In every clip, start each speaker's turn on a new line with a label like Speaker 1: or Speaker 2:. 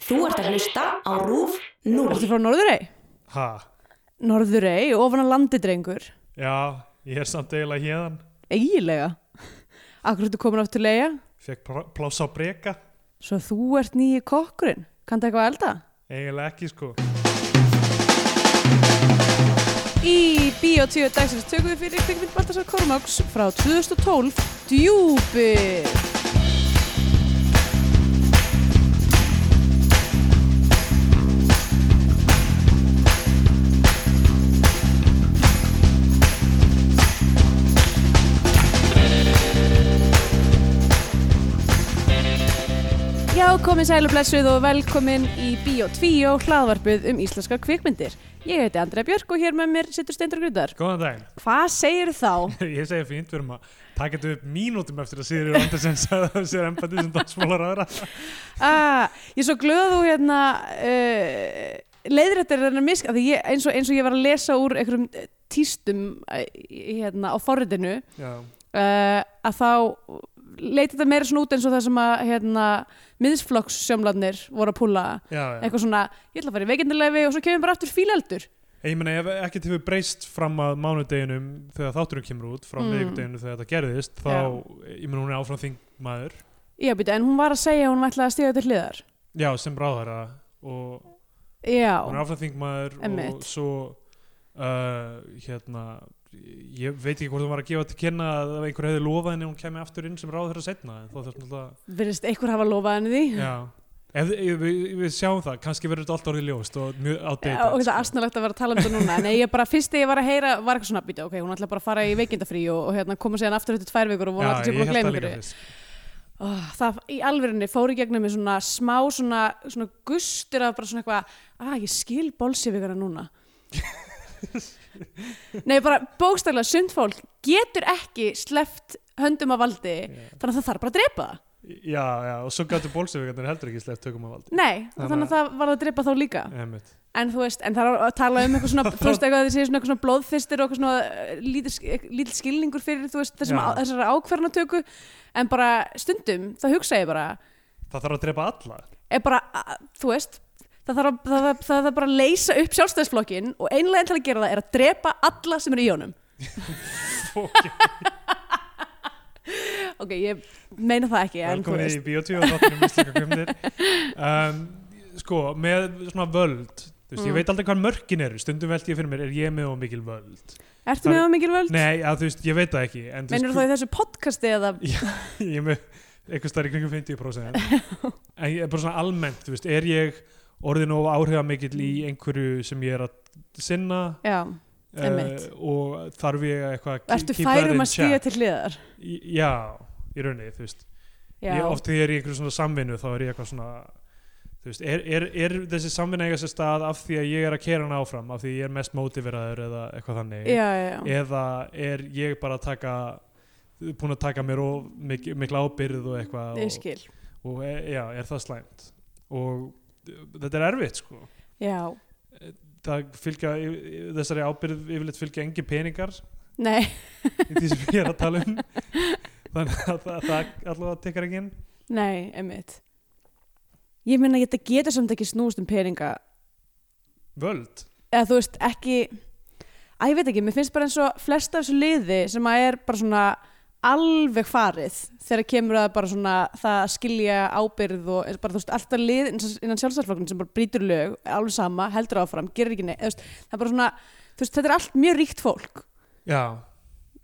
Speaker 1: Þú ert að hlusta á RÚF 0.
Speaker 2: Ertu frá Norðurey?
Speaker 3: Ha,
Speaker 2: Norðurey, ofan að landi drengur.
Speaker 3: já, ég er samt eiginlega hérðan.
Speaker 2: Eigilega. Akkur ertu komin aftur leiða?
Speaker 3: Fekk pl- pláss á breyka.
Speaker 2: Svo þú ert nýji kokkurinn. Kanntu eitthvað að elda?
Speaker 3: Eiginlega ekki, sko.
Speaker 2: Í Bíó 10 dagsins tökum við fyrir kvikmynd Baltasar Kormáks frá 2012 Djúpið. Já, komið sæl og blessuð og velkomin í Bíó 2 hlaðvarpið um íslenska kvikmyndir. Ég heiti Andrea Björk og hér með mér sittur Steindur Grudar.
Speaker 3: Góðan daginn.
Speaker 2: Hvað segir þá?
Speaker 3: Ég segi fínt, við erum að taka þetta upp mínútum eftir að Sigurður Andersen sagði að sér embætið sem dansmólar aðra.
Speaker 2: Ah, ég er svo glöð að þú hérna uh, leiðrættir þennan misk af því ég, eins, og, eins og ég var að lesa úr einhverjum eh, tístum eh, hérna á forritinu
Speaker 3: Já,
Speaker 2: uh, að þá leiti þetta meira svona út eins og það sem að hérna, miðsflokkssjómlarnir voru að púla
Speaker 3: já, já.
Speaker 2: eitthvað svona, ég ætla að fara í veikindarlefi og svo kemur bara aftur fílaldur
Speaker 3: Ég meina, ef ekkert hefur breyst fram að mánudeginum þegar þátturinn kemur út, frá
Speaker 2: Mm.
Speaker 3: mm. þegar þetta gerðist, þá, ég meina, hún er áfram þingmaður,
Speaker 2: Já, býta, en hún var að segja að hún ætlaði að stíga til hliðar.
Speaker 3: já, sem ráðara og hún
Speaker 2: Já,
Speaker 3: er áfram þingmaður
Speaker 2: Einmitt.
Speaker 3: og svo uh, hérna ég veit ekki hvort hún var að gefa til kynna að ef einhver hefði lofað henni að hún kemi aftur inn sem ráð þeirra setna en þá þarf náttúrulega
Speaker 2: virðist einhver hafa lofað henni því.
Speaker 3: já Ef, ef, við, við sjáum það, kannski verður þetta allt orðið ljóst og mjög
Speaker 2: Já,
Speaker 3: outdated
Speaker 2: og þetta er astnalegt að vera að tala um þetta núna. Nei, ég bara, fyrst þegar ég var að heyra, var eitthvað svona, býta, ok, hún ætlaði bara að fara í veikindafrí og, og hérna, koma sér aftur eftir tvær vikur og voru allir sem búin að gleyma ykkur.
Speaker 3: fyrst
Speaker 2: Oh, það í alvörinni fór í gegnum með svona smá svona, svona gustur af bara svona eitthvað að ég skil bolsjöfigara núna Nei bara bókstæðlega sund fólk getur ekki sleppt höndum af valdi þannig að það þarf bara að drepa það
Speaker 3: Já, já, og svo gætu bólsefingarnir heldur ekki sleppt tökum af valdi
Speaker 2: Nei,
Speaker 3: Þannig að-
Speaker 2: þannig að það var að drepa þá líka
Speaker 3: Einmitt.
Speaker 2: en þú veist, en það er að tala um eitthvað svona þú veist, eitthvað að þið séu svona eitthvað svona blóðfistir og eitthvað svona eh, lítill sk- lítill skilningur fyrir þú veist, þessum,
Speaker 3: Já.
Speaker 2: þessara ákverðanatöku en bara stundum, það hugsa ég bara
Speaker 3: Það þarf að drepa alla
Speaker 2: er bara, a- þú veist það þarf, að, það, það, það þarf bara að leysa upp sjálfstæðisflokkin og einlega til að gera það er að drepa alla sem eru í honum
Speaker 3: Fokkin,
Speaker 2: ok, ég meina það ekki en þú
Speaker 3: velkomin í
Speaker 2: veist,
Speaker 3: Bíotvíu og þáttunum íslenska kvimdir um, Sko, með svona völd þú veist,
Speaker 2: Mm.
Speaker 3: Ég veit aldrei hvað mörkin eru, stundum velti ég fyrir mér er ég með og mikil völd
Speaker 2: ertu með
Speaker 3: Það-
Speaker 2: það mikil völd?
Speaker 3: Nei, að, þú veist, ég veit það ekki en, þú
Speaker 2: meinur
Speaker 3: veist,
Speaker 2: þú í þessu podcasti eða
Speaker 3: Ég er með eitthvað starf í kringum 50% en ég er bara svona almennt, þú veist, er ég orðin of áhrifamikill í
Speaker 2: Mm.
Speaker 3: einhverju sem ég er að sinna
Speaker 2: já,
Speaker 3: uh,
Speaker 2: Einmitt.
Speaker 3: og þarf ég að eitthvað ke-
Speaker 2: ertu
Speaker 3: keep that in
Speaker 2: færum að stíða
Speaker 3: check?
Speaker 2: til hliðar
Speaker 3: Í- Já, í rauninni, þú veist
Speaker 2: já,
Speaker 3: ég, oft þegar ég er í einhverju svona samvinnu þá er ég eitthvað svona þú veist, er, er, er þessi samvinna eiga sér stað af því að ég er að kera hana áfram af því ég er mest mótiveraður eða eitthvað þannig
Speaker 2: já, já, já.
Speaker 3: eða er ég bara að taka búin að taka mér of mik mikla ábyrð og eitthvað
Speaker 2: ég
Speaker 3: og,
Speaker 2: skil
Speaker 3: og e, já, er það slæmt og uh, þetta er erfitt sko
Speaker 2: já,
Speaker 3: það fylgja, yf- þessari ábyrð yfirleitt fylgja engi peningar
Speaker 2: nei,
Speaker 3: í því sem ég er að tala um þannig að það, það allavega tekkar ekki inn
Speaker 2: nei, emitt ég meina þetta getur samt ekki snúst um peninga
Speaker 3: völd
Speaker 2: eða þú veist ekki að ég veit ekki, mér finnst bara eins og flest af þessu liði sem að er bara svona alveg farið þegar kemur að bara svona það að skilja ábyrð og eins- bara þú veist alltaf lið innan- innan sjálfstæðsflokkun sem bara brýtur lög alveg sama, heldur áfram, gerir ekki neitt eða þú veist, það er bara svona, þú veist, þetta er allt mjög ríkt fólk
Speaker 3: já,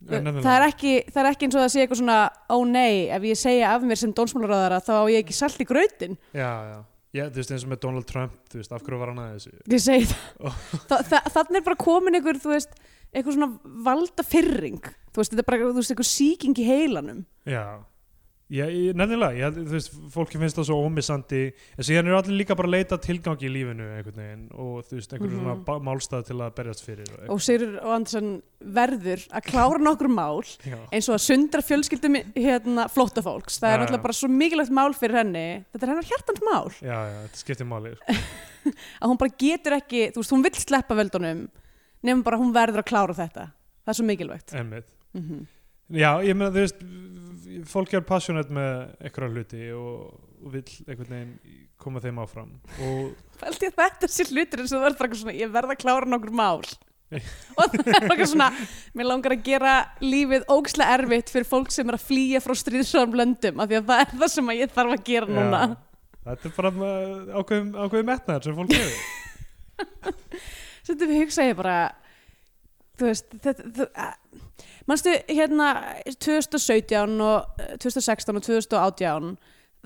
Speaker 2: það er, ekki, það er ekki eins og það sé eitthvað svona ó nei, ef ég segja af mér sem dónsmálaráðara þá á ég ekki salt í grautin
Speaker 3: já, já. Já, þú veist eins og með Donald Trump, þú veist, af hverju var hann að þessu
Speaker 2: ég segi það Þa, þa, þannig er bara komin einhver þú veist, einhver svona valda fyrring þú veist, þetta er bara, þú veist, einhver síking í heilanum
Speaker 3: Já, já ég- nefnilega, ég, held- þú veist, fólki finnst það svo ómissandi, en síðan eru allir líka bara að leita að tilgang í lífinu einhvern veginn og þú veist, einhverju
Speaker 2: Mhm.
Speaker 3: svona ba- málstað til að berjast fyrir. Og,
Speaker 2: og Sigur og Andersen verður að klára nokkur mál
Speaker 3: já,
Speaker 2: eins og að sundra fjölskyldum hérna, flóttafólks, það
Speaker 3: Já,
Speaker 2: er
Speaker 3: já.
Speaker 2: alltaf bara svo mikilvægt mál fyrir henni, þetta er hennar hjartans mál
Speaker 3: já, já, þetta skiptir máli. sko.
Speaker 2: að hún bara getur ekki, þú veist, hún vill sleppa veldunum nefnum bara hún verður að klára þetta það er svo mikilvægt
Speaker 3: Einmitt.
Speaker 2: mm
Speaker 3: Já, ég meina, þú veist, fólki er passionate með einhverja hluti og, og vill einhvern veginn koma þeim áfram og
Speaker 2: Fælt ég að þetta sé hlutur eins og það verður bara eitthvað svona, ég verð að klára nokkur mál. og það er eitthvað svona, mér langar að gera lífið ógslega erfitt fyrir fólk sem er að flýja frá stríðsvæðum löndum, af því að það er það sem að ég þarf að gera núna.
Speaker 3: Já. þetta er bara uh, ákveðum, ákveðum metnaðar sem fólk hefur
Speaker 2: Svolítið við hugsa ég bara, þú veist, þetta, þú, að, manstu hérna 2017 og eh, 2016 og 2018,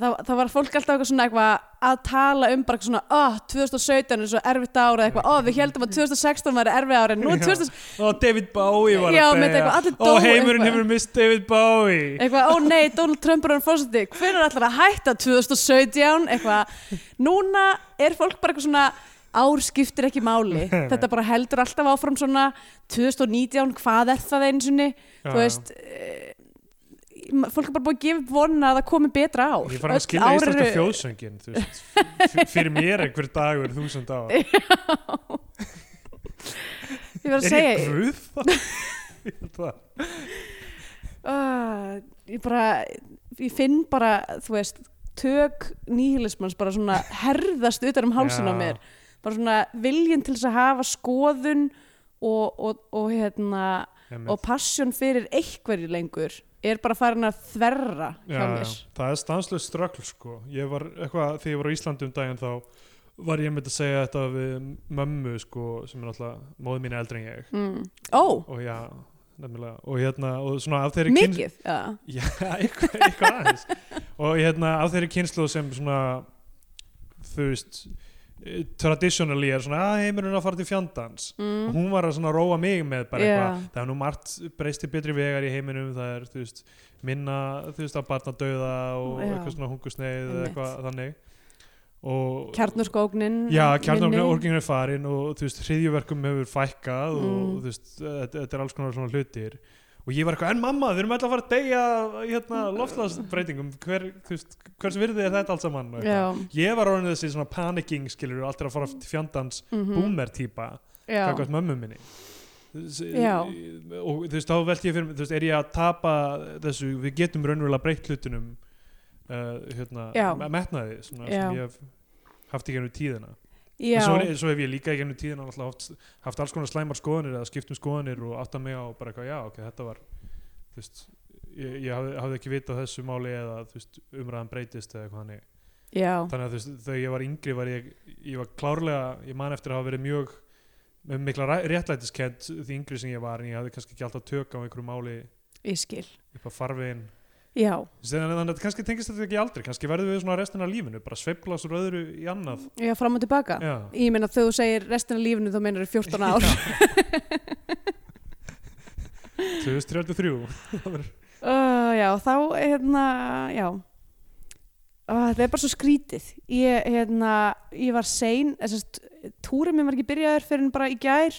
Speaker 2: Það, það var fólk alltaf eitthvað svona eitthvað að tala um bara eitthvað svona oh, 2017 er svo erfitt ára eitthvað oh, við heldum að 2016 var erfið ára en nú er
Speaker 3: Já.
Speaker 2: 2016
Speaker 3: og David Bowie var
Speaker 2: Já,
Speaker 3: að
Speaker 2: með
Speaker 3: deyja.
Speaker 2: eitthvað, allir
Speaker 3: og
Speaker 2: dóu
Speaker 3: heimurinn
Speaker 2: eitthvað.
Speaker 3: hefur mist David Bowie
Speaker 2: eitthvað, ó nei, Donald Trump er hann fórseti hvernig er allar að hætta 2017 eitthvað, núna er fólk bara eitthvað svona ár skiptir ekki máli þetta bara heldur alltaf áfram svona 2019, hvað er það einu sinni
Speaker 3: Já,
Speaker 2: þú veist eh, ma- fólk er bara búið að gefa upp vona að það komi betra ár
Speaker 3: ég fann að
Speaker 2: Öll
Speaker 3: skilja
Speaker 2: ár
Speaker 3: íslenska
Speaker 2: eru-
Speaker 3: þjóðsöngin þú veist, f- fyrir mér einhver dagur þúsund á er
Speaker 2: ég verð að segja
Speaker 3: ég guð það? Ég held það.
Speaker 2: uh, ég bara ég finn bara, þú veist tök nýhilismans bara svona herðast utan um hálsin á
Speaker 3: Já.
Speaker 2: mér bara svona viljin til þess að hafa skoðun og, og, og hérna
Speaker 3: Einmitt.
Speaker 2: og passion fyrir einhverju lengur er bara farin að þverra hjá
Speaker 3: Já,
Speaker 2: mér
Speaker 3: já. það er stanslöð ströggl sko. ég var eitthvað, þegar ég var á Íslandi um daginn þá var ég með að segja þetta við mömmu sko, sem er náttúrulega móði mín er eldri en ég
Speaker 2: mm. ó,
Speaker 3: og já, nefnilega og hérna, og svona af þeirri kyns-
Speaker 2: mikið já,
Speaker 3: Já, eitthvað, eitthvað aðeins og hérna af þeirri kynslu sem svona þú veist eh, traditionally er svona að heimurinn er að fara til fjandans og
Speaker 2: mm.
Speaker 3: hún var að svona róa mig með bara
Speaker 2: Já.
Speaker 3: eitthvað það er nú margt breysti betri vegar í heiminum það er þú veist minna þú veist að barna dauða og
Speaker 2: Já.
Speaker 3: eitthvað svona hungusneið eða
Speaker 2: Einmitt.
Speaker 3: eitthvað þannig og
Speaker 2: kjarnurskóknin
Speaker 3: Já, kjarnorkinn er farin og þú veist, hriðjuverkum hefur fækkað
Speaker 2: Mm.
Speaker 3: og þú veist, þetta þetta er alls konar svona hlutir og ég var eitthvað, en mamma, við erum alltaf að fara að deyja hérna, loftlagsbreytingum hver, þú veist, hvers virði er þetta alls saman og eitthvað.
Speaker 2: já,
Speaker 3: ég var orðin þessi svona panicking skilur og alltaf að fara til fjandans
Speaker 2: mm
Speaker 3: mm. boomer típa,
Speaker 2: já,
Speaker 3: kakvæmt mömmu minni S- e,
Speaker 2: Já.
Speaker 3: og þú veist, þá velti ég fyrir mér, þú veist, er ég að tapa þessu, við getum raunverulega breytt hlutunum uh, hérna,
Speaker 2: Já.
Speaker 3: me- metnaði svona,
Speaker 2: Já.
Speaker 3: sem ég hef haft í gennum tíðina En
Speaker 2: já.
Speaker 3: Svo, er- svo hef ég líka í gennum tíðina náttúrulega haft, haft alls konar slæmar skoðanir eða skiptum skoðanir og átta mig á bara eitthvað, já, ok, þetta var þú veist, ég, ég hafði, hafði ekki vitað þessu máli eða þú veist, umræðan breytist eða eitthvað hannig.
Speaker 2: já.
Speaker 3: Þannig að þú veist, þegar ég var yngri var ég, ég var klárlega, ég man eftir að hafa verið mjög með mikla ræ- réttlætiskend því yngri sem ég var en ég hafði kannski ekki alltaf tök á einhverju máli
Speaker 2: ég skil
Speaker 3: upp á farvegin
Speaker 2: já,
Speaker 3: þannig að þetta kannski tengist þetta ekki aldrei kannski verðum við svona restina af lífinu bara sveiflast úr öðru í annað
Speaker 2: já, fram og tilbaka
Speaker 3: Já.
Speaker 2: Ég meina þegar þú segir restina af lífinu þá meinar þú 14 ár.
Speaker 3: 2033
Speaker 2: Uh, já, þá, hérna, já. Uh, það er bara svo skrítið. Ég, hérna, ég var sein, þessast, túrið mér var ekki byrjaður fyrir en bara í gær.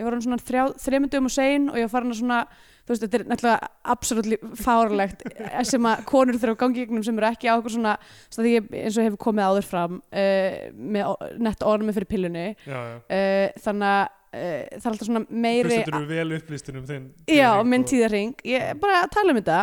Speaker 2: Ég var hann svona þrjá, þreymundum og sein og ég var farin að svona, þú veist, þetta er náttúrulega absolutt fárlegt sem að konur þurfa að gangi gegnum sem eru ekki á okkur svona, svona því ég, eins og hefur komið áður fram uh, með nett ormi fyrir pillunni.
Speaker 3: já, já
Speaker 2: Uh, þannig að uh, það er alltaf svona meiri...
Speaker 3: Hlustendur eru vel upplýstin um þinn
Speaker 2: Já,
Speaker 3: þinn
Speaker 2: minn
Speaker 3: og-
Speaker 2: tíðarring, ég er bara að tala um þetta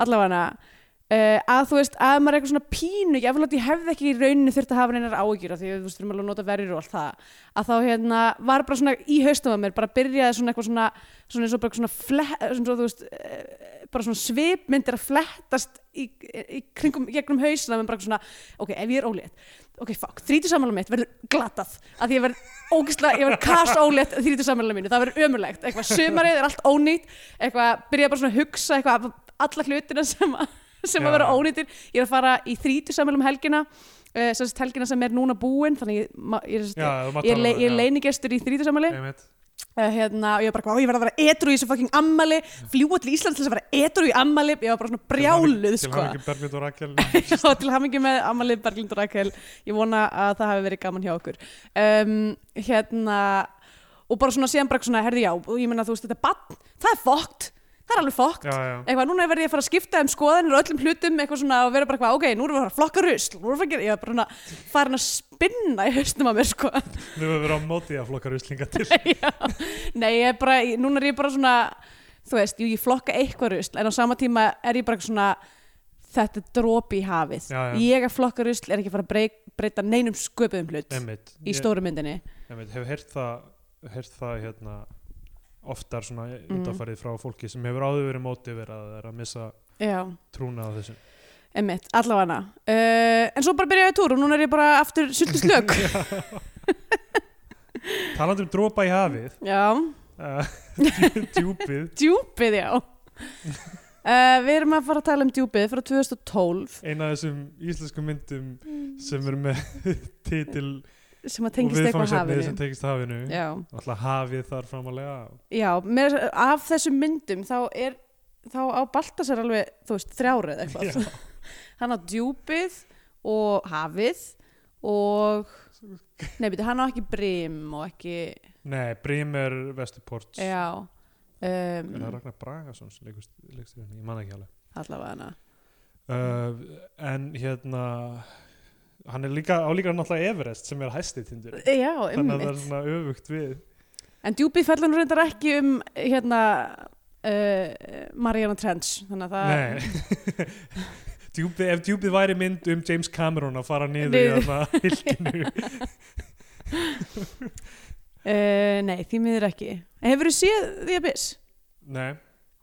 Speaker 2: allavega uh, að þú veist, að maður er eitthvað svona pínu ég, ég hefði ekki í rauninu þurft að hafa neinar áhyggjur af því við þurfum alveg að nota verjur og allt það að þá hérna var bara svona í haustum að mér bara byrjaði svona eitthvað svona svona eins og bara svona, flet, svona svo, þú veist, uh, bara svona svipmyndir að flettast í, í kringum, gegnum hausina menn bara svona, ok, ef ég er ólétt ok, fuck, þrítið mitt verður glatað að því ég verð ógislega, ég verð kass ólétt þrítið mínu, það verður ömulegt eitthvað, sumarið er allt ónýtt eitthvað, byrja bara svona að hugsa eitthvað alla hlutina sem, að- sem að
Speaker 3: Já.
Speaker 2: vera ónýttir ég er að fara í þrítið helgina uh, sem sagt helgina sem er núna búin þannig ég, ma- ég, er sem sagt-
Speaker 3: Já, þú mátt
Speaker 2: ég, er
Speaker 3: tala um
Speaker 2: le,
Speaker 3: það,
Speaker 2: ég
Speaker 3: já.
Speaker 2: er leinigestur í þrítið sammæli
Speaker 3: Einmitt.
Speaker 2: hérna, og ég var bara, "Vá, ég verð að vera etru í þessu fucking ammali fljúa til Íslands til þess að vera etru í ammali ég var bara svona brjáluð
Speaker 3: Til
Speaker 2: sko.
Speaker 3: hann ekki Berglind og Rakel
Speaker 2: Já, til hamingi með Amalið Berglind og Rakel ég vona að það hafi verið gaman hjá okkur um, hérna og bara svona síðan bara svona, herði já og ég meina þú veist, þetta bann, það er fókt það er alveg fókt,
Speaker 3: Já, já.
Speaker 2: eitthvað, núna verði ég að fara að skipta um skoðanir og öllum hlutum, eitthvað svona og vera bara eitthvað, ok, nú erum við að fara að flokka rusl nú erum við að gera, ég var bara svona, farin að spinna í haustum að mér, sko
Speaker 3: Nú hefur verið á móti að flokka ruslinga til
Speaker 2: Já. Nei, ég er bara, ég- núna er ég bara svona þú veist, jú, ég flokka eitthvað rusl en á sama tíma er ég bara eitthvað svona þetta er dropi í hafið
Speaker 3: Já, já.
Speaker 2: ég að flokka rusl er ekki að fara að breyk, breyta neinum sköpuðum hlut
Speaker 3: Einmitt.
Speaker 2: í
Speaker 3: Ég-
Speaker 2: stóru myndinni
Speaker 3: Einmitt. Hef heyrt það heyrt það hérna oftar svona
Speaker 2: Mhm.
Speaker 3: undanfarið frá fólki sem hefur áður verið mótið verið að það er að missa
Speaker 2: Já,
Speaker 3: trúna á þessu
Speaker 2: emmitt, allavega uh, En svo bara byrjaði túr og núna er ég bara aftur sultið slök
Speaker 3: Talandi um dropa í hafið
Speaker 2: Já,
Speaker 3: uh, djúpið
Speaker 2: djúpið já uh, Við erum að fara að tala um djúpið frá 2012
Speaker 3: eina af þessum íslensku myndum sem er með titil
Speaker 2: sem að
Speaker 3: og
Speaker 2: tengist eitthvað
Speaker 3: viðfangsefni sem
Speaker 2: hafinu
Speaker 3: tengist hafinu
Speaker 2: Já,
Speaker 3: alltaf hafið þar framalega
Speaker 2: já með, af þessum myndum þá er þá á Baltasar alveg, þú veist, þrjárið eitthvað Hann á djúpið og hafið og Nei, betur, hann á ekki brim og ekki
Speaker 3: nei, Brímer Vesturports er
Speaker 2: Já um,
Speaker 3: það Ragnar Bragason sem leikust, leikst hérna, ég man ekki alveg
Speaker 2: Allavega hana
Speaker 3: uh, en hérna hann er líka, á líka náttúrulega Everest sem er hæsti tindur
Speaker 2: Já,
Speaker 3: þannig að það er
Speaker 2: einmitt
Speaker 3: svona öfugt við
Speaker 2: En djúpið fellur nú reyndar ekki um hérna uh, Mariana Trench þannig að það
Speaker 3: Nei Djúpið, ef djúpið væri mynd um James Cameron að fara niður í
Speaker 2: Niður.
Speaker 3: þarna hilkinu
Speaker 2: Uh, nei, því miður ekki. Hefur þú séð The Abyss?
Speaker 3: Nei,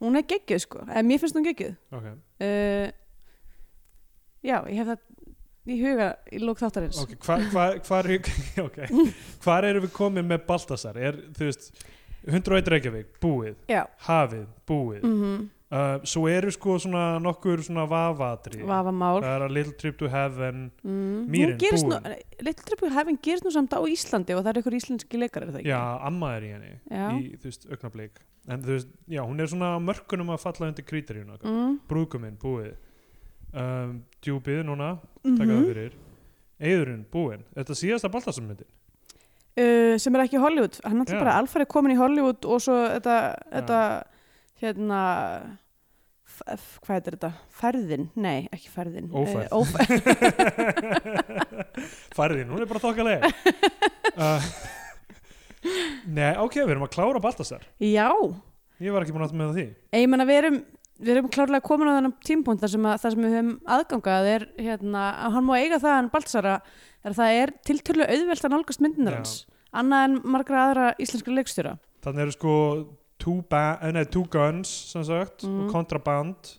Speaker 2: Hún er geggjuð sko, eða mér finnst hún geggjuð.
Speaker 3: ok,
Speaker 2: Uh, já, ég hef það í huga í lók þáttarins.
Speaker 3: okay. Hvar, hvar, hvar, okay. hvar erum við komin með Baltasar? Er, þú veist, 101 Reykjavík, búið
Speaker 2: Já.
Speaker 3: Hafið, búið
Speaker 2: Mm
Speaker 3: uh, Svo eru sko svona nokkur svona vafadri
Speaker 2: Vafamál.
Speaker 3: Það er að Little Trip to Heaven
Speaker 2: Mm.
Speaker 3: Mýrin,
Speaker 2: Hún gerist nú,
Speaker 3: búin.
Speaker 2: Little Trip of Heaven gerist nú samt á Íslandi og það eru ykkur íslenski leikar, er það ekki?
Speaker 3: Já, amma er í henni
Speaker 2: Já.
Speaker 3: í, þú veist, augnablík En þú veist, já, hún er svona á mörkunum að falla undir krítaríun okkar
Speaker 2: Mm.
Speaker 3: brúkuminn búið um, djúpið núna,
Speaker 2: Mm
Speaker 3: taka það fyrir eðurinn búinn, þetta síðasta Baltasarmyndin
Speaker 2: uh, sem er ekki Hollywood. Hann er alltaf
Speaker 3: Já.
Speaker 2: bara alfarið komin í Hollywood og svo þetta, þetta hérna, f- f- hvað heitir þetta? Ferðin? Nei, ekki ferðin. Eh,
Speaker 3: Ófærð.
Speaker 2: Uh, ófærð.
Speaker 3: fariðin, hún er bara þokkaleg uh, Nei, ok, við erum að klára Baltasar
Speaker 2: Já.
Speaker 3: ég var ekki búin að átta með því
Speaker 2: Ég menna við erum við erum klárlega komin á þennan tímpunkt þar sem, að, þar sem við höfum aðgangað er hérna, að hann má eiga það en Baltsara er það er tiltölu auðvelt að nálgast myndinar
Speaker 3: Já.
Speaker 2: hans annað en margra aðra íslenskra leikstjóra
Speaker 3: þannig eru sko Two, ba- eh, nei, two Guns sem sagt,
Speaker 2: Mhm.
Speaker 3: og Contraband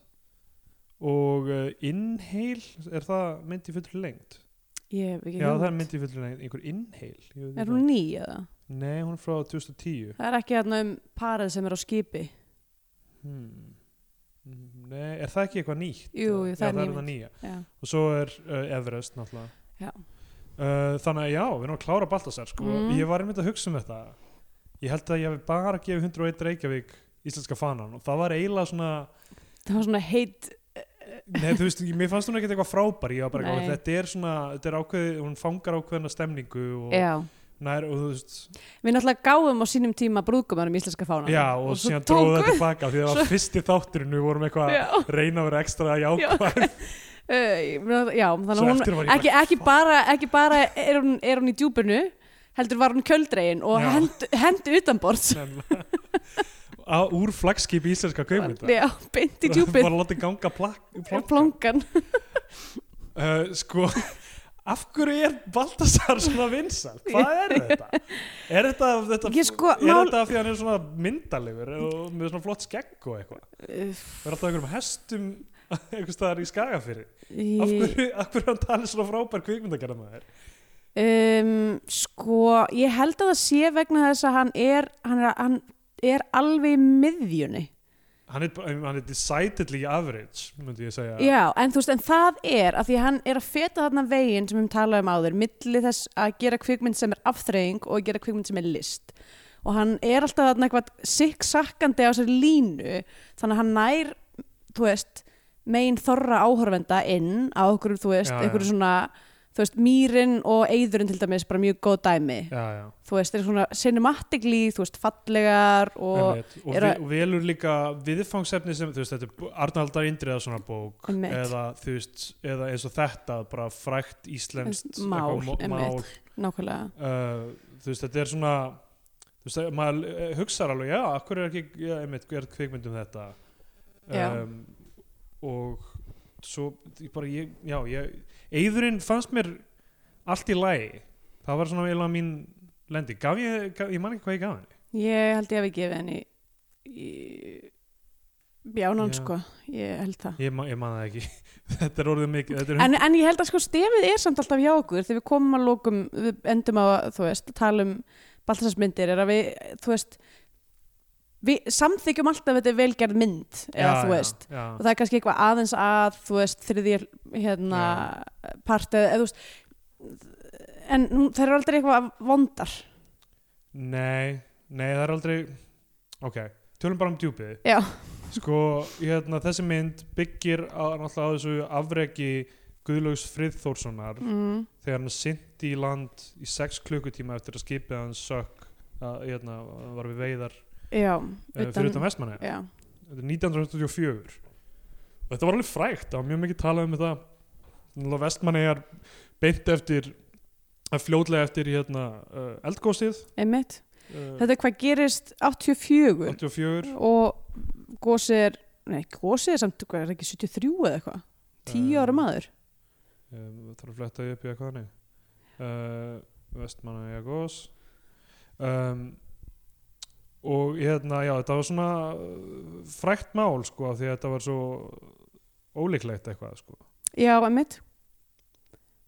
Speaker 3: og uh, Inhale er það mynd í fullri lengt?
Speaker 2: ég hef ekki
Speaker 3: Já, það er
Speaker 2: hugmynd.
Speaker 3: mynd í fullri lengt, einhver Inhale ég veit
Speaker 2: er
Speaker 3: ekki.
Speaker 2: hún ný eða?
Speaker 3: Nei, hún er frá 2010
Speaker 2: Það er ekki hérna um parið sem er á skipi
Speaker 3: Hmm. Mm, Nei, er það ekki eitthvað nýtt?
Speaker 2: Jú,
Speaker 3: Eða-
Speaker 2: jú, það
Speaker 3: já,
Speaker 2: er ný
Speaker 3: það
Speaker 2: mynd.
Speaker 3: nýja.
Speaker 2: Já,
Speaker 3: Og svo er uh, Everest náttúrulega.
Speaker 2: Já.
Speaker 3: Uh, þannig að já, við erum að klára Baltasar sko.
Speaker 2: Mm.
Speaker 3: Ég var einmitt að hugsa um þetta. Ég held að ég hef bara gefið 101 Reykjavík íslenska fanan og það var eiginlega svona,
Speaker 2: það var svona heit
Speaker 3: nei þú veist, mér fannst hún ekkert eitthvað frábær, ég var bara
Speaker 2: Nei.
Speaker 3: eitthvað, þetta er svona, þetta er ákveðið, hún fangar ákveðina stemningu og,
Speaker 2: Já,
Speaker 3: nær, og þú veist,
Speaker 2: við náttúrulega gáum á sínum tíma brúðgumannum íslenska fána
Speaker 3: já og,
Speaker 2: svo
Speaker 3: síðan
Speaker 2: tókum
Speaker 3: dróðu
Speaker 2: við-
Speaker 3: þetta baka því það var fyrsti þátturinn, við vorum eitthvað
Speaker 2: Já,
Speaker 3: að reyna að vera ekstra jákvæð
Speaker 2: uh, ég meina, já þannig
Speaker 3: Svo
Speaker 2: að hún
Speaker 3: eftir var ég bara,
Speaker 2: ekki, ekki bara, ekki bara er, hún, er hún í djúpinu heldur var hún kjöldregin og
Speaker 3: Já.
Speaker 2: hend, hendi utanborðs
Speaker 3: Nefnilega. á, úr flagskip íslenska kaupmynda
Speaker 2: Já, beint í djúpið
Speaker 3: um bara látið ganga plak, plak.
Speaker 2: plongan
Speaker 3: Uh, sko af hverju er Baltasar svona vinsal hvað er þetta er þetta, þetta,
Speaker 2: Ég sko,
Speaker 3: er
Speaker 2: mál-
Speaker 3: þetta af því að hann er svona myndalegur og með svona flott skegg og eitthvað við erum alltaf einhverjum hestum einhvers staðar í skagafyrir af hverju, af hverju hann talir svona frábær kvikmyndagerða með þér
Speaker 2: um, Sko, ég held að það sé vegna þess að hann er, hann er, hann er alveg í miðjunni
Speaker 3: hann er, bara- hann er decidedly average myndi ég segja
Speaker 2: Já, en þú veist, en það er að því að hann er að feta þarna veginn sem við talaðum áður, milli þess að gera kvikmynd sem er afþreying og gera kvikmynd sem er list og hann er alltaf þarna eitthvað sikksakkandi á sér línu þannig að hann nær, þú veist megin þorra áhorfenda inn á okkur, þú veist,
Speaker 3: Já, já.
Speaker 2: einhverju svona þú veist, mýrin og eyðurinn til dæmis bara mjög góð dæmi,
Speaker 3: já, já.
Speaker 2: þú veist, er svona cinematically, þú veist, fallegar og
Speaker 3: Einmitt. og,
Speaker 2: er að-
Speaker 3: vi- og velur líka viðfangsefni sem þú veist, þetta er bú- Arnaldar Indriða svona bók
Speaker 2: Einmitt.
Speaker 3: eða, þú veist, eða eins og þetta bara frækt íslenskt
Speaker 2: Mál,
Speaker 3: eitthvað mo- mál.
Speaker 2: einmitt. nákvæmlega
Speaker 3: Uh, þú veist, þetta er svona þú veist, maður eh, hugsar alveg já, af hverju er ekki, já, einmitt, er kvikmynd um þetta
Speaker 2: Já.
Speaker 3: og svo ég bara, ég, já, ég Eðurinn fannst mér allt í lagi það var svona eiginlega mín lendi gaf ég, gaf, ég man ekki hvað ég gaf henni
Speaker 2: Ég held ég hafi gefið henni í bjánan
Speaker 3: Já.
Speaker 2: sko, ég held það.
Speaker 3: ég, ma, ég man það ekki, þetta er orðið mikið þetta er
Speaker 2: En, en ég held að sko stefið er samt alltaf hjá okkur þegar við komum að lókum, við endum að þú veist, tala um baltasarsmyndir er að við, þú veist við samþykjum alltaf að þetta er velgerð mynd eða þú veist,
Speaker 3: já,
Speaker 2: og það er kannski eitthvað aðeins að þú veist, þriðja hérna, part eða, eða þú veist en nú- þær eru aldrei eitthvað vondar
Speaker 3: nei, nei, það er aldrei ok, tölum bara um djúpið
Speaker 2: Já.
Speaker 3: sko, hérna, þessi mynd byggir á, náttúrulega á þessu afreki Guðlaugs Friðþórssonar
Speaker 2: mm.
Speaker 3: þegar hann syndi í land í sex klukkutíma eftir að skipið hann sökk að, hérna, var við veiðar
Speaker 2: Já,
Speaker 3: utan, fyrir utan vestmanni
Speaker 2: Já,
Speaker 3: þetta er 1984 og þetta var alveg frægt, það var mjög mikið talað um þetta vestmannegar beint eftir að fljótlega eftir hérna, uh, eldgósið
Speaker 2: einmitt
Speaker 3: uh,
Speaker 2: Mm. Þetta er hvað gerist 84
Speaker 3: 84
Speaker 2: og gósi er, nei, gósi er samt, hvað er það ekki 73 eða eitthvað? 10 ára
Speaker 3: Um,
Speaker 2: maður?
Speaker 3: um, þarf að fletta því upp í eitthvað hannig uh, vestmanna Jagos um, og hérna já, þetta var svona uh, frækt mál sko af því að þetta var svo ólíklegt eitthvað sko
Speaker 2: Já, einmitt.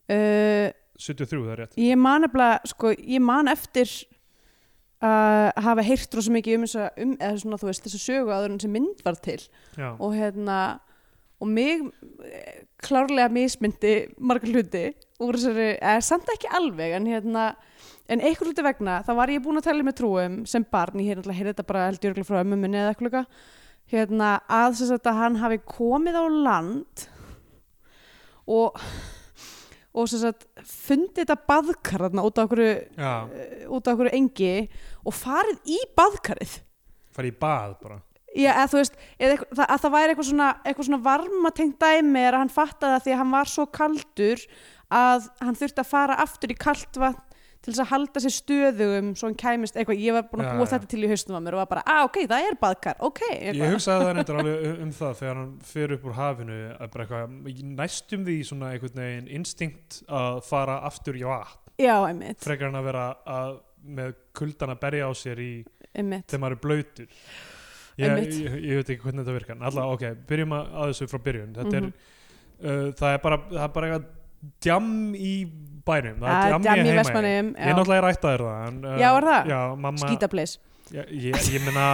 Speaker 2: Uh,
Speaker 3: 73 það er rétt
Speaker 2: ég man eftir, sko, ég man eftir að hafa heyrt rosa mikið um þessa, um, eða svona, þú veist, þessa sögu áður en þessi mynd var til
Speaker 3: já,
Speaker 2: og hérna, og mig eh, klárlega mismyndi margar hluti úr þessari, eða samt ekki alveg, en hérna, en einhver hluti vegna, þá var ég búin að tala með trúum sem barn, ég hérna heyrði þetta bara held jörglega frá ömmu minni eða eitthvað líka, hérna, að þess að hann hafi komið á land og og sem sagt fundið þetta baðkar þarna út á okkur
Speaker 3: já,
Speaker 2: út á okkur engi og farið í baðkarið
Speaker 3: farið í bað bara
Speaker 2: Já, eða þú veist, eða eitthvað, það, að það væri eitthvað svona, eitthvað svona varmatengt dæmi er að hann fattaði það því að hann var svo kaldur að hann þurfti að fara aftur í kalt vatn til þess að halda sér stöðugum svo hann kæmist eitthvað, ég var búin að
Speaker 3: Já,
Speaker 2: búa
Speaker 3: já.
Speaker 2: þetta til í haustum að mér og var bara, að ok, það er baðkar, ok
Speaker 3: Ég
Speaker 2: eitthvað.
Speaker 3: hugsaði það reyndar alveg um- um það þegar hann fer upp úr hafinu að bara eitthvað næstum því svona einhvern veginn instinkt að fara aftur í vatn
Speaker 2: Já, einmitt,
Speaker 3: frekar hann að vera að, með kuldan að berja á sér í
Speaker 2: einmitt
Speaker 3: þegar maður er blöytur ég,
Speaker 2: Einmitt.
Speaker 3: ég, ég veit ekki hvernig þetta virkar alltaf ok, byrjum að, að þessu frá byrjun þetta
Speaker 2: Mhm.
Speaker 3: er, uh, það er bara það er bara eitthvað djam í bænum það
Speaker 2: Að
Speaker 3: er djam
Speaker 2: djam
Speaker 3: í
Speaker 2: Ah, í
Speaker 3: heima
Speaker 2: Vestmannaeyjum,
Speaker 3: ég er
Speaker 2: já.
Speaker 3: náttúrulega rættaður það en, uh,
Speaker 2: Já, er það?
Speaker 3: Já, mamma,
Speaker 2: skítapleis
Speaker 3: Já, ég, ég meina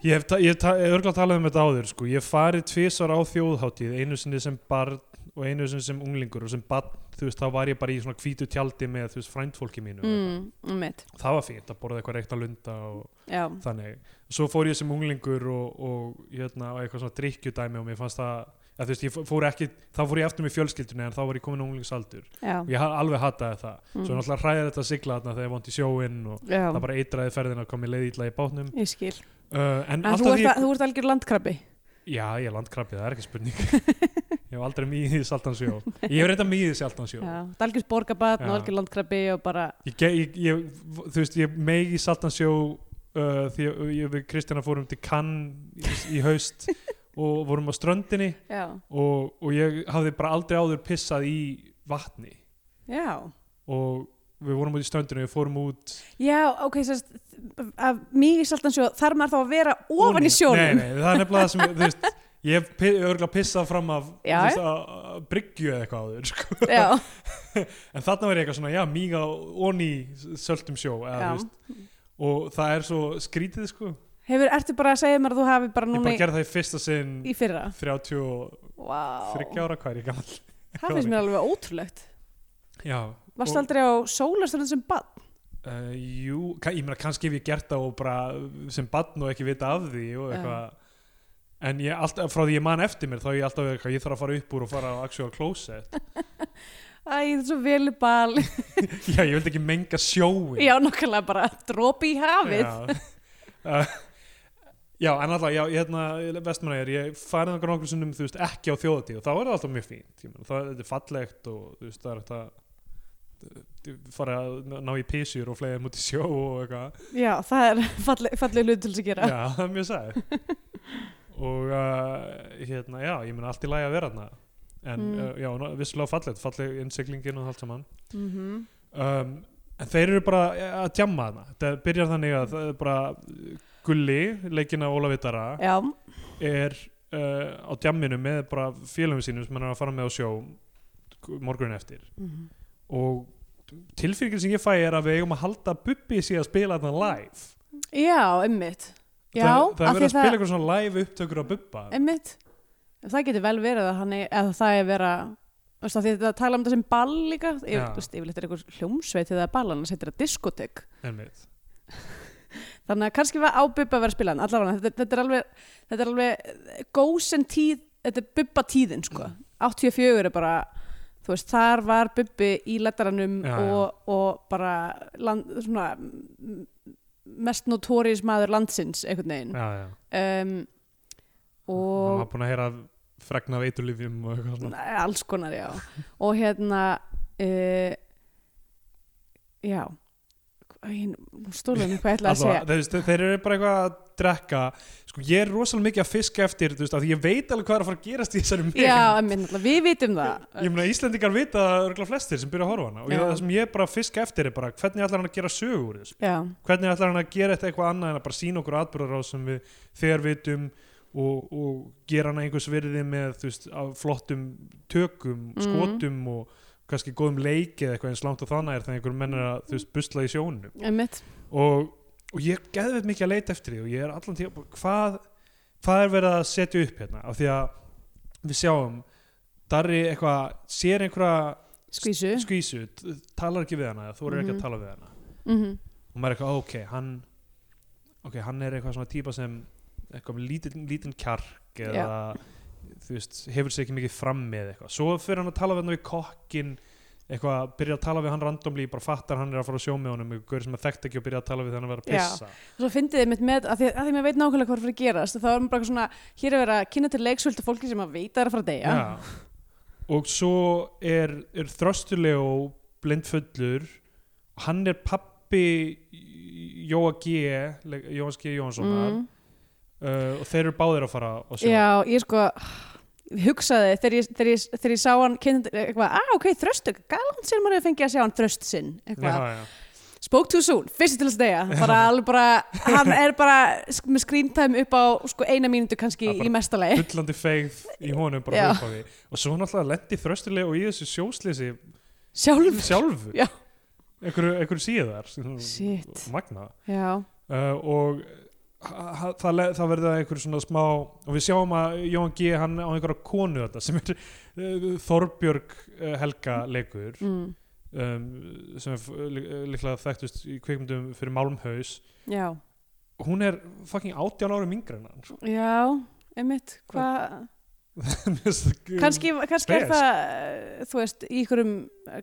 Speaker 3: ég hef, ta- ég hef, ta- ég hef örgulega talað um þetta áður sko. ég hef farið tvisar á þjóðháttíð einu sinni sem barn og einu sinni sem unglingur og sem barn, þú veist, þá var ég bara í svona hvítu tjaldi með, þú veist, frændfólki mínu
Speaker 2: mm, Einmitt,
Speaker 3: það var fínt að borða eitthvað reykta lunda og
Speaker 2: já,
Speaker 3: þannig, svo fór ég sem unglingur og, og hérna, á eitthvað svona drikkjudæmi og mér fannst það, að, þú veist, ég fór ekki þá fór ég aftur með fjölskyldunni en þá var ég komin á unglingsaldur
Speaker 2: já,
Speaker 3: og ég ha- alveg hataði það
Speaker 2: Mm.
Speaker 3: svo náttúrulega hræðið þetta að sigla þarna þegar ég vond í sjóinn og
Speaker 2: já
Speaker 3: það bara eitraði ferðina og kom ég leið illa í bátnum
Speaker 2: Ég skil,
Speaker 3: Uh, en
Speaker 2: en
Speaker 3: alltaf
Speaker 2: þú
Speaker 3: því
Speaker 2: ert, að, þú ert algjör landkrabbi
Speaker 3: Já, ég er landkrabbið, það er ekki spurning Ég hef aldrei mýðið í saltansjó Ég hef reynda mýðið í saltansjó
Speaker 2: Já, það er algjör borgabatn og
Speaker 3: Já.
Speaker 2: algjör landkrabbi og bara,
Speaker 3: ég, ge- ég, ég, Þú veist, ég megi í saltansjó uh, Því að ég, við Kristjana fórum til Cannes í, í haust Og vorum á ströndinni
Speaker 2: já,
Speaker 3: og, og ég hafði bara aldrei áður pissað í vatni
Speaker 2: já
Speaker 3: Og við vorum út í ströndinni Við fórum út
Speaker 2: Já, ok, sérst, að mikið saltansjó þarf maður þá að vera ofan í sjónum.
Speaker 3: Nei, nei, það er nefnilega það sem, þú veist Ég hef pi- örugglega pissað fram af þú
Speaker 2: Já,
Speaker 3: veist, að- að bryggju eða eitthvað áður sko.
Speaker 2: Já,
Speaker 3: en þarna var ég eitthvað svona, já, míga onni söltum sjó eða,
Speaker 2: já.
Speaker 3: þú veist, og það er svo skrítið sko,
Speaker 2: Hefur, ertu bara að segja mér að þú hafi bara
Speaker 3: ég
Speaker 2: núna
Speaker 3: bara gerði það í fyrsta sinn
Speaker 2: í fyrra?
Speaker 3: 33
Speaker 2: Vá,
Speaker 3: ára, hvað er ég gammal
Speaker 2: það finnst mér alveg ótrúlegt.
Speaker 3: já,
Speaker 2: Varst
Speaker 3: Og-
Speaker 2: aldrei á sólastöndum sem bann?
Speaker 3: uh, jú, ka- ég meina kannski hef ég gert það og bara eh, sem barn og ekki vita af því og
Speaker 2: Já.
Speaker 3: eitthvað En ég, alltaf, frá því ég man eftir mér, þá er ég alltaf verið eitthvað, ég þarf að fara upp úr og fara á actual closet.
Speaker 2: Æ, það er svo velibal.
Speaker 3: Já, ég vildi ekki menga sjóin.
Speaker 2: Já, nokkulega bara dropi í hafið.
Speaker 3: Já, uh, já en alltaf, já, ég hérna, vestmannægir, ég farið okkur nokkur sinnum, þú veist, ekki á þjóðatíð og þá er það alltaf mjög fínt, ég meina, það þetta er fallegt og, þú veist, það er þetta fara að ná í písjur og fleiða múti sjó og eitthvað
Speaker 2: Já, það er falleg, falleg hlut til þess að gera.
Speaker 3: já, það er eh, mjög sæð og uh, hérna, já, ég meina allt í lagi að vera þarna en
Speaker 2: Mm.
Speaker 3: mm. uh, já, ná- vissulega fallet, falleg innsiglingin og allt saman
Speaker 2: mm
Speaker 3: um, en þeir eru bara eh, að djamma þarna, þetta byrjar þannig að það er bara eh, Gulli, leikina Ólafitara
Speaker 2: Já,
Speaker 3: er uh, á djamminu með bara félagum sínum sem hann er að fara með á sjó morgunin eftir
Speaker 2: Mhm.
Speaker 3: og tilfyrir sem ég fæ er að við eigum að halda Bubbi sé að spila þarna live
Speaker 2: já, einmitt Já,
Speaker 3: það,
Speaker 2: af
Speaker 3: það er
Speaker 2: því
Speaker 3: verið að spila eitthvað svona live upptökur á Bubba
Speaker 2: einmitt það getur vel verið að, hann er, að það er vera þú veist, af því að þetta tala um þetta sem ball líka ég,
Speaker 3: Já.
Speaker 2: þú veist, yfirleitt er einhver hljómsveit þegar það er ball annars heitir það diskotek
Speaker 3: einmitt
Speaker 2: þannig að kannski var á bubba að vera að spila hann allavega þetta, þetta er alveg þetta er alveg eh, gósen tíð þetta er bubba tíðin sko
Speaker 3: Mm.
Speaker 2: 84 er bara þú veist, þar var bubbi í lettaranum
Speaker 3: Já, já.
Speaker 2: og, og bara land, svona m- mest notóris maður landsins einhvern veginn
Speaker 3: já, já.
Speaker 2: um,
Speaker 3: hann
Speaker 2: og
Speaker 3: var búin að heyra fregna af eiturlifjum og eitthvað svona
Speaker 2: Nei, alls konar já og hérna uh, já Æ, hún stólaði mér hvað ég ætlaði að
Speaker 3: Alla,
Speaker 2: segja
Speaker 3: þeir, þeir- þeir eru bara eitthvað að drekka sko ég er rosalega mikið að fiska eftir þú veist, af því ég veit alveg hvað er að fara að gerast í þessari mynd
Speaker 2: já, en minn, við vitum það
Speaker 3: Ég meina Íslendingar vita það örgulega flestir sem byrja að horfa á hana og ég,
Speaker 2: Já.
Speaker 3: það sem ég bara fisk eftir er bara hvernig ætlar hann að gera sögu úr þessu
Speaker 2: já,
Speaker 3: hvernig ætlar hann að gera þetta eitthvað annað en að bara sína okkur atbyrðar á sem við þegar vitum og, og gera hann einhvers virði með þú veist, af flottum tökum,
Speaker 2: Mhm.
Speaker 3: skotum og kannski góðum leik eða eitthvað eins langt og þannig er þegar einhver menn er að þú veist, busla í sjónum
Speaker 2: einmitt
Speaker 3: og, og ég er geðveit mikið að leita eftir því og ég er allan tíma bara, hvað, hvað er verið að setja upp hérna af því að við sjáum Darri eitthvað, sér einhverja
Speaker 2: skvísu
Speaker 3: skvísu, t- talar ekki við hana þú eru ekki
Speaker 2: Mhm.
Speaker 3: að tala við hana
Speaker 2: mm
Speaker 3: og maður er eitthvað, ok, hann ok, hann er eitthvað svona típa sem eitthvað með lítinn lítin kjark eða þú veist, hefur sér ekki mikið fram með eitthvað, svo fyrir hann að tala við hann við kokkin eitthvað, byrja að tala við hann randomli, bara fattar hann er að fara að sjó með honum eitthvað gaur sem að þekkt ekki og byrja að tala við þannig að vera að
Speaker 2: Já.
Speaker 3: pissa
Speaker 2: svo fyndið þið mitt með að því að, því að maður veit nákvæmlega hvað er að fara að gerast þá er maður bara svona, hér er verið að kynna til leiksvöldu fólki sem að veita er að fara að deyja
Speaker 3: og svo er, er þröstuleg og blindfullur hann er pappi Jóa G leik- Jóhanns G. Jóhanssonar
Speaker 2: Mm.
Speaker 3: uh, og þeir eru báðir að fara að sjó
Speaker 2: já, ég sko hugsaði þegar ég, þegar ég, þegar ég sá hann kynna eitthvað, ah ok, þröstu, galant sem maður hefur fengið að sjá hann þröst sinn eitthvað,
Speaker 3: já, já.
Speaker 2: spoke too soon, fyrst til að stegja bara alveg bara, hann er bara sk- með screen time upp á sko eina mínútu kannski
Speaker 3: Það er bara-
Speaker 2: í mesta lagi
Speaker 3: bullandi feigð í honum
Speaker 2: Já.
Speaker 3: bara hlupaði og svo náttúrulega lendi þröstuleg og í þessu sjóslýsi
Speaker 2: sjálf,
Speaker 3: sjálfu
Speaker 2: Já.
Speaker 3: einhverju, einhverju síðar
Speaker 2: Shit.
Speaker 3: magna
Speaker 2: já,
Speaker 3: uh, og ha- ha- það, le- það verða einhver svona smá og við sjáum að Jón G. hann á einhverja konu þetta sem er uh, Þorbjörg uh, Helga leikur
Speaker 2: mm,
Speaker 3: um, sem er f- lí- líklega þekktust í kvikmyndum fyrir Málmhaus
Speaker 2: já
Speaker 3: hún er fucking 18 árum yngri en hann sko.
Speaker 2: já, einmitt, hvað
Speaker 3: Mér finnst það-
Speaker 2: kannski, kannski er
Speaker 3: spes.
Speaker 2: það eh, þú veist, í ykkurum eh,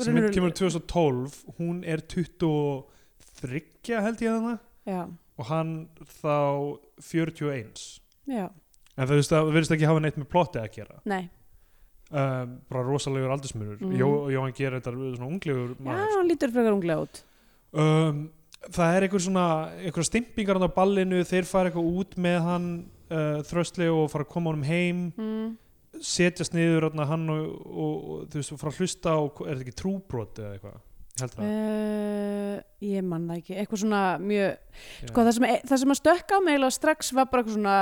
Speaker 3: sem
Speaker 2: raunveruleg-
Speaker 3: kemur 2012 hún er 23 held ég þarna
Speaker 2: já,
Speaker 3: og hann þá 41
Speaker 2: já,
Speaker 3: en það virðist- það virðist ekki hafa neitt með plotti að gera
Speaker 2: nei
Speaker 3: um, bara rosalegur aldursmunur
Speaker 2: Mhm.
Speaker 3: mm. Jó, Jóhann gerir þetta svona unglegur
Speaker 2: já,
Speaker 3: maður sko.
Speaker 2: hann lítur frekar unglega út
Speaker 3: um, það er einhver svona einhver stimpingar hann á ballinu þeir fara eitthvað út með hann uh, þröstli og fara að koma honum heim
Speaker 2: mm,
Speaker 3: setjast niður hann, hann og, og, og þú veist, og fara að hlusta og er þetta ekki trúbrot eða eitthvað Ég held
Speaker 2: Eh,
Speaker 3: það,
Speaker 2: uh, ég manna ekki eitthvað svona mjög
Speaker 3: já.
Speaker 2: sko, það, sem, það sem að stökka á mig eiginlega strax var bara eitthvað svona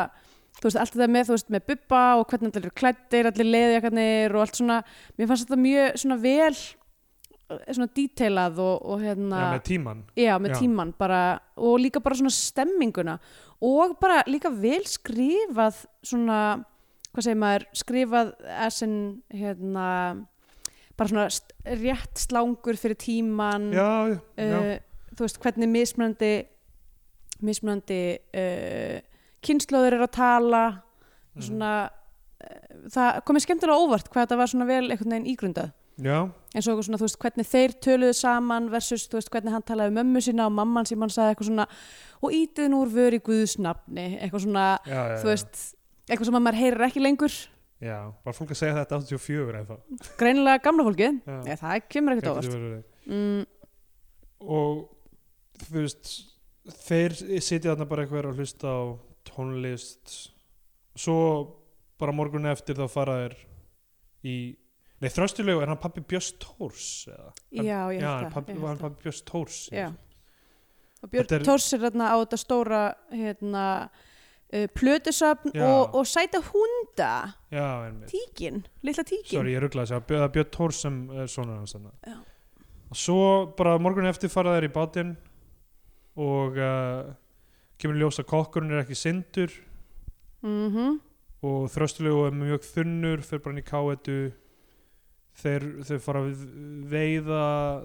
Speaker 2: þú veist, allt það með, þú veist, með bubba og hvernig allir eru klættir, allir leðjakarnir og allt svona, mér fannst þetta mjög svona vel eh, svona detailað og, og hérna,
Speaker 3: já, með tíman
Speaker 2: já, með
Speaker 3: já.
Speaker 2: tíman bara, og líka bara svona stemminguna og bara líka vel skrifað svona, hvað segir maður skrifað essin hérna, bara svona st- rétt slangur fyrir tíman
Speaker 3: já, já, já.
Speaker 2: uh, þú veist hvernig mismunandi mismunandi uh, kynnslóður eru að tala
Speaker 3: Mhm.
Speaker 2: svona uh, það komið skemmtilega á óvart hvað þetta var svona vel einhvern veginn ígrundað
Speaker 3: já,
Speaker 2: eins og eitthvað svona, þú veist, hvernig þeir töluðu saman versus, þú veist, hvernig hann talaði um mömmu sína og mamman sem hann sagði eitthvað svona og ítið nú úr vör í guðsnafni eitthvað svona,
Speaker 3: já, já,
Speaker 2: þú veist eitthvað sem að maður heyrir ekki lengur
Speaker 3: já. já, var fólk að segja þetta 84 eða það
Speaker 2: greinilega gamla fólkið,
Speaker 3: Já.
Speaker 2: ég, það kemur ekkert á óvart
Speaker 3: verið
Speaker 2: mm,
Speaker 3: og þú veist þeir sitja þarna bara eitthvað að hlusta á tónlist svo bara morgun eftir þá fara þeir í Nei, þröstulegu, er hann pappi Björns Tórs? Eða? Hann-
Speaker 2: já, ég
Speaker 3: Já, hann
Speaker 2: held það,
Speaker 3: pappi,
Speaker 2: ég
Speaker 3: var hann
Speaker 2: held það.
Speaker 3: pappi Björns Tórs?
Speaker 2: Já. og Björn
Speaker 3: Þetta
Speaker 2: er...
Speaker 3: er-
Speaker 2: Tórs er hérna á þetta stóra hérna uh, plötusafn
Speaker 3: Já.
Speaker 2: og, og sæta hunda
Speaker 3: Já, einmitt.
Speaker 2: tíkin, litla tíkin
Speaker 3: Sorry, ég rugglaði sér, það er Björn Tór sem er sonur
Speaker 2: Já.
Speaker 3: hans þarna og svo bara morgun eftir fara þær í bátinn og uh, kemur í ljós að kokkurinn er ekki sindur
Speaker 2: mm
Speaker 3: og þröstulegu er mjög þunnur fyrir bara hann í káetu þeir, þeir fara að veiða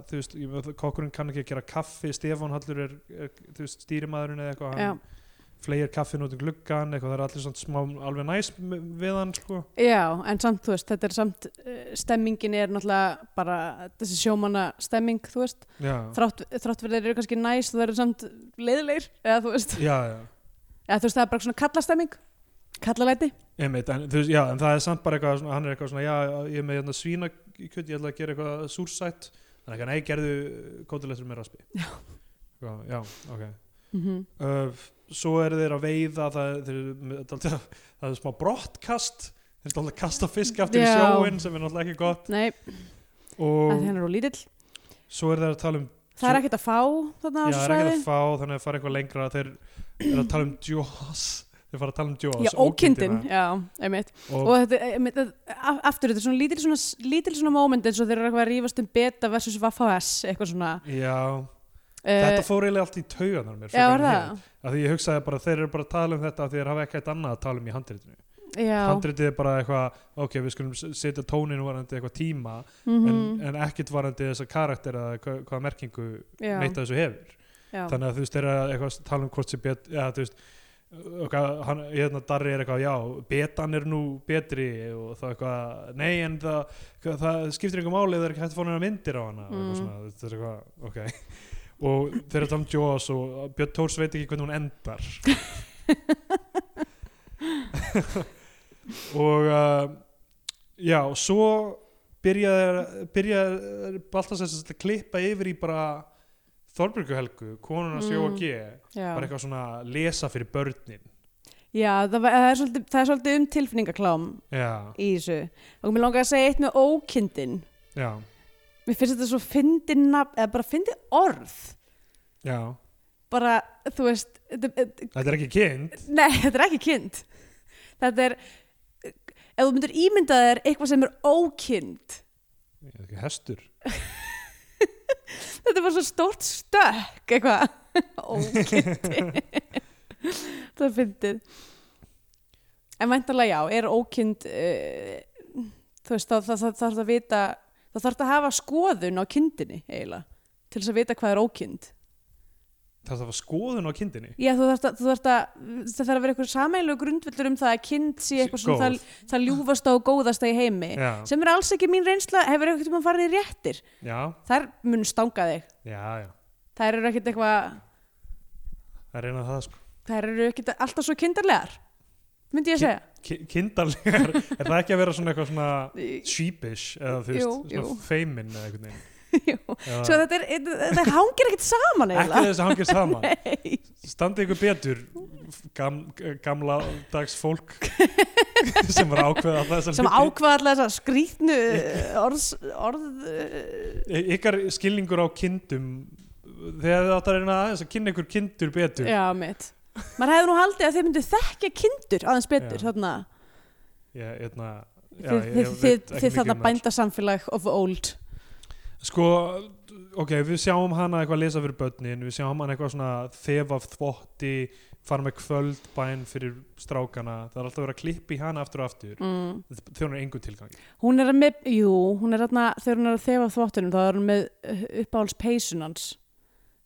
Speaker 3: þú veist, ég veit að kokkurinn kann ekki að gera kaffi Stefán Hallur er, er þú veist, stýrimaðurinn eða eitthvað,
Speaker 2: já.
Speaker 3: hann fleir kaffin út í gluggan, eitthvað, það er allir svona smá alveg næs m- við hann, sko
Speaker 2: já, en samt þú veist, þetta er samt uh, stemmingin er náttúrulega bara þessi sjómanna stemming, þú veist
Speaker 3: Já,
Speaker 2: þrátt, þrátt fyrir þeir eru kannski næs það eru samt leiðilegir, eða þú veist
Speaker 3: já, já
Speaker 2: eða þú veist, það er bara svona kallastemming kallalæti,
Speaker 3: Einmitt, en, þú veist, já, en það er samt bara eitthvað svona, hann er eitthvað svona, já, ég er með hérna, svína ég ætla að gera eitthvað súrsætt þannig að nei, gerðu kótilegtur með raspi já, já ok
Speaker 2: mm
Speaker 3: uh, svo eru þeir að veiða það, er- þeir, eru með- dálítið að- það er smá brottkast þeir eru alltaf að kasta fisk aftur í
Speaker 2: Já.
Speaker 3: sjóin sem er náttúrulega ekki gott
Speaker 2: nei, að
Speaker 3: og
Speaker 2: henn er úr lítill
Speaker 3: svo eru þeir að tala um
Speaker 2: það er ekkert að fá þarna á
Speaker 3: já,
Speaker 2: þessu
Speaker 3: það er
Speaker 2: svæði
Speaker 3: ekki að fá, þannig að fara eitthvað lengra þeir eru að tala um djós þeir fara að tala um djós
Speaker 2: Já, ókindin,
Speaker 3: hérna.
Speaker 2: já, einmitt
Speaker 3: og,
Speaker 2: og þetta, er- einmitt, að- aftur þetta er svona lítil svona, lítil svona moment eins og þeir eru eitthvað að rífast um beta versus Vaffas, eitthvað svona
Speaker 3: já,
Speaker 2: uh,
Speaker 3: þetta fór eiginlega allt í tauganar mér
Speaker 2: Já,
Speaker 3: frekar
Speaker 2: var
Speaker 3: en hitt.
Speaker 2: það?
Speaker 3: að því ég hugsaði bara þeir eru bara að tala um þetta af því þeir hafa ekkert annað að tala um í handritinu
Speaker 2: Já,
Speaker 3: handritið er bara eitthvað, ok við skulum s- setja tónin varandi eitthvað tíma
Speaker 2: mm
Speaker 3: en, en ekkert varandi þessa karakter eða hva, hvaða merkingu
Speaker 2: já,
Speaker 3: neitt að þessu hefur
Speaker 2: já,
Speaker 3: þannig að þú veist þeir eru að eitthvað tala um hvort sem bet, ja, þú veist Okkar, hann, hérna, Darri er eitthvað, já, betan er nú betri og það eitthvað nei, en það, hvað, það skiptir einhver máli það er ekki hægt að fá hennar myndir á hana og
Speaker 2: Mm.
Speaker 3: eitthvað svona, þetta er eitthvað, ok og þeir eru að tala um Jaws og Björn Tórs veit ekki hvernig hún endar og uh, já, og svo byrjaði, byrjaði Baltasar sem sagt að klippa yfir í bara Þorbjörgu Helgu, konuna mm.
Speaker 2: Mm.
Speaker 3: Sjóagi
Speaker 2: já.
Speaker 3: bara eitthvað svona að lesa fyrir börnin
Speaker 2: já það, var- það, er svolítið, það er svolítið um tilfinningaklám
Speaker 3: já,
Speaker 2: í þessu og mér langar að segja eitt með ókindin
Speaker 3: já,
Speaker 2: mér finnst þetta svo fyndin nafn, eða bara fyndið orð
Speaker 3: já
Speaker 2: bara, þú veist þetta, þetta,
Speaker 3: þetta er ekki kind
Speaker 2: Nei, þetta er ekki kind Þetta er eh, ef þú myndir ímynda þér eitthvað sem er ókind
Speaker 3: Ég er ekki hestur
Speaker 2: Þetta var svo stórt stökk eitthvað ókindi Það er fyndið En væntanlega já, er ókind uh, þú veist, þá þá- þá- þá þarf það að vita þá þarf það að hafa skoðun á kindinni eiginlega, til þess að vita hvað er ókind
Speaker 3: það var skoðun á kindinni
Speaker 2: Já, þú þarft að, þú þarft að það þarf að vera eitthvað sameilu grundvillur um það að kind sé eitthvað svona það,
Speaker 3: Góð.
Speaker 2: það ljúfasta og góðasta í heimi
Speaker 3: já,
Speaker 2: sem er alls ekki mín reynsla hefur ekkert um að fara í réttir
Speaker 3: já,
Speaker 2: þær mun stanga þig
Speaker 3: já, já
Speaker 2: þær eru ekkert eitthvað
Speaker 3: það er einað það sko
Speaker 2: þær eru ekkert alltaf svo kindarlegar myndi ég að segja
Speaker 3: Ki- kindarlegar, er það ekki að vera svona eitthvað svona sheepish eða þú
Speaker 2: Jú,
Speaker 3: veist,
Speaker 2: jú.
Speaker 3: svona feimin eða einhvern veginn
Speaker 2: Jú.
Speaker 3: Eða-
Speaker 2: svo þetta er, þetta hangir ekkert saman
Speaker 3: Ah. ekki
Speaker 2: eiginlega
Speaker 3: þess að hangir saman
Speaker 2: Nei.
Speaker 3: standi ykkur betur gam, gamla dags fólk sem var að ákveða alltaf þessar
Speaker 2: sem
Speaker 3: hluti.
Speaker 2: ákvaða alltaf þessa skrýtnu eh, orðs, orð eh,
Speaker 3: Y- ykkar skilningur á kindum þegar þið átt að reyna aðeins að kynna ykkur kindur betur
Speaker 2: já mitt maður hefði nú haldið að þið myndu þekkja kindur aðeins betur
Speaker 3: Já.
Speaker 2: þarna
Speaker 3: ég, eitna, já,
Speaker 2: þið,
Speaker 3: ég,
Speaker 2: þið, þið,
Speaker 3: ég veit ekki
Speaker 2: þið
Speaker 3: mikið
Speaker 2: þarna
Speaker 3: um það.
Speaker 2: bændasamfélag of old
Speaker 3: sko, ok, við sjáum hana eitthvað lesa fyrir börnin, við sjáum hana eitthvað svona þef af þvotti fara með kvöldbæn fyrir strákana það er alltaf verið að klippa í hana aftur og aftur
Speaker 2: mm.
Speaker 3: þegar hún er engu tilgang
Speaker 2: Hún er með, jú, hún er þarna, þegar hún er að þefa af þvottunum, þá er hún með uh, uppáhalds peysunans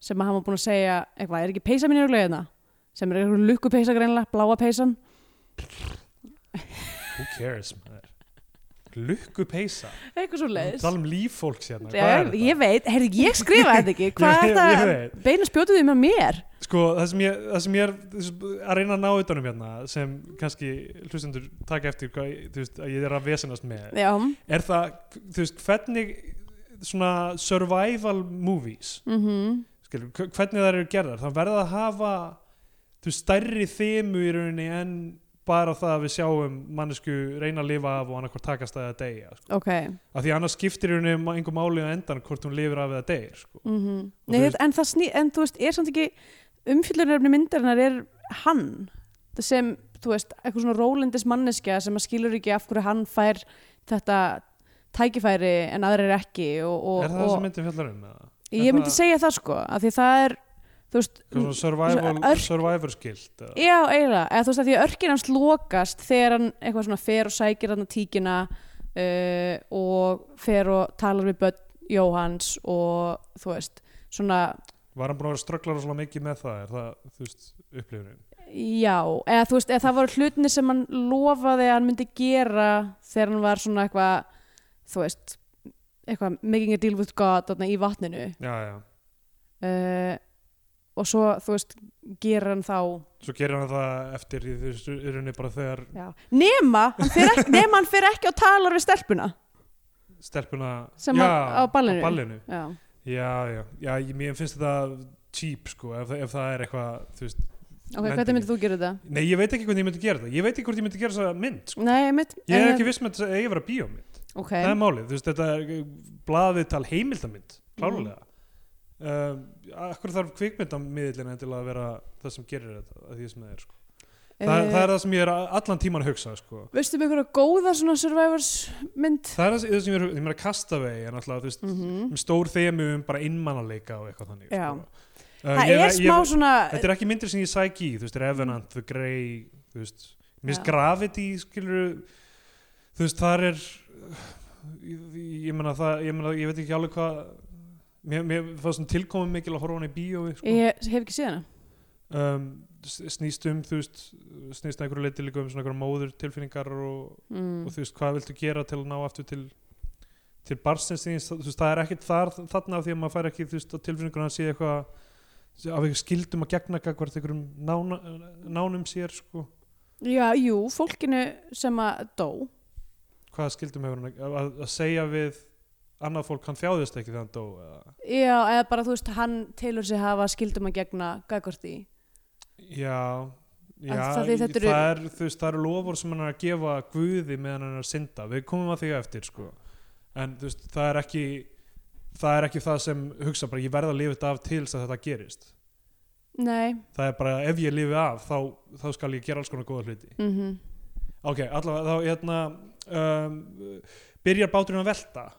Speaker 2: sem að hann var búin að segja, eitthvað, er ekki peysa mín örglega hérna? Sem er eitthvað lukku peysa greinlega, bláa peysan.
Speaker 3: who cares maður lukku peysa,
Speaker 2: Eitthvað svo leiðis.
Speaker 3: tala um líf fólks hérna
Speaker 2: Já,
Speaker 3: hvað er þetta?
Speaker 2: ég veit, heyrðu, ég skrifa þetta ekki, hvað
Speaker 3: Ég-
Speaker 2: er
Speaker 3: ég-
Speaker 2: þetta
Speaker 3: ég
Speaker 2: að beina spjótið því með mér?
Speaker 3: Sko, það sem ég, það sem ég er það sem- að reyna að ná utanum hérna sem kannski hlustendur taka eftir hvað ég- þú veist, að ég er að vesenast með
Speaker 2: Já,
Speaker 3: er það, þú veist, hvernig svona survival movies
Speaker 2: mhm,
Speaker 3: skilur, hvernig það eru gerðar, það verða að hafa þú veist, stærri þemu í rauninni en bara það að við sjáum mannesku reyna að lifa af og annarkvort takast að það að deyja sko.
Speaker 2: ok
Speaker 3: af því annars skiptir hún einhver máli á endan hvort hún lifir af eða deyr sko.
Speaker 2: mm
Speaker 3: Og
Speaker 2: Nei,
Speaker 3: þú
Speaker 2: þetta, en, það sný, en þú veist, er samt ekki umfyllunaröfni myndarinnar er hann Það sem, þú veist, eitthvað svona rólendis manneskja sem að skilur ekki af hverju hann fær þetta tækifæri en aðrir ekki og, og,
Speaker 3: er
Speaker 2: og
Speaker 3: það það sem myndin fjallar um? eða?
Speaker 2: ég myndi
Speaker 3: það-
Speaker 2: segja það sko af því það er, þú veist
Speaker 3: Eitthvað svona survival,
Speaker 2: örk-
Speaker 3: survivor skilt eða?
Speaker 2: Já, eiginlega, eða þú veist að því að örkin hans lokast þegar hann eitthvað svona fer og sækir hann tíkina uh, og fer og talar við börn Jóhans og þú veist svona,
Speaker 3: var hann búin að vera strögglar og mikið með það er það þú veist, upplifunin
Speaker 2: já eða þú veist, eða það voru hlutinni sem hann lofaði að hann myndi gera þegar hann var svona eitthvað þú veist, eitthvað making a deal with God þarna, í vatninu
Speaker 3: já, já.
Speaker 2: uh, og svo, þú veist, gera hann þá
Speaker 3: svo gerir hann það eftir í þessu yrinni bara þegar
Speaker 2: Já. nema, hann fer ekki, nema hann fer ekki og talar við stelpuna
Speaker 3: stelpuna
Speaker 2: Sem
Speaker 3: já,
Speaker 2: að- á ballinu.
Speaker 3: á ballinu.
Speaker 2: já
Speaker 3: Já, já, já, ég, mér finnst þetta cheap sko, ef, það- ef það er eitthvað þú veist,
Speaker 2: Ok,
Speaker 3: Lendingu.
Speaker 2: hvernig myndir þú gera þetta?
Speaker 3: nei, ég veit ekki hvernig ég myndi gera það ég veit ekki hvort ég myndi gera það mynd sko.
Speaker 2: Nei, mitt
Speaker 3: ég er ekki viss með þetta eigi að vera bíómynd
Speaker 2: Ok,
Speaker 3: það er málið, þú veist, þetta er blaðið tal heimildamynd,
Speaker 2: Mhm.
Speaker 3: klálega mm. um, akkur þarf kvikmyndamiðlina endilega að vera það sem gerir þetta að því sem það er, sko. það,
Speaker 2: Eh.
Speaker 3: það er það sem ég er allan tíman að hugsa, sko
Speaker 2: Veistu um einhverja góða svona survivors mynd?
Speaker 3: það er það sem- það sem ég er, ég meina Castaway er náttúrulega, þú veist, um stór þemu um bara innmannaleika og eitthvað þannig
Speaker 2: Mhm. Já.
Speaker 3: sko. uh,
Speaker 2: Það
Speaker 3: ég-
Speaker 2: er
Speaker 3: ég-
Speaker 2: smá svona
Speaker 3: þetta er ekki myndir sem ég sæki í, þú veist, Revenant, The Grey þú veist, mér finnst
Speaker 2: Já.
Speaker 3: Gravity skilur, þú veist, þar er ég, ég meina það, ég meina, ég veit ekki alveg hvað mér, mér fannst svona tilkomið mikil að horfa á hana í bíói, sko
Speaker 2: Ég hef ekki séð hana
Speaker 3: um, s- snýst um, þú veist snýst að einhverju leiti líka um svona einhverju móður tilfinningar og,
Speaker 2: mm.
Speaker 3: og þú veist, hvað viltu gera til að ná aftur til til barnsins þíns, þú veist, það er ekkit þar þarna af því að maður fær ekki, þú veist, að tilfinninguna sé eitthvað af eitthvað skildum að gegna hvert einhverjum nána, nánum sér, sko,
Speaker 2: Já, jú, fólkinu sem að dó
Speaker 3: hvaða skildum hefur hann að- að, að segja við annað fólk, hann þjáðist ekki þegar hann dó eða,
Speaker 2: Já, eða bara þú veist, hann telur sig hafa skildum að gegna gagvarti
Speaker 3: já, já
Speaker 2: Að það- því þetta eru-
Speaker 3: það er, þú veist, það eru lofur sem hann er að gefa guði meðan hann er að synda við komum að því á eftir, sko en, þú veist, það er ekki það er ekki það sem hugsa bara, ég verð að lifa þetta af til þess að þetta gerist
Speaker 2: Nei,
Speaker 3: það er bara ef ég lifi af þá, þá skal ég gera alls konar góða hluti
Speaker 2: mhm
Speaker 3: ok, allavega þá hérna um, byrjar báturinn að velta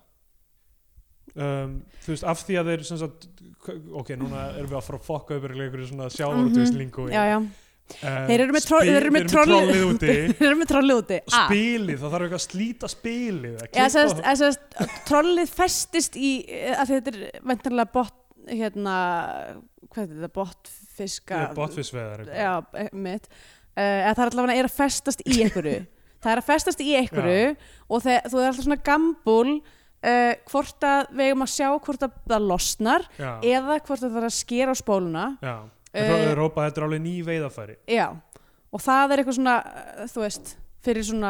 Speaker 3: um, þú veist, af því að þeir sem sagt, ok, núna erum við að fara að fokka upp einhverju svona Eh, sjávarútvislingu
Speaker 2: Mhm. Já, já, Þeir eru með troll- þeir eru með trollið-
Speaker 3: trollið úti
Speaker 2: þeir eru með trollið úti Ah.
Speaker 3: spilið, það þarf eitthvað að slíta spilið að
Speaker 2: Já,
Speaker 3: klippa-
Speaker 2: sérst, sérst, trollið festist í eh, að þetta er ventanlega bot hérna, hvað er þetta, botfiska
Speaker 3: Eh, botfiskveiðar eitthvað.
Speaker 2: já, eh, mitt uh, eða það er allavega er að festast í einhverju það er að festast í einhverju og þegar, þú er alltaf svona gambúl uh, hvort að við eigum að sjá hvort að það losnar
Speaker 3: já,
Speaker 2: eða hvort að það er að skera á spóluna
Speaker 3: já. En þá
Speaker 2: Eh,
Speaker 3: er rópað, þetta er alveg ný veiðafæri
Speaker 2: já, og það er eitthvað svona eh, þú veist, fyrir svona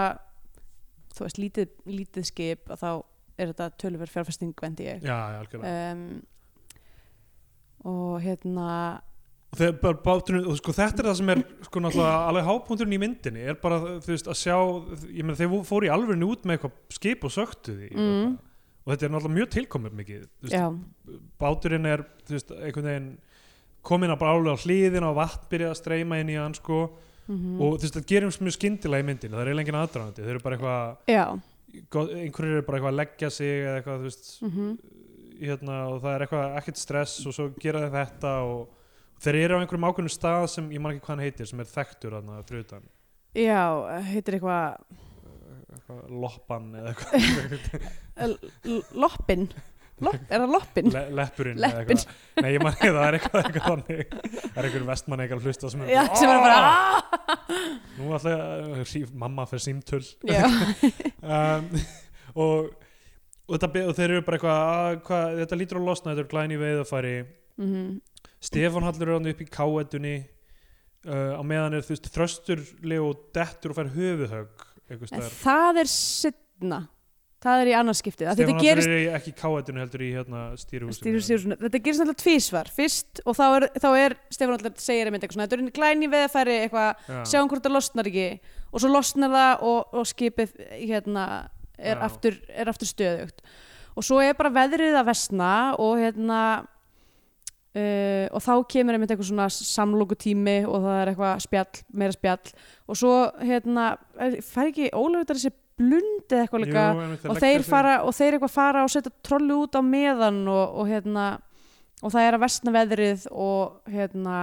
Speaker 2: þú veist, lítið, lítið skip að þá er þetta töluverð fjárfesting vendi ég
Speaker 3: já, já, algjörlega
Speaker 2: um, og hérna
Speaker 3: Og þeir bara báturinn, og sko þetta er það sem er sko náttúrulega alveg hápunkturinn í myndinni er bara þú veist að sjá, ég meina þeir fóru í alvörinu út með eitthvað skip og söktu því
Speaker 2: Mm.
Speaker 3: og þetta er náttúrulega mjög tilkomið mikið þú veist,
Speaker 2: já,
Speaker 3: báturinn er þú veist, einhvern veginn komin að bara alveg á hliðin og vatn byrjað að streyma inn í hann sko
Speaker 2: mhm. Mm.
Speaker 3: og þú veist þetta gerum mjög skyndilega í myndinni, það er eiginlega engin aðdragandi, þeir eru bara eitthvað
Speaker 2: já
Speaker 3: go- einhverjir eru bara eitthvað að leggja sig eða eitthvað þú veist
Speaker 2: mm
Speaker 3: hérna, og það er eitthvað ekkert stress og svo gera þeir þetta og þeir eru á einhverjum ákveðnum stað sem ég man ekki hvað hann heitir sem er þekktur þarna fyrir utan
Speaker 2: já, heitir eitthvað
Speaker 3: eitthvað loppan eða eitthvað
Speaker 2: L- Loppin Lop, Er það loppin?
Speaker 3: le leppurinn eða
Speaker 2: Leppin.
Speaker 3: eitthvað. nei ég man ekki það er eitthvað, eitthvað þannig það er einhverjum vestmann eitthvað hlusta sem er
Speaker 2: Já, sem er bara "Ah!"
Speaker 3: nú alltaf síf, mamma fyrir símtöl
Speaker 2: Já,
Speaker 3: um, og, og, þetta, be- og þeir eru bara eitthvað "Ah, hvað, þetta lítur að losna, þetta er glæni veiðafæri
Speaker 2: Mhm.
Speaker 3: Stefán Hallur er hann upp í káetunni uh, á meðan er þú veist þrösturleg og dettur og fær höfuðhögg einhvers
Speaker 2: en
Speaker 3: staðar.
Speaker 2: það er sittna Það er í annarskiptið
Speaker 3: Stefán
Speaker 2: Þetta
Speaker 3: Hallur
Speaker 2: gerist
Speaker 3: gerist... er ekki í káetunni heldur í hérna stýruhúsinu
Speaker 2: Stýru Sigurðsson, þetta gerist alltaf tvísvar fyrst og þá er, þá er Stefán alltaf segir einmitt eitthvað svona, þetta er einn glæni veðafæri eitthvað,
Speaker 3: Já.
Speaker 2: sjáum hvort það losnar ekki og svo losnar það og, og skipið hérna, er,
Speaker 3: Já.
Speaker 2: aftur, er aftur stöðugt og svo er bara veðrið að vesna og hérna uh, og þá kemur einmitt eitthvað svona samlókutími og það er eitthvað spjall, meira spjall og svo hérna er- fær ekki Ólafur þessi blund eða eitthvað líka
Speaker 3: Jú, einmitt,
Speaker 2: og
Speaker 3: leggja
Speaker 2: þeir,
Speaker 3: sig-
Speaker 2: fara, og þeir eitthvað fara og setja trollu út á meðan og, og hérna og það er að vestna veðrið og hérna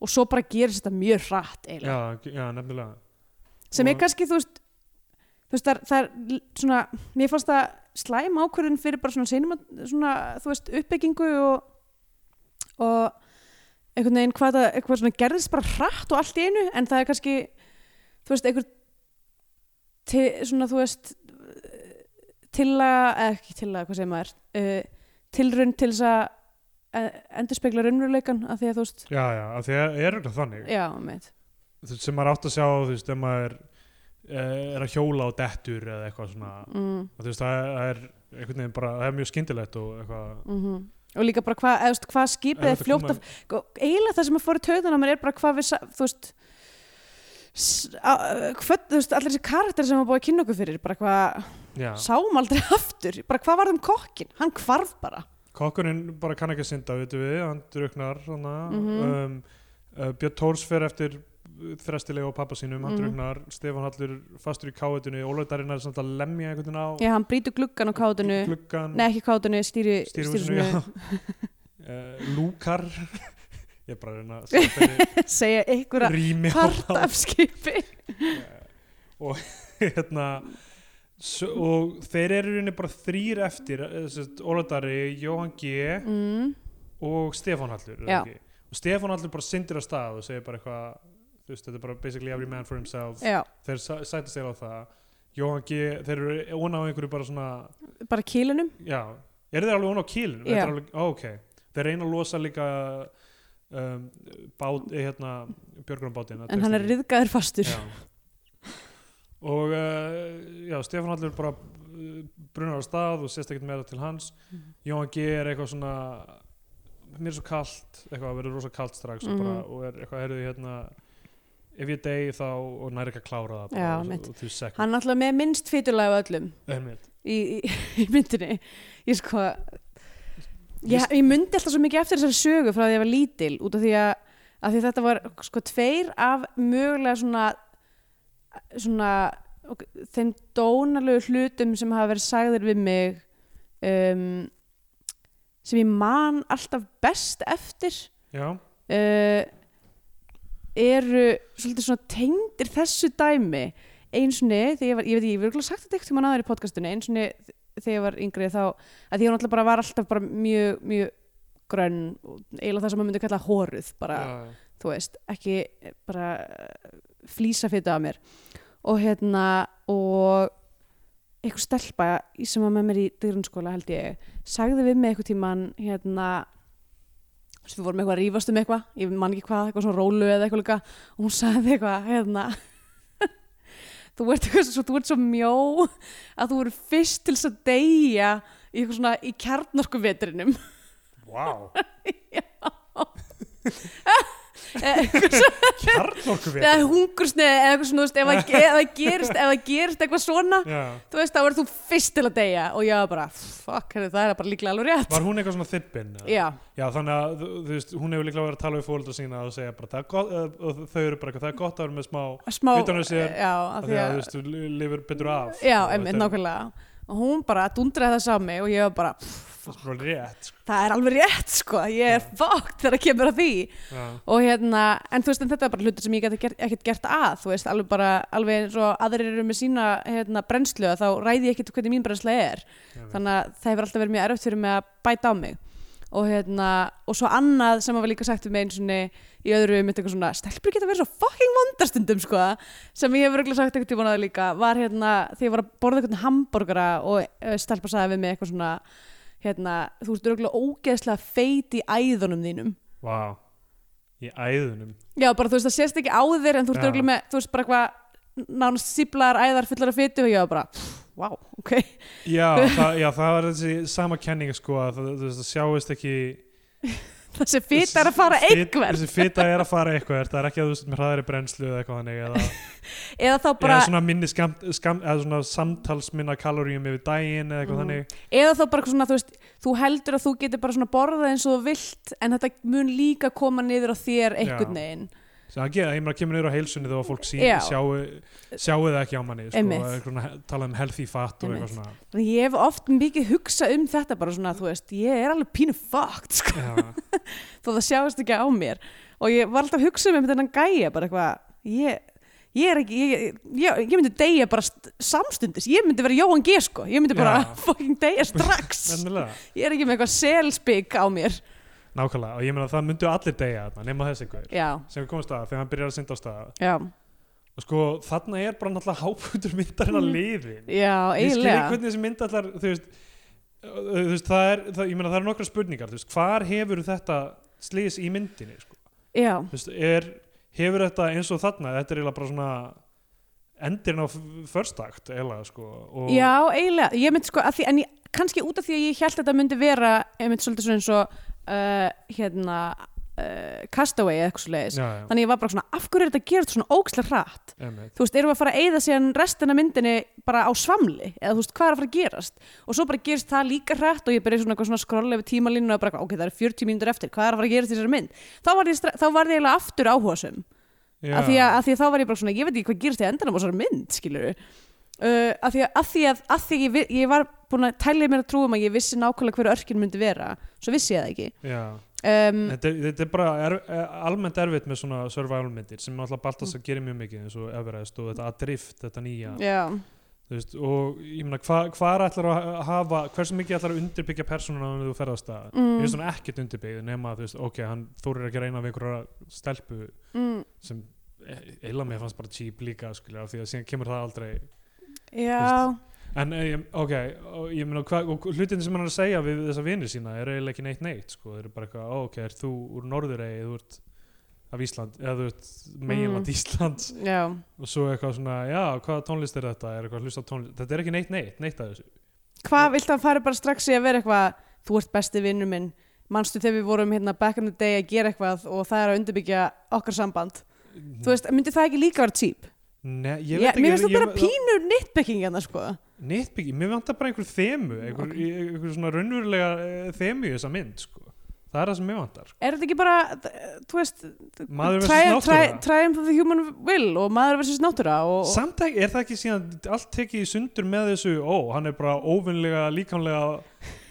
Speaker 2: og svo bara gerist þetta mjög hratt eiginlega
Speaker 3: já, já, nefnilega
Speaker 2: sem er
Speaker 3: og-
Speaker 2: kannski þú veist þú veist það er, það er l- svona mér fannst það slæm ákvörðin fyrir bara svona, cinema, svona þú veist uppbyggingu og, og einhvern veginn hvað það eitthvað svona gerðist bara hratt og allt í einu en það er kannski þú veist einhver til, svona þú veist til að, eða ekki til að hvað segir maður uh, tilrun til þess að eh, endurspegla raunveruleikan af því að þú veist
Speaker 3: já, já, af því að er eitthvað þannig
Speaker 2: já, meit
Speaker 3: Þú veist, sem maður átt að sjá þú veist, ef maður eh, er að hjóla og dettur eða eitthvað svona
Speaker 2: mm.
Speaker 3: og þú veist, það það er einhvern veginn bara, það er mjög skyndilegt og eitthvað
Speaker 2: -hmm. og líka bara hvað, eða, þú veist, hvað skipið
Speaker 3: Erfitt
Speaker 2: er
Speaker 3: að
Speaker 2: fljótt
Speaker 3: koma-
Speaker 2: að, eiginlega það sem að fór í tauðan á mér er bara hvað við, sa- þú veist s- á- hvað, þú veist, allir þessi karakter sem var búið að kynna okkur fyrir, bara hvað
Speaker 3: já,
Speaker 2: sáum aldrei aftur, bara hvað var þeim kokkin hann hvarf bara,
Speaker 3: kokkurinn bara kann ekki að synda, veitum við hann druknar svona,
Speaker 2: Mhm.
Speaker 3: um, uh, Björn Tórs fer eftir uh, þrestilega og pappa sínum, hann
Speaker 2: Mhm.
Speaker 3: druknar Stefán Hallur fastur í káetunni, Ólaf Darinnar samt að lemja einhvern veginn á
Speaker 2: já, hann brýtur gluggan á kátunni,
Speaker 3: gluggan
Speaker 2: nei ekki kátunni stýri,
Speaker 3: stýrhúsinu
Speaker 2: stýrihúsinu.
Speaker 3: uh, Lúkar ég er bara að reyna að segja hvernig
Speaker 2: segja einhverja
Speaker 3: rými á
Speaker 2: part
Speaker 3: það.
Speaker 2: af skipi
Speaker 3: Eh, og hérna s- og þeir eru í rauninni bara þrýr eftir eh, Óladari, Jóhann G
Speaker 2: mm,
Speaker 3: og Stefán Hallur er það
Speaker 2: Já.
Speaker 3: ekki? og Stefán Hallur bara syndir á stað og segir bara eitthvað þú veist, þetta er bara basically every man for himself
Speaker 2: já,
Speaker 3: þeir sæ- sætta sig á það Jóhann G, þeir eru ón á einhverju bara svona
Speaker 2: bara kílinum
Speaker 3: já, eru þeir alveg ón á kýlin
Speaker 2: Já.
Speaker 3: alveg, ó, ok, þeir reyna að losa líka um, bát, eh, hérna björgrunbátinn
Speaker 2: en hann er riðgaður fastur
Speaker 3: Já. og uh, já, Stefán Hallur bara uh, brunar á stað og sést ekkert meira til hans
Speaker 2: Mhm.
Speaker 3: Jóhann G er eitthvað svona mér er svo kalt, eitthvað verður rosa kalt strax og, bara,
Speaker 2: Mhm.
Speaker 3: og er eitthvað, heyrðu hérna ef ég degi þá og næri ekki að klára það
Speaker 2: Já,
Speaker 3: bara,
Speaker 2: mitt.
Speaker 3: og, og þú sekk
Speaker 2: hann er alltaf með minnst fytulega af öllum
Speaker 3: einmitt,
Speaker 2: í, í, í myndinni ég sko ég, ég myndi alltaf svo mikið eftir þessari sögu frá því að ég var lítil út af því að, að því þetta var sko tveir af mögulega svona svona ok, þeim dónalegu hlutum sem hafa verið sagðir við mig um, sem ég man alltaf best eftir
Speaker 3: já,
Speaker 2: uh, eru svolítið svona tengdir þessu dæmi eins og niður, ég, var- ég veit ekki, ég verður ekki sagt þetta eitthvað mann aður í podcastinu, eins og niður þegar ég var yngri þá, að því hún alltaf bara var alltaf bara mjög, mjög grönn og eiginlega það sem maður myndi kalla hóruð bara,
Speaker 3: já,
Speaker 2: þú veist, ekki eh, bara flýsa fyrir af mér og hérna og eitthvað stelpa í- sem var með mér í dyrunskóla held ég sagði við mig eitthvað tíman hérna þú veist, við vorum eitthvað að rífast um eitthvað, ég man ekki hvað, eitthvað svona rólu eða eitthvað líka og hún sagði eitthvað hérna þú ert eitthvað svo, þú ert svo mjó að þú eru fyrst til þess að deyja í eitthvað svona í kjarnorku vetrinum
Speaker 3: wow
Speaker 2: eitthvað
Speaker 3: kjarnorku við
Speaker 2: eða hungursneið eða eitthvað svona, þú veist, ef það- ef það gerist, ef það gerist eitthvað svona,
Speaker 3: já.
Speaker 2: þú veist, þá verður þú fyrst til að deyja og ég var bara, fuck, heyrðu, það er bara líklega alveg rétt.
Speaker 3: var hún eitthvað svona þippin
Speaker 2: Já,
Speaker 3: Já, þannig að þú, þú veist, hún hefur líklega verið að tala við fólitra sína og segja bara, það er gott, eh, og þau eru bara eitthvað, það er gott að vera með smá
Speaker 2: smá,
Speaker 3: Utan af sér,
Speaker 2: já, af
Speaker 3: að því að þú veist, þú lifir betur af
Speaker 2: já,
Speaker 3: Og
Speaker 2: einmitt,
Speaker 3: þetta er-
Speaker 2: nákvæmlega. Og hún bara dundraði það sami og ég var bara,
Speaker 3: þetta er bara rétt sko.
Speaker 2: það er alveg rétt, sko, ég er fucked þegar það kemur að því.
Speaker 3: já,
Speaker 2: og hérna, en þú veist, en þetta er bara hlutur sem ég get ekkert- ekkert gert að, þú veist, alveg bara alveg eins og aðrir eru með sína hérna, brennslu, að þá ræði ég ekkert hvernig mín brennsla er,
Speaker 3: Einmitt.
Speaker 2: þannig að það hefur alltaf verið mjög erfitt fyrir mig að bæta á mig og hérna, og svo annað sem var líka sagt um einn svona í öðru mitt eitthvað svona, stelpur geta verið svo fucking vondastundum sko, sem ég hefur örugglega sagt eitthvað tíma náður líka, var hérna þegar ég var að borða eitthvað hambúrgara og eh, stelpa sagði við mig eitthvað svona hérna, þú ert örugglega ógeðslega feit í æðunum þínum
Speaker 3: vá í æðunum
Speaker 2: Já, bara þú veist, það sést ekki á þér en þú ert
Speaker 3: Já.
Speaker 2: örgulega með, þú veist, bara eitthvað nánast síblar, æðar, fullar af fytu og ég var bara, vá, wow, ok
Speaker 3: já, það, já, það var þessi sama kenning sko, að það, þú veist, það sjáist ekki
Speaker 2: þessi fita er að fara einhver
Speaker 3: þessi fita er að fara eitthvað það er ekki að þú veist með hraðari brennslu eða eitthvað þannig eða,
Speaker 2: eða þá bara,
Speaker 3: eða svona minni skam, skam, eða svona samtalsminna kaloríum yfir daginn eða
Speaker 2: Mm.
Speaker 3: eitthvað þannig
Speaker 2: eða þá bara svona, þú veist þú heldur að þú getur bara svona borðað eins og þú vilt en þetta mun líka koma niður á þér einhvern
Speaker 3: Já.
Speaker 2: veginn
Speaker 3: sem að gera, ég meina kemur niður á heilsunni þegar fólk sí,
Speaker 2: Já.
Speaker 3: sjáu, sjáu það ekki á manni sko,
Speaker 2: Einmitt.
Speaker 3: eða svona, tala um healthy fat og
Speaker 2: Einmitt.
Speaker 3: eitthvað svona
Speaker 2: Þannig ég hef oft mikið hugsað um þetta bara svona, þú veist, ég er alveg pínu fucked sko,
Speaker 3: Já,
Speaker 2: þó það sjáist ekki á mér og ég var alltaf að hugsa um einhvern veginn gæja bara eitthvað ég, ég er ekki, ég, ég, ég, ég myndi deyja bara st- samstundis, ég myndi vera Jóhann G sko, ég myndi bara
Speaker 3: Já.
Speaker 2: fucking deyja strax
Speaker 3: ennilega,
Speaker 2: ég er ekki með eitthvað selspik á mér
Speaker 3: nákvæmlega og ég meina það myndu allir degja þarna, nema þessi gaur
Speaker 2: já,
Speaker 3: sem við komumst að þegar hann byrjar að synda á staða
Speaker 2: já,
Speaker 3: og sko þarna er bara náttúrulega háputur myndarinn að liðin
Speaker 2: Mhm. já,
Speaker 3: ég skil ekki
Speaker 2: eiginlega
Speaker 3: hvernig þessi mynd allar þú veist, uh, þú veist það er, það, ég meina það eru nokkra spurningar þú veist, hvar hefur þetta slís í myndinni sko?
Speaker 2: já,
Speaker 3: þú veist, er, hefur þetta eins og þarna þetta er eiginlega bara svona endirinn á f- first act eiginlega sko og
Speaker 2: já, eiginlega ég myndi sko, að því, en ég, kannski út af því að ég held að þetta myndi vera, ég myndi svolítið svona eins og uh, hérna uh, Castaway eða eitthvað svo leiðis
Speaker 3: já, já,
Speaker 2: þannig ég var bara svona, af hverju er þetta að gera þetta svona ókslega hratt
Speaker 3: einmitt.
Speaker 2: þú veist, erum við að fara að eyða síðan restina af myndinni bara á svamli, eða þú veist, hvað er að fara að gerast og svo bara gerist það líka hratt og ég byrja svona, eitthvað svona skrolla yfir tímalínu og bara, ok, það eru 40 mínútur eftir, hvað er að fara að gerast í þessari mynd þá var ég, stra- þá var ég eiginlega aftur áhugasum
Speaker 3: já,
Speaker 2: af því að, af því að þá var ég bara svona, ég veit ekki hvað gerist í endanum á þessari mynd, skilur við uh, af því að, af því að, af því að ég, vi- ég var búin að tæla mér að trúum að ég vissi nákvæmlega hver örkin myndi vera, svo vissi ég það ekki
Speaker 3: já.
Speaker 2: um,
Speaker 3: Þetta, er- þetta er bara er, er, almennt erfitt með svona survival myndir sem alltaf Baltas að gera mjög mikið eins og Everest og þetta Adrift, þetta nýja
Speaker 2: já,
Speaker 3: Þú veist, og ég meina hva, hvað ætlar að hafa hversu mikið ætlar að undirbyggja persónuna áður en þú ferðast að mm. ég veist hann ekkert undirbyggð nema að þú veist, ok, hann þórir ekki að reyna við einhverja stelpu
Speaker 2: mm,
Speaker 3: sem e- eila mér fannst bara cheap líka skilja, af því að síðan kemur það aldrei
Speaker 2: já,
Speaker 3: en eh, ég- ok, og ég meina hva, og hlutin sem hann er að segja við þessa vinir sína er eiginlega ekki neitt neitt, sko, þeir eru bara eitthvað ó, ok, er þú úr Norðuregi, þú ert af Ísland, eða þú ert meginland
Speaker 2: Mm.
Speaker 3: Íslands
Speaker 2: já,
Speaker 3: og svo eitthvað svona, já, hvaða tónlist er þetta er eitthvað að hlusta á tónlist, þetta er ekki neitt neitt, neitt að þessu
Speaker 2: hvað vilt hann fara bara strax í að vera eitthvað þú ert besti vinnur minn manstu þegar við vorum hérna back in the day að gera eitthvað og það er að undirbyggja okkar samband þú veist, myndi það ekki líka vera típ
Speaker 3: Nei,
Speaker 2: ég,
Speaker 3: ég veit ekki
Speaker 2: mér finnst það bara
Speaker 3: ég-
Speaker 2: pínu nitpicking hérna sko
Speaker 3: Nitpicking, mér vantar bara einhver þemu einhver,
Speaker 2: Ok.
Speaker 3: einhver svona raunverulega eh, þemu í þessa mynd sko. það er það sem mér vantar sko.
Speaker 2: er þetta ekki bara, eh, þú veist
Speaker 3: Maður versus
Speaker 2: tri-
Speaker 3: náttúra.
Speaker 2: tri- triumph of the human will og maður versus náttúra og, og,
Speaker 3: samt ekki, er það ekki síðan allt tekið í sundur með þessu, ó, hann er bara óvinnlega líkamlega,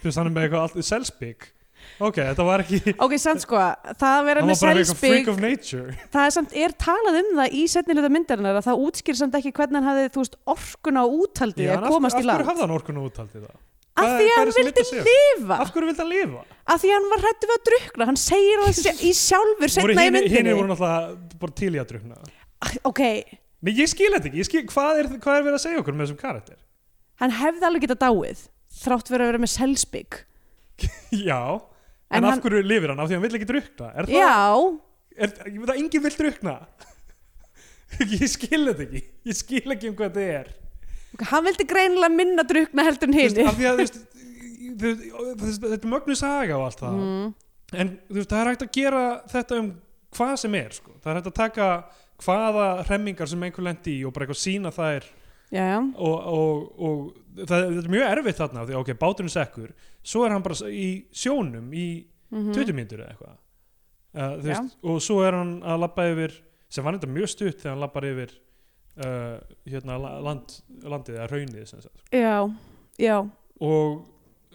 Speaker 3: þú veist, hann er með eitthvað allt selspik, ok, þetta var ekki
Speaker 2: ok, samt sko, það að vera
Speaker 3: hann
Speaker 2: með
Speaker 3: var bara eitthvað freak
Speaker 2: selspik
Speaker 3: of nature
Speaker 2: það er samt, er talað um það í setnilega myndarinnar að það útskýr samt ekki hvernig hann hafði, þú veist, orkuna og úthaldið
Speaker 3: Já, en
Speaker 2: að
Speaker 3: af-
Speaker 2: komast í
Speaker 3: af hverju
Speaker 2: land
Speaker 3: hafði hann orkun og úthaldið það?
Speaker 2: af
Speaker 3: Hvað-
Speaker 2: því að
Speaker 3: hvað er
Speaker 2: hann
Speaker 3: þessi mynd
Speaker 2: vildi
Speaker 3: að segja?
Speaker 2: lifa
Speaker 3: af hverju vildi hann lifa?
Speaker 2: að því að hann var hrættu við að drukna hann segir það sjá- í sjálfur
Speaker 3: Voru
Speaker 2: setna í
Speaker 3: hinir- hinir
Speaker 2: myndinni Ah,
Speaker 3: voru náttúrulega bara til í að drukna
Speaker 2: ok,
Speaker 3: Nei, ég skil þetta ekki, ég skil, hvað er, hvað er verið að segja okkur með þessum karakter?
Speaker 2: hann hefði alveg getað dáið þrátt fyrir að vera með selspik
Speaker 3: Já, en,
Speaker 2: En
Speaker 3: af
Speaker 2: hann-
Speaker 3: hverju lifir hann? Af því hann vill ekki drukna Er það,
Speaker 2: já,
Speaker 3: er, ég veit að enginn vill drukna Ég skil þetta ekki Ég skil ekki um hvað þetta er
Speaker 2: ok, hann vildi greinilega minna drukna heldur en
Speaker 3: Þú
Speaker 2: hinn
Speaker 3: veist, Af því að þú veist, þú veist, þú veist, þetta er mögnu saga og allt það En þú veist, það er hægt að gera þetta um hvað sem er sko. Það er hægt að taka hvaða hremmingar sem einhver lendi í og bara eitthvað sína þær
Speaker 2: já, já,
Speaker 3: og, og, og það, þetta er mjög erfitt þarna af því ok, báturinn sekkur svo er hann bara í sjónum í
Speaker 2: Mhm.
Speaker 3: 20 mínútur eða eitthvað uh, þú
Speaker 2: Já.
Speaker 3: veist, og svo er hann að labba yfir sem var þetta mjög stutt þegar hann labbar yfir uh, hérna la- land, landið eða hraunið sem sagt.
Speaker 2: já, já
Speaker 3: og,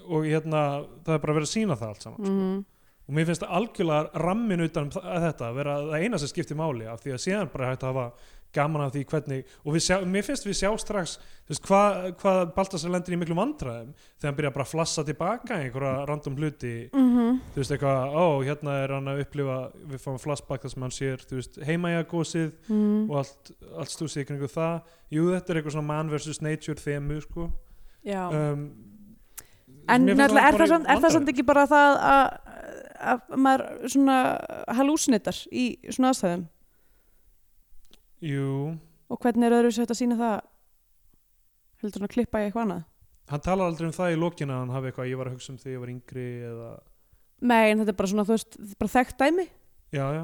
Speaker 3: og hérna það er bara verið að sína það allt saman
Speaker 2: mhm.
Speaker 3: og mér finnst algjörlega rammin utan um þa- þetta að vera það eina sem skiptir máli af því að síðan bara er hægt að hafa gaman af því hvernig og við sjá, mér finnst við sjá strax þú veist, hvað hva Baltasar lendir í miklu vandræðum þegar hann byrja bara að flassa tilbaka í einhverja random hluti
Speaker 2: Mhm.
Speaker 3: þú veist eitthvað, ó hérna er hann að upplifa við fáum flashback þar sem hann sér þú veist, heimæjagósið
Speaker 2: Mhm.
Speaker 3: og allt, allt stúsið í kringu það jú þetta er eitthvað svona man vs nature þemu sko
Speaker 2: já
Speaker 3: um,
Speaker 2: en
Speaker 3: mér finnst
Speaker 2: náttúrulega er,
Speaker 3: bara
Speaker 2: það
Speaker 3: í
Speaker 2: samt- er það
Speaker 3: vandræðum.
Speaker 2: samt ekki bara það að, að maður svona halúsnitar í svona aðstæðum
Speaker 3: jú,
Speaker 2: og hvernig er öðru sér að sína það heldur hann að klippa í eitthvað annað
Speaker 3: hann talar aldrei um það í lokinu að hann hafi eitthvað ég var að hugsa um því ég var yngri eða
Speaker 2: Nei, en þetta er bara svona, þú veist, þetta er bara þekkt dæmi
Speaker 3: já, já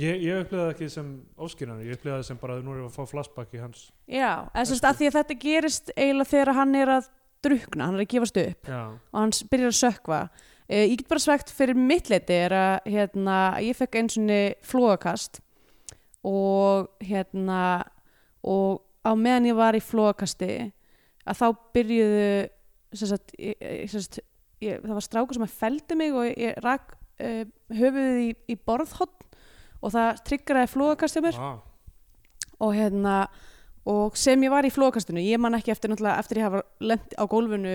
Speaker 3: ég, ég upplega það ekki sem áskýrðan ég upplega það sem bara að nú erum við að fá flashback í hans
Speaker 2: Já, eða sem sagt að því að þetta gerist eiginlega þegar hann er að drukna, hann er að gefast upp
Speaker 3: já,
Speaker 2: og hann s- byrjar að sökva uh, ég get bara svegt fyrir mitt leiti er að hérna, ég fekk eins og flóakast og hérna og á meðan ég var í flóakasti að þá byrjuðu sem sagt, ég, ég- sem sagt ég, það var strákur sem að feldi mig og ég, ég rak uh, höfuðið í, í borðhotn og það tryggraði flóakastið mér
Speaker 3: ah,
Speaker 2: og hérna og sem ég var í flókastinu, ég man ekki eftir náttúrulega eftir ég hafa lent á gólfinu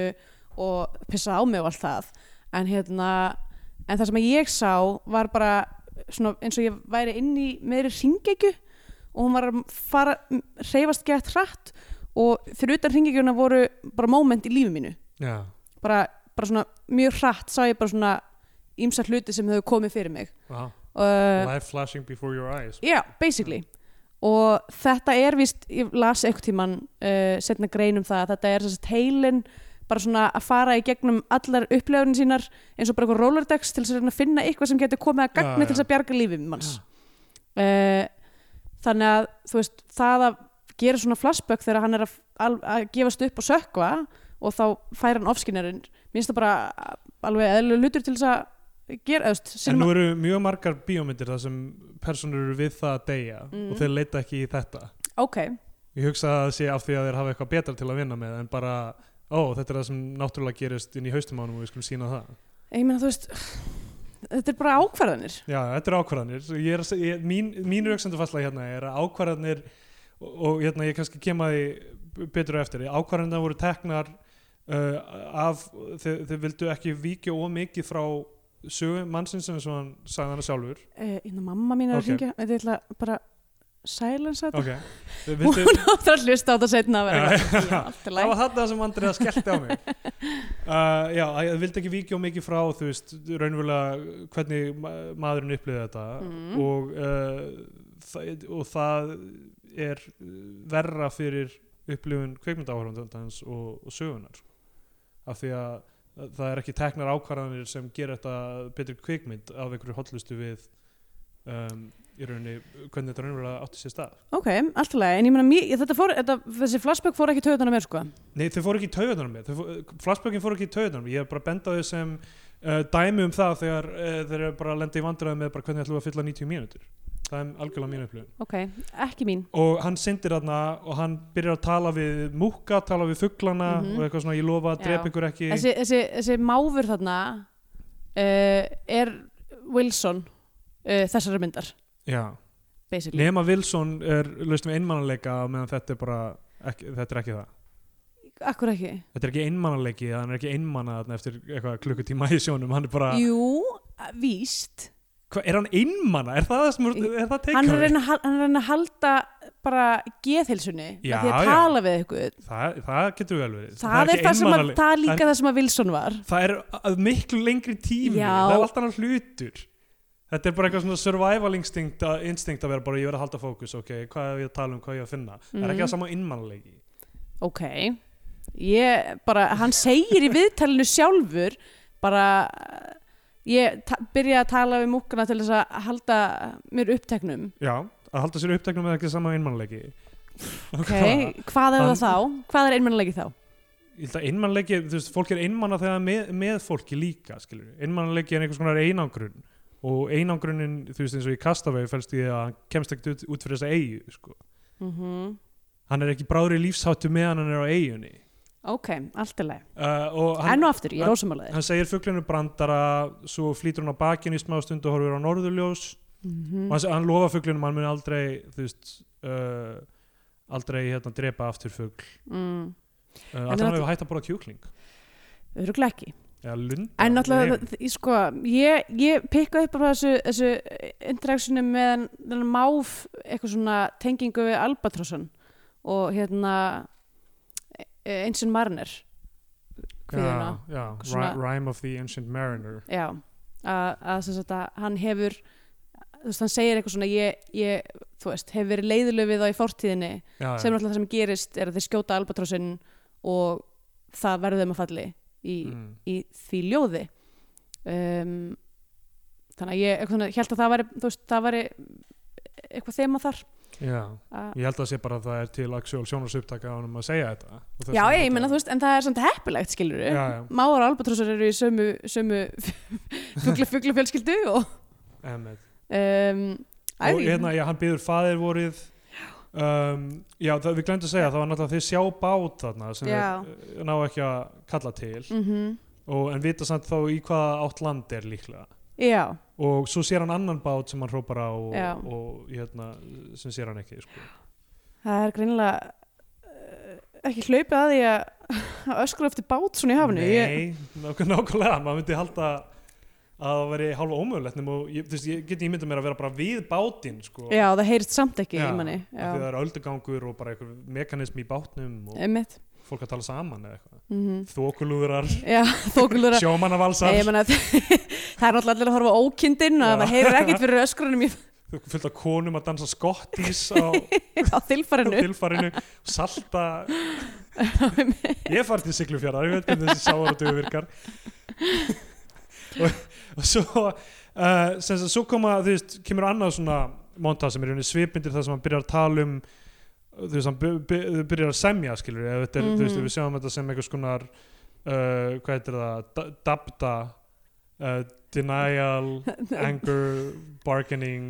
Speaker 2: og pissað á mig og allt það en hérna, en það sem ég sá var bara svona eins og ég væri inn í meiri ringekju og hún var að fara reyfast gett hratt og fyrir utan ringegjuna voru bara moment í lífi mínu
Speaker 3: já,
Speaker 2: bara, bara svona mjög hratt sá ég bara svona ímsa hluti sem höfðu komið fyrir mig
Speaker 3: ah,
Speaker 2: uh,
Speaker 3: life flashing before your eyes
Speaker 2: Já, basically og þetta er víst, ég las einhvern tíman uh, setna grein um það, að þetta er þess að heilin bara svona að fara í gegnum allar upplöfun sínar eins og bara eitthvað rollerdex til þess að reyna að finna eitthvað sem getur komið að
Speaker 3: Já,
Speaker 2: gagni
Speaker 3: já.
Speaker 2: til þess að bjarga lífið manns uh, þannig að þú veist, það að gera svona flashback þegar hann er að, al- að gefast upp og sökva og þá fær hann ofskinarinn minnst það bara alveg eðlu hlutur til þess að gera, eða þú veist,
Speaker 3: en
Speaker 2: sinna-
Speaker 3: nú eru mjög margar bíómyndir þar sem personur eru við það að deyja og þeir leita ekki í þetta
Speaker 2: ok,
Speaker 3: ég hugsa að það sé af því að þeir hafa eitthvað betra til að vinna með en bara, ó, þetta er það sem náttúrulega gerist inn í haustum ánum og við skulum sína það
Speaker 2: ég meina þú veist þetta er bara ákvarðanir
Speaker 3: Já, þetta er ákvarðanir Svo ég er, að seg- ég, mín, mín rauksendafasla hérna er að ákvarðanir og, og hérna ég kannski kem að því betur á eftir, ákvarðanir voru teknar uh, af þeir, þeir vildu ekki víkja ómikið frá sögu mannsins sem hann sagði hana sjálfur
Speaker 2: uh, mamma mín er
Speaker 3: Ok.
Speaker 2: að hringja þetta er ætla bara silence þetta
Speaker 3: ok, þeir
Speaker 2: hún
Speaker 3: vildu
Speaker 2: áttur að hlusta á þetta setna
Speaker 3: Já. Það var
Speaker 2: já,
Speaker 3: þetta sem Andriða skellti á mig uh, Já, að ég vildi ekki víkja og mikið frá þú veist, raunverulega hvernig ma- maðurinn upplýði þetta
Speaker 2: Mhm.
Speaker 3: og, uh, það, og það er verra fyrir upplýðun kveikmyndaáhörfundandans og, og sögunar af því að það er ekki teknar ákvarðanir sem gera þetta betri kveikmynd af einhverju hotlustu við um, í rauninni hvernig þetta raunverulega átti sér stað
Speaker 2: ok, allt í lagi en ég meina, mér- þetta fór, þetta, þessi flashback fór ekki töðan að mér sko
Speaker 3: Nei, þau fóru ekki í taugarnar á mér Þau fó- Flashbackin fóru ekki í taugarnar á mér Ég er bara að benda á þau sem uh, dæmi um það þegar uh, þeir eru bara að lenda í vandræði með bara hvernig ætlum við að fylla 90 mínútur Það er algjörlega mín upplifun
Speaker 2: ok, ekki mín
Speaker 3: og hann syndir þarna og hann byrjar að tala við múkka, tala við fugglana
Speaker 2: Mhm.
Speaker 3: og eitthvað svona ég lofa
Speaker 2: Já.
Speaker 3: að drepa ykkur ekki
Speaker 2: þessi, þessi, þessi máfur þarna uh, er Wilson uh, þessara myndar
Speaker 3: Já,
Speaker 2: basically
Speaker 3: nema Wilson er laust með einmannaleika á meðan þetta er bara ekki, þetta er ekki það
Speaker 2: akkur ekki
Speaker 3: Þetta er ekki einmannaleiki, hann er ekki einmanna þarna eftir eitthvað klukkutíma í sjónum hann er bara,
Speaker 2: jú, víst
Speaker 3: hva, er hann einmanna? Er það, það sem, er það
Speaker 2: hann er
Speaker 3: takeaway?
Speaker 2: að reyna að hal- hann er að reyna að halda bara geðhilsunni
Speaker 3: Já,
Speaker 2: því að
Speaker 3: já.
Speaker 2: tala við ykkur
Speaker 3: Það, það getur vel verið
Speaker 2: það, er
Speaker 3: ekki
Speaker 2: það, sem að,
Speaker 3: einmanaleg-
Speaker 2: það er líka
Speaker 3: það,
Speaker 2: það, sem að Wilson var
Speaker 3: er- það er að miklu lengri tími
Speaker 2: Já.
Speaker 3: Það er allt annar hlutur Þetta er bara eitthvað svona survival instinct að, instinct að vera bara ég verð að halda fókus ok, hvað er ég að tala um, hvað er ég að finna Það er ekki
Speaker 2: Mhm.
Speaker 3: það sama innmannleiki
Speaker 2: ok ég bara, hann segir í viðtalinu sjálfur bara ég ta- byrja að tala við múkkana til þess að halda mér uppteknum
Speaker 3: Já, að halda sér uppteknum er ekki það sama innmannleiki
Speaker 2: ok, hvað er
Speaker 3: Hann-
Speaker 2: það þá? hvað er einmannlegi þá?
Speaker 3: Ég held að innmannleiki, þú veist, fólk er innmanna þegar það er með, með fólki líka, skilur Innmannleiki er einhvers konar einangrun og einangrunin, þú veist, eins og í Kastavegi fælst í því að hann kemst ekkert út, út fyrir þessa eigu, sko.
Speaker 2: Mhm.
Speaker 3: Hann er ekki bráður í lífsháttu meðan hann er á eigunni.
Speaker 2: ok, allt er leið
Speaker 3: uh, og hann,
Speaker 2: enn og aftur, ég er
Speaker 3: hann-
Speaker 2: ósamalega
Speaker 3: hann segir fuglinu brandara svo flýtur hann á bakinu í smá stund og horfir á norðurljós
Speaker 2: Mm.
Speaker 3: og hann, se- hann lofa fuglinum að hann mun aldrei þú veist uh, aldrei hérna drepa aftur fugl
Speaker 2: þér
Speaker 3: uh, alltaf hann
Speaker 2: náttúrulega-
Speaker 3: hefur hægt að bóra kjúkling
Speaker 2: öruglega ekki
Speaker 3: eða lund
Speaker 2: En náttúrulega, það- ég sko, ég, ég pikka upp á þessu, þessu interactionu með þennan- þennan máf eitthvað svona tengingu við Albatrossan og hérna einsinn Marner kviðuna.
Speaker 3: já, já,
Speaker 2: Svona-
Speaker 3: Ri- Rhyme of the Ancient Mariner
Speaker 2: Já, að, að sem sagt að hann hefur, þú veist, hann segir eitthvað svona, ég, ég þú veist, hefur verið leiðilög við þá í fortíðinni sem
Speaker 3: já, já.
Speaker 2: náttúrulega það sem gerist er að þeir skjóta Albatrossin og það verður þeim að falli í
Speaker 3: Mm.
Speaker 2: í því ljóði um, þannig að ég einhvern veginn held að það væri, þú veist, það væri eitthvað þema þar
Speaker 3: já,
Speaker 2: að,
Speaker 3: ég held að sé bara að það er til actual sjónarsupptaka á hann að segja þetta Og þess
Speaker 2: já,
Speaker 3: vegna
Speaker 2: ég meina,
Speaker 3: þetta-
Speaker 2: þú veist, en það er samt heppilegt, skilur við
Speaker 3: Já, já.
Speaker 2: Mávar og albatrossar eru í sömu, sömu fugla, fugla fjölskyldu og
Speaker 3: Emmett.
Speaker 2: um,
Speaker 3: og hérna, já, hann býður faðirvorið um, já, það, við glemdu að segja það var náttúrulega þið sjá bát þarna sem
Speaker 2: Já.
Speaker 3: þeir, eh, ná ekki að kalla til
Speaker 2: mm
Speaker 3: og, en vita samt þá í hvaða átt land er líklega
Speaker 2: já,
Speaker 3: og svo sér hann annan bát sem hann hrópar á og,
Speaker 2: Já.
Speaker 3: og hérna, sem sér hann ekki sko.
Speaker 2: það er greinilega eh, ekki hlaupið að því að að öskra eftir bát svona í hafinu
Speaker 3: Nei,
Speaker 2: ég,
Speaker 3: nák nákvæmlega, maður myndi halda að það veri hálfa ómögulegt nema og ég, þú veist, ég geti ímyndað mér að vera bara við bátinn sko.
Speaker 2: já, það heyrist samt ekki
Speaker 3: Já,
Speaker 2: í manni
Speaker 3: af því það
Speaker 2: já,
Speaker 3: er öldugangur og bara einhver mekanismi í bátnum og
Speaker 2: emitt
Speaker 3: fólk að tala saman eða eitthvað
Speaker 2: mm
Speaker 3: þokulúðurar,
Speaker 2: já, þókulur að
Speaker 3: sjómannavalsar
Speaker 2: Nei, ég meina, það er náttúrulega allir að horfa á ókindin og
Speaker 3: Já.
Speaker 2: það heyrir ekkert fyrir öskrunum í,
Speaker 3: fullt af konum að dansa skottís á
Speaker 2: á þilfarinu
Speaker 3: tilfarinu og salta ég er farið til Siglufjara ég veit hvernig þessi sáaratugu virkar og, og svo uh, sem sagt, svo koma, þú veist, kemur annað svona monta sem er í rauninni svipmyndir þar sem hann byrjar að tala um þú veist, hann by, by, þau byrjar að semja skilur við, þetta er, þú veist,
Speaker 2: Mhm.
Speaker 3: ef við sjáum þetta sem einhvers konar uh, hvað heitir það, da- dabda uh, denial anger, bargaining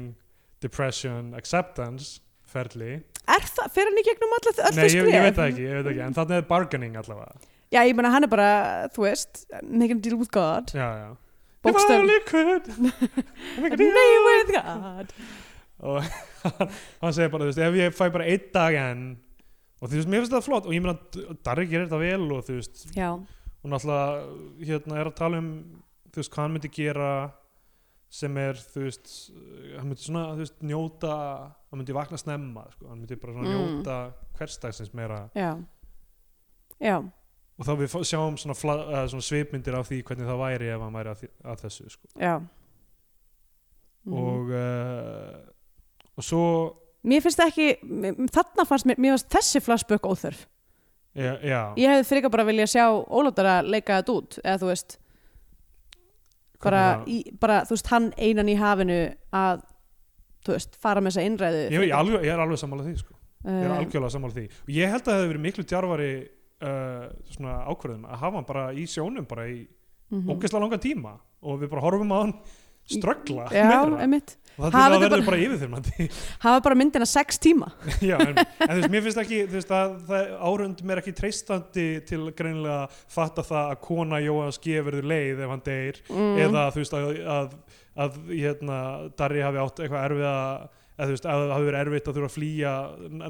Speaker 3: depression, acceptance ferli
Speaker 2: er það, fer hann í gegnum alltaf öll
Speaker 3: Nei,
Speaker 2: þau
Speaker 3: ég, ég
Speaker 2: skref? Mm.
Speaker 3: veit það ekki, ég veit það ekki, en þarna er bargaining allavega.
Speaker 2: já, ég meina, hann er bara, þú veist making a deal with God
Speaker 3: Já, já. If I
Speaker 2: bókstöf,
Speaker 3: only could. make a deal.
Speaker 2: deal with God
Speaker 3: og hann- hann segir bara, þú veist, ef ég fæ bara einn dag enn, og þú veist, mér finnst það flott, og ég meina, Darri gerir þetta vel og þú veist,
Speaker 2: já,
Speaker 3: og náttúrulega, hérna, er að tala um, þú veist, hvað hann myndi gera sem er, þú veist, hann myndi svona, þú veist, njóta, hann myndi vakna snemma, sko, hann myndi bara svona
Speaker 2: Mm.
Speaker 3: njóta hversdagsins meira
Speaker 2: já já,
Speaker 3: og þá við fá- sjáum svona, fla, uh, svona svipmyndir af því hvernig það væri ef hann væri að, því, að þessu sko.
Speaker 2: já Mhm.
Speaker 3: og uh, og svo
Speaker 2: Mér finnst ekki, m- þarna fannst mér, mér fannst þessi flashback óþörf.
Speaker 3: já, já
Speaker 2: Ég hefði frekar bara viljað sjá Ólátara leika þetta út, eða þú veist, bara, í, bara, þú veist, hann einan í hafinu að, þú veist, fara með þessa innræðu.
Speaker 3: ég, ég, alveg, ég er alveg sammála því sko. ég
Speaker 2: Eh.
Speaker 3: er algjörlega sammála því og ég held að það hefði verið miklu djarfari uh, svona ákvörðun að hafa hann bara í sjónum bara í
Speaker 2: mm
Speaker 3: ógeðslega langan tíma og við bara horfum á hann ströggla
Speaker 2: Já,
Speaker 3: meira.
Speaker 2: einmitt.
Speaker 3: og það,
Speaker 2: Hafið
Speaker 3: það
Speaker 2: þið
Speaker 3: verður bara, bara yfirþyrmandi
Speaker 2: Hafa bara myndina sex tíma.
Speaker 3: Já, en, en þú veist, mér finnst ekki, þú veist, að það árundum er ekki treystandi til greinilega að fatta það að kona Jóhann G. verður leið ef hann deyr
Speaker 2: Mm.
Speaker 3: eða þú veist að, að, að hérna, Darri hafi átt eitthvað erfiða eða þú veist, að það hafi verið erfitt að þurfa að flýja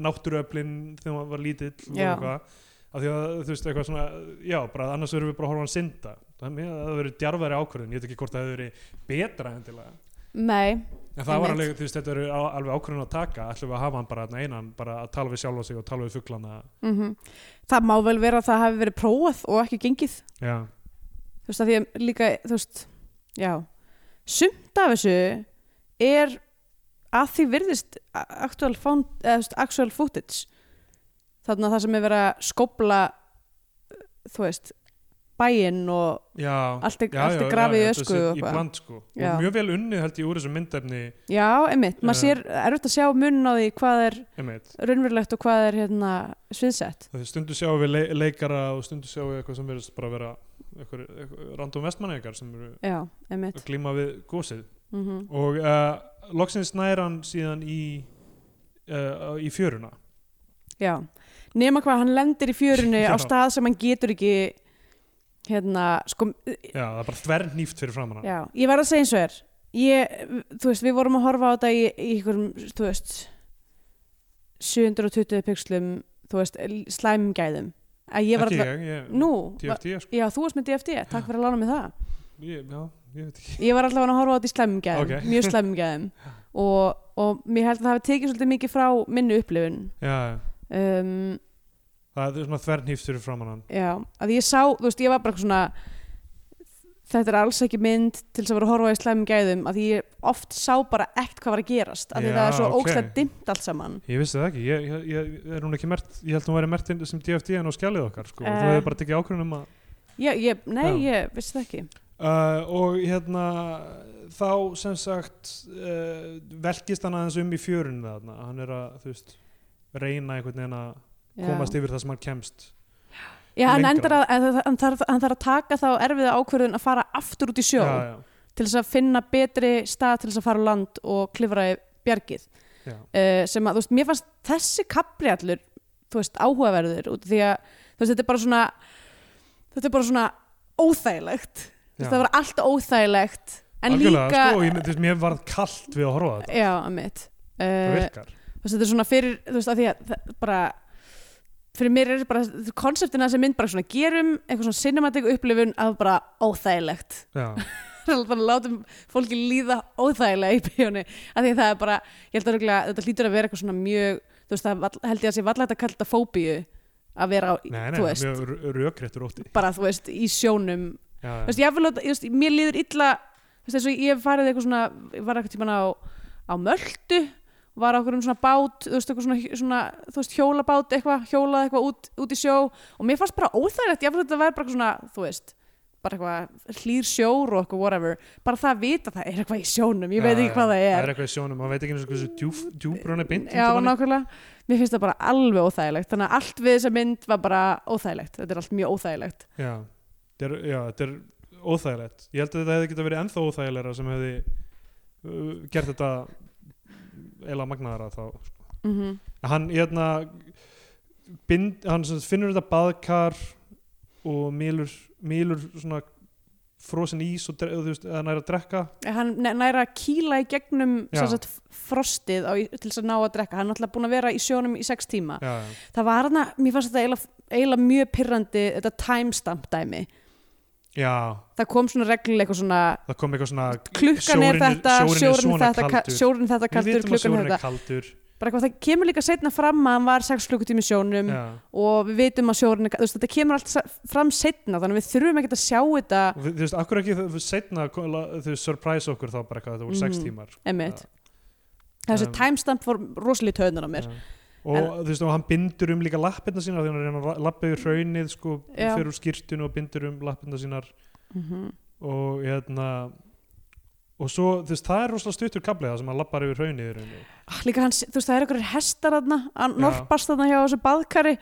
Speaker 3: náttúruöflin þegar hann var lítill og
Speaker 2: Já.
Speaker 3: eitthvað af því að þú veist eitthvað svona, já, bara annars verðum við bara að horfa á hann synda það mér- það hefur verið djarfæri ákvörðin, ég veit ekki hvort það hefur verið betra endilega
Speaker 2: Nei,
Speaker 3: En það var
Speaker 2: Einmitt.
Speaker 3: alveg, þú veist, þetta eru á- alveg ákvörðun að taka, ætlum við að hafa hann bara þarna einan, bara að tala við sjálfa sig og tala við fuglana.
Speaker 2: mm það má vel vera að það hafi verið prófað og ekki gengið.
Speaker 3: Já,
Speaker 2: þú veist að því að líka þú veist, já sumt af þessu er að því virðist a- actual, found, eða, þú veist, actual footage þarna það sem er verið að skopla þú veist bæinn og
Speaker 3: já.
Speaker 2: allt er, allt er grafið í ösku og
Speaker 3: Í
Speaker 2: eitthvað.
Speaker 3: bland, sko.
Speaker 2: Já.
Speaker 3: Og mjög vel unnið held ég úr þessu myndefni,
Speaker 2: já, einmitt, maður
Speaker 3: Já.
Speaker 2: sér erfitt að sjá munn á því hvað er
Speaker 3: einmitt.
Speaker 2: raunverulegt og hvað er hérna sviðsett
Speaker 3: Það er stundu sjáum við le leikara og stundu sjáum við eitthvað sem verðist bara vera eitthvað, eitthvað random vestmannegar sem eru
Speaker 2: já, einmitt
Speaker 3: að glíma við gósið.
Speaker 2: mm
Speaker 3: Og uh, loksins nær hann síðan í, uh, í fjöruna.
Speaker 2: Já, nema hvað hann lendir í fjörunni
Speaker 3: Já.
Speaker 2: á stað sem hann getur ekki hérna, sko
Speaker 3: Já, það er bara þvernýft fyrir framann hann.
Speaker 2: já, ég verð að segja eins og er ég, þú veist, við vorum að horfa á þetta í, í einhverjum, þú veist 720 pixlum þú veist, slæmum gæðum að ég var
Speaker 3: ekki eh,
Speaker 2: alltaf,
Speaker 3: ég, ég,
Speaker 2: nú var,
Speaker 3: DFT, sko.
Speaker 2: já, þú varst með DFT, takk fyrir að lána mig það
Speaker 3: Ég, já, ég veit ekki.
Speaker 2: ég var alltaf að horfa á þetta í slæmum gæðum
Speaker 3: Ok.
Speaker 2: mjög slæmum gæðum og, og mér held að það hafi tekið svolítið mikið frá minni upplifun
Speaker 3: Já, já.
Speaker 2: um,
Speaker 3: Það er svona þvernhýft fyrir framann hann.
Speaker 2: Já, að ég sá, þú veist, ég var bara eitthvað svona þetta er alls ekki mynd til þess að vera að horfa í slæmum gæðum að því ég oft sá bara ekkert hvað var að gerast að því
Speaker 3: Já,
Speaker 2: það er svo
Speaker 3: ok.
Speaker 2: okay. ókslega dimmt allt saman
Speaker 3: Ég vissi það ekki, ég, ég, ég, er hún ekki mert, ég held hún væri mert inn sem DFD en á skjalið okkar sko.
Speaker 2: Eh.
Speaker 3: Þú hefur bara tekið ákvörðun um að
Speaker 2: ég, ég, Nei,
Speaker 3: Já.
Speaker 2: ég vissi það ekki
Speaker 3: Uh, og hérna þá sem sagt uh, velkist hann aðeins um í fjörunni þarna, hann er að þú veist reyna einhvern veginn að komast yfir það sem hann kemst
Speaker 2: Já, hann
Speaker 3: lengra.
Speaker 2: endar að, að, að hann, þarf, hann þarf að taka þá erfiða ákvörðun að fara aftur út í sjó
Speaker 3: já, já,
Speaker 2: til þess að finna betri stað til þess að fara á land og klifra í bjargið
Speaker 3: já,
Speaker 2: uh, sem að, þú veist, mér fannst þessi kapri allur, þú veist, áhugaverður út af því að, þú veist, þetta er bara svona þetta er bara svona óþægilegt, þú veist,
Speaker 3: já.
Speaker 2: það var allt óþægilegt en
Speaker 3: Algjörlega,
Speaker 2: líka
Speaker 3: sko, og ég, mynd- þú veist, mér varð kallt við að horfa á þetta,
Speaker 2: já, að mitt
Speaker 3: það
Speaker 2: uh,
Speaker 3: virkar
Speaker 2: þú veist, þetta er svona fyrir, þú veist, að því að það, bara fyrir mér er bara konseptina sem mynd bara svona gerum eitthvað svona cinematic upplifun af bara óþægilegt
Speaker 3: já,
Speaker 2: bara látum fólki líða óþægilega í bíóni af því að það er bara, ég held að örugglega- þetta hlýtur að vera eitthvað svona mjög þú veist, það er vall- held ég að sé vallægt að kalla þetta fóbíu að vera á,
Speaker 3: nei, nei,
Speaker 2: þú
Speaker 3: það er
Speaker 2: veist,
Speaker 3: mjög rökréttur ótti
Speaker 2: bara þú veist, í sjónum
Speaker 3: já,
Speaker 2: þú
Speaker 3: já,
Speaker 2: veist, ég vil, láta- ég veist, mér líður illa þú veist, eins og ég hef farið eitthvað svona ég var eitthvað tíman á, á möldu var á okkur um svona bát þú veist, eitthvað svona, svona þú veist, hjólabát eitthvað, hjólað eitthvað út, út í sjó og mér fannst bara óþægilegt, ég vil þetta vera bara eitthvað svona þú veist, bara eitthvað hlýr sjór og eitthvað whatever, bara það að vita að það er eitthvað í sjónum, ég veit
Speaker 3: Já,
Speaker 2: ekki
Speaker 3: já,
Speaker 2: hvað það
Speaker 3: það
Speaker 2: er
Speaker 3: er eitthvað í sjónum, maður veit ekki eins og hversu djúf, djúpur hann er beint
Speaker 2: já, nákvæmlega, mér finnst það bara alveg óþægilegt þannig að allt við þessa mynd var bara óþægilegt þetta er allt mjög óþægilegt
Speaker 3: já, þetta er, já, þetta er óþægilegt ég held að þetta hefði geta verið ennþá óþægilegra sem hefði uh, gert þetta eila magnaðara þá sko.
Speaker 2: mm
Speaker 3: hann, hérna bind, hann sem sagt finnur þetta baðkar og mýlur, mýlur svona frosin ís og, dre- og þú veist, eða næra að drekka
Speaker 2: hann ne- nær að kýla í gegnum
Speaker 3: Já.
Speaker 2: sem sagt, frostið á, til þess að ná að drekka hann er alltaf búin að vera í sjónum í sex tíma
Speaker 3: já, já,
Speaker 2: það var hann að, mér fannst þetta eiginlega- eiginlega mjög pyrrandi, þetta timestamp dæmi
Speaker 3: já,
Speaker 2: það kom svona reglulega eitthvað svona
Speaker 3: það kom eitthvað svona
Speaker 2: klukkan er þetta, sjórinn þetta ka- sjórinn þetta
Speaker 3: við
Speaker 2: kaldur,
Speaker 3: vitum að
Speaker 2: klukkan
Speaker 3: sjórinn
Speaker 2: þetta
Speaker 3: er kaldur
Speaker 2: bara eitthvað, það kemur líka setna fram að hann var sex klukkutími í sjónum
Speaker 3: já.
Speaker 2: og við vitum að sjórinn er ka- þú veist, þetta kemur allt sa- fram setna þannig að við þurfum ekkert að sjá þetta
Speaker 3: Og við- þú veist, akkur ekki þau- þau setna þau surprise okkur þá bara eitthvað þetta voru sex
Speaker 2: Mhm.
Speaker 3: tímar sko.
Speaker 2: einmitt,
Speaker 3: Já,
Speaker 2: þessi
Speaker 3: Um,
Speaker 2: timestamp fór rosalítið höfnur á mér
Speaker 3: já. og þú veist, og hann bindur um líka lappirna sínar þegar hann er að reyna að lappa yfir hraunið sko,
Speaker 2: Já.
Speaker 3: fyrir úr skýrtinu og bindur um lappirna sínar
Speaker 2: Mhm.
Speaker 3: og hérna og svo, þú veist, það er rosalega stuttur kablið það sem hann lappar yfir hraunið í rauninni.
Speaker 2: Ah, líka hans, þú veist það eru einhverjir hestar þarna að
Speaker 3: Já.
Speaker 2: norpast þarna hjá þessu baðkari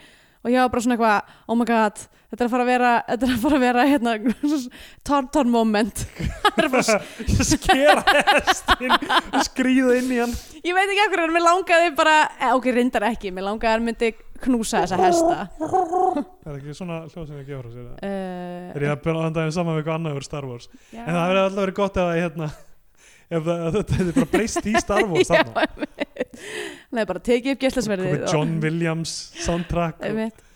Speaker 2: og ég var bara svona eitthvað, oh my god þetta er að fara að vera, þetta er að fara að vera hérna, torn torn moment Það er bara,
Speaker 3: skera hestin og skrýða inn í hann
Speaker 2: ég veit ekki af hverju en mér langaði bara, eh, ok, reyndar ekki mér langaði að hann myndi knúsa þessa hesta
Speaker 3: er ekki svona hljóð sem ég gefur sér það
Speaker 2: uh,
Speaker 3: er ég að byrja að andaði saman við eitthvað annað yfir Star Wars
Speaker 2: já.
Speaker 3: En það verður alltaf verið gott ef, að, hérna, ef það, að þetta hefði bara breyst í Star Wars þarna.
Speaker 2: hann er bara tekið upp gæslasverðið
Speaker 3: Komið John Williams soundtrack og,
Speaker 2: Einmitt.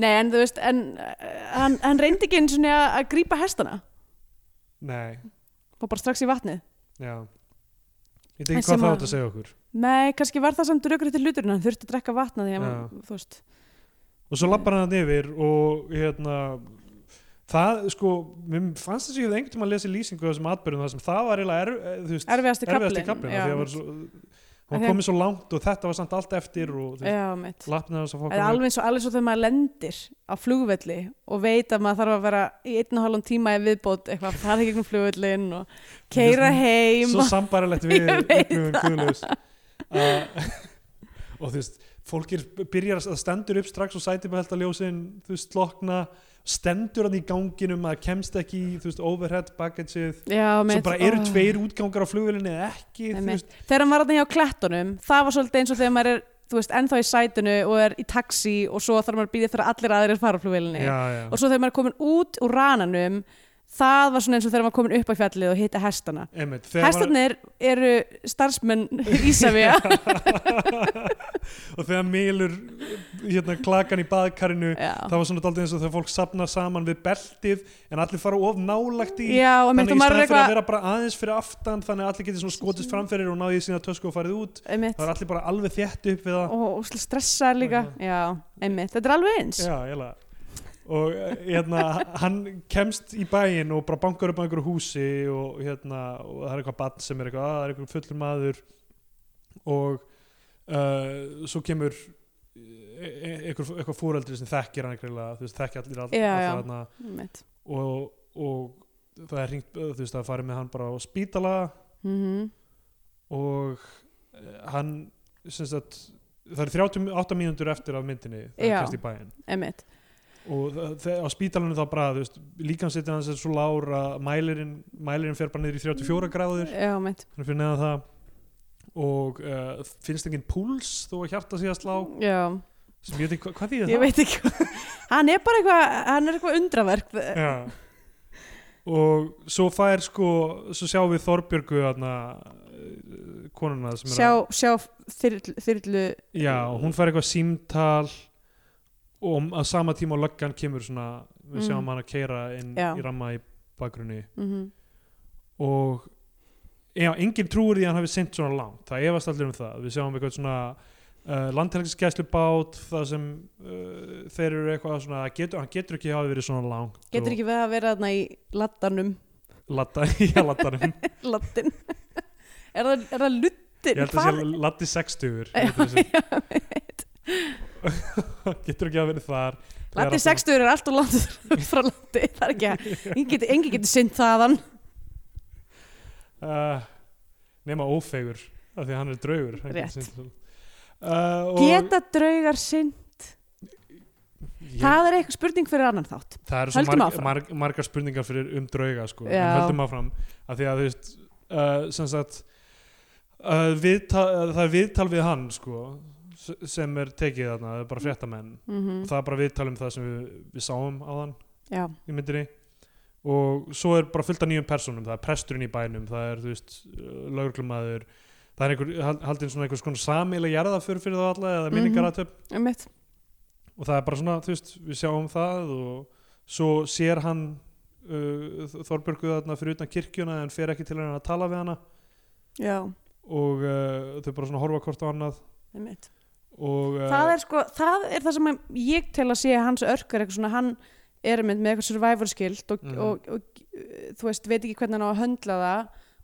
Speaker 2: nei, en þú veist en, uh, hann, hann reyndi ekki einu sinni að, að grípa hestana
Speaker 3: Nei,
Speaker 2: og bara strax í vatnið
Speaker 3: já Ég veit
Speaker 2: En
Speaker 3: ekki
Speaker 2: sem
Speaker 3: hvað það
Speaker 2: að-
Speaker 3: átt að segja okkur
Speaker 2: Nei, kannski var það samt rökrétti hluturinn, hann þurfti að drekka vatna því að,
Speaker 3: Já.
Speaker 2: hann, þú veist,
Speaker 3: Og svo lappar hann hann yfir og hérna Það, sko, mér fannst þess að ég hefði einhvern tímann að lesa lýsingu á þessum atbyrjum þar sem það var eiginlega erf, eh, þú veist,
Speaker 2: Erfiðasti kaflinn,
Speaker 3: kaflinn,
Speaker 2: já.
Speaker 3: af því að var svo,
Speaker 2: Af
Speaker 3: hann
Speaker 2: því að-
Speaker 3: komið svo langt og þetta var samt allt eftir og
Speaker 2: já, mitt.
Speaker 3: lappnir hans að fá
Speaker 2: Eða alveg eins og alveg svo þegar maður lendir á flugvelli og veit að maður þarf að vera í einn og halvan tíma í viðbót eitthvað að fara í gegnum flugvellin og keira heim
Speaker 3: svo
Speaker 2: og,
Speaker 3: sambarilegt við
Speaker 2: Ég veit
Speaker 3: upplifun Guðlaus uh, og þú veist fólk er, byrjar að stendur upp strax og sæti með held að ljósin, þú veist, lokna stendur hann í ganginum að kemst ekki í, þú veist, overhead baggageið
Speaker 2: já,
Speaker 3: svo
Speaker 2: mitt.
Speaker 3: bara eru
Speaker 2: Ó,
Speaker 3: tveir útgangar á flugvélinni eða ekki, þú
Speaker 2: einmitt.
Speaker 3: veist
Speaker 2: Þegar hann var þarna hjá klettunum, það var svolítið eins og þegar maður er, þú veist, ennþá í sætinu og er í taxi og svo þarf maður að býða þegar allir aðrir er fara á flugvellinni.
Speaker 3: já, já,
Speaker 2: Og svo þegar maður er komin út úr rananum, það var svona eins og þegar maður er komin upp á fjallið og hitta hestana.
Speaker 3: einmitt þegar
Speaker 2: Hestarnir
Speaker 3: maður-
Speaker 2: eru starfsmenn Ísafja
Speaker 3: og þegar mýlur hérna klakan í baðkarinu
Speaker 2: Já,
Speaker 3: það var svona daldið eins og þegar fólk sapna saman við beltið en allir fara of nálagt í
Speaker 2: já og mitt
Speaker 3: Þannig
Speaker 2: og
Speaker 3: í
Speaker 2: maður er
Speaker 3: staðan fyrir að
Speaker 2: eitthvað
Speaker 3: vera bara aðeins fyrir aftan þannig að allir getur svona skotist framfyrir og náði í sína tösku og farið út
Speaker 2: einmitt,
Speaker 3: það er allir bara alveg þétt upp við það
Speaker 2: og og svolítið stressaðar líka Já, einmitt, þetta er alveg eins
Speaker 3: Já, eiginlega. og eh, hérna hann kemst í bæinn og bara bankar upp á einhverju húsi og hérna og það er eitthvað bann sem er eitthvað að það er eitthvað fullur maður og uh, svo kemur eh, eh, einhver, eitthvað fóreldri sem þekkir hann eitthvað, þú veist, þekkja allir all-
Speaker 2: Já,
Speaker 3: alla
Speaker 2: já.
Speaker 3: þarna
Speaker 2: Einmitt.
Speaker 3: og, og það er hringt, þú veist, það farið með hann bara á spítala
Speaker 2: Mhm.
Speaker 3: og eh, hann, sem sagt, það er 38 mínútur eftir af myndinni það
Speaker 2: Já.
Speaker 3: er kast í bæinn
Speaker 2: Emmitt.
Speaker 3: og það- það- á spítalanum þá bara, þú veist, líkansitið hans er svo lágur að mælirinn, mælirinn fer bara niður í
Speaker 2: Mm.
Speaker 3: 34 gráður
Speaker 2: Já, emmitt.
Speaker 3: hann fyrir neðan það og uh, finnst enginn púls þó að hjarta sig að slá
Speaker 2: Já,
Speaker 3: sem ég veit ekki, hva- hvað þýðir
Speaker 2: ég
Speaker 3: það?
Speaker 2: veit ekki hvað. hann er bara eitthvað, hann er eitthvað undraverk.
Speaker 3: Já. og svo fær sko svo sjáum við Þorbjörgu þarna, eh, konuna sem er að-
Speaker 2: Sjá, sjá þyrlu, þyrlu
Speaker 3: Já, og hún fær eitthvað símtal og um- að sama tíma og löggan kemur svona, við
Speaker 2: Mm.
Speaker 3: sjáum hann að keira inn
Speaker 2: Já.
Speaker 3: í ramma í bakgrunni
Speaker 2: mhm.
Speaker 3: og já, enginn trúir því að hann hafi sint svona langt, það efast allir um það við sjáum eitthvað svona uh, landhelgiskæslubát, það sem uh, þeir eru eitthvað svona það getur, hann getur ekki hafi verið svona langt
Speaker 2: Getur ekki verið að vera þarna í laddanum,
Speaker 3: latta, já, laddanum,
Speaker 2: laddin. er, það, er það luttin?
Speaker 3: ég held að sé latti 60
Speaker 2: Já, einmitt.
Speaker 3: getur ekki hafi verið þar Það er
Speaker 2: Latti
Speaker 3: alltaf-
Speaker 2: 60 er alltaf langt frá landi, það er ekki, engin getur, engin getur synd þaðan.
Speaker 3: uh, nema ófegur af því að hann er draugur hann
Speaker 2: Rétt.
Speaker 3: getur synt. uh, og
Speaker 2: Geta draugar synd,
Speaker 3: ég, það,
Speaker 2: það er eitthvað spurning fyrir annan þátt.
Speaker 3: eru svo
Speaker 2: höldum
Speaker 3: marg,
Speaker 2: áfram.
Speaker 3: marg, margar spurningar fyrir um drauga sko. en
Speaker 2: Já.
Speaker 3: höldum áfram af því að þú veist uh, sem sagt uh, viðtal, uh, það er viðtal við hann sko, s- sem er tekið þarna það er bara fréttamenn
Speaker 2: Mm
Speaker 3: það er bara viðtal um það sem við, við sáum á þann
Speaker 2: Já,
Speaker 3: í myndinni og svo er bara fullt af nýjum personum það er presturinn í bænum, það er þú veist laugurklumæður það er einhver, hal- haldin svona einhvers konar samileg jarðaför fyrir þá alla eða
Speaker 2: Mhm.
Speaker 3: minningaratöp
Speaker 2: einmitt.
Speaker 3: og það er bara svona, þú veist, við sjáum það og svo sér hann uh, Þorbjörgu þarna fyrir utan kirkjuna en fer ekki til hennar að tala við hana
Speaker 2: Já,
Speaker 3: og uh, þau bara svona horfa hvort á annað
Speaker 2: einmitt.
Speaker 3: og uh,
Speaker 2: það er sko, það er það sem að ég tel að sé að hans örkur eitthvað svona hann er einmitt með eitthvað survivor skild og,
Speaker 3: Mhm.
Speaker 2: og, og, uh, þú veist, veit ekki hvernig hann á að höndla það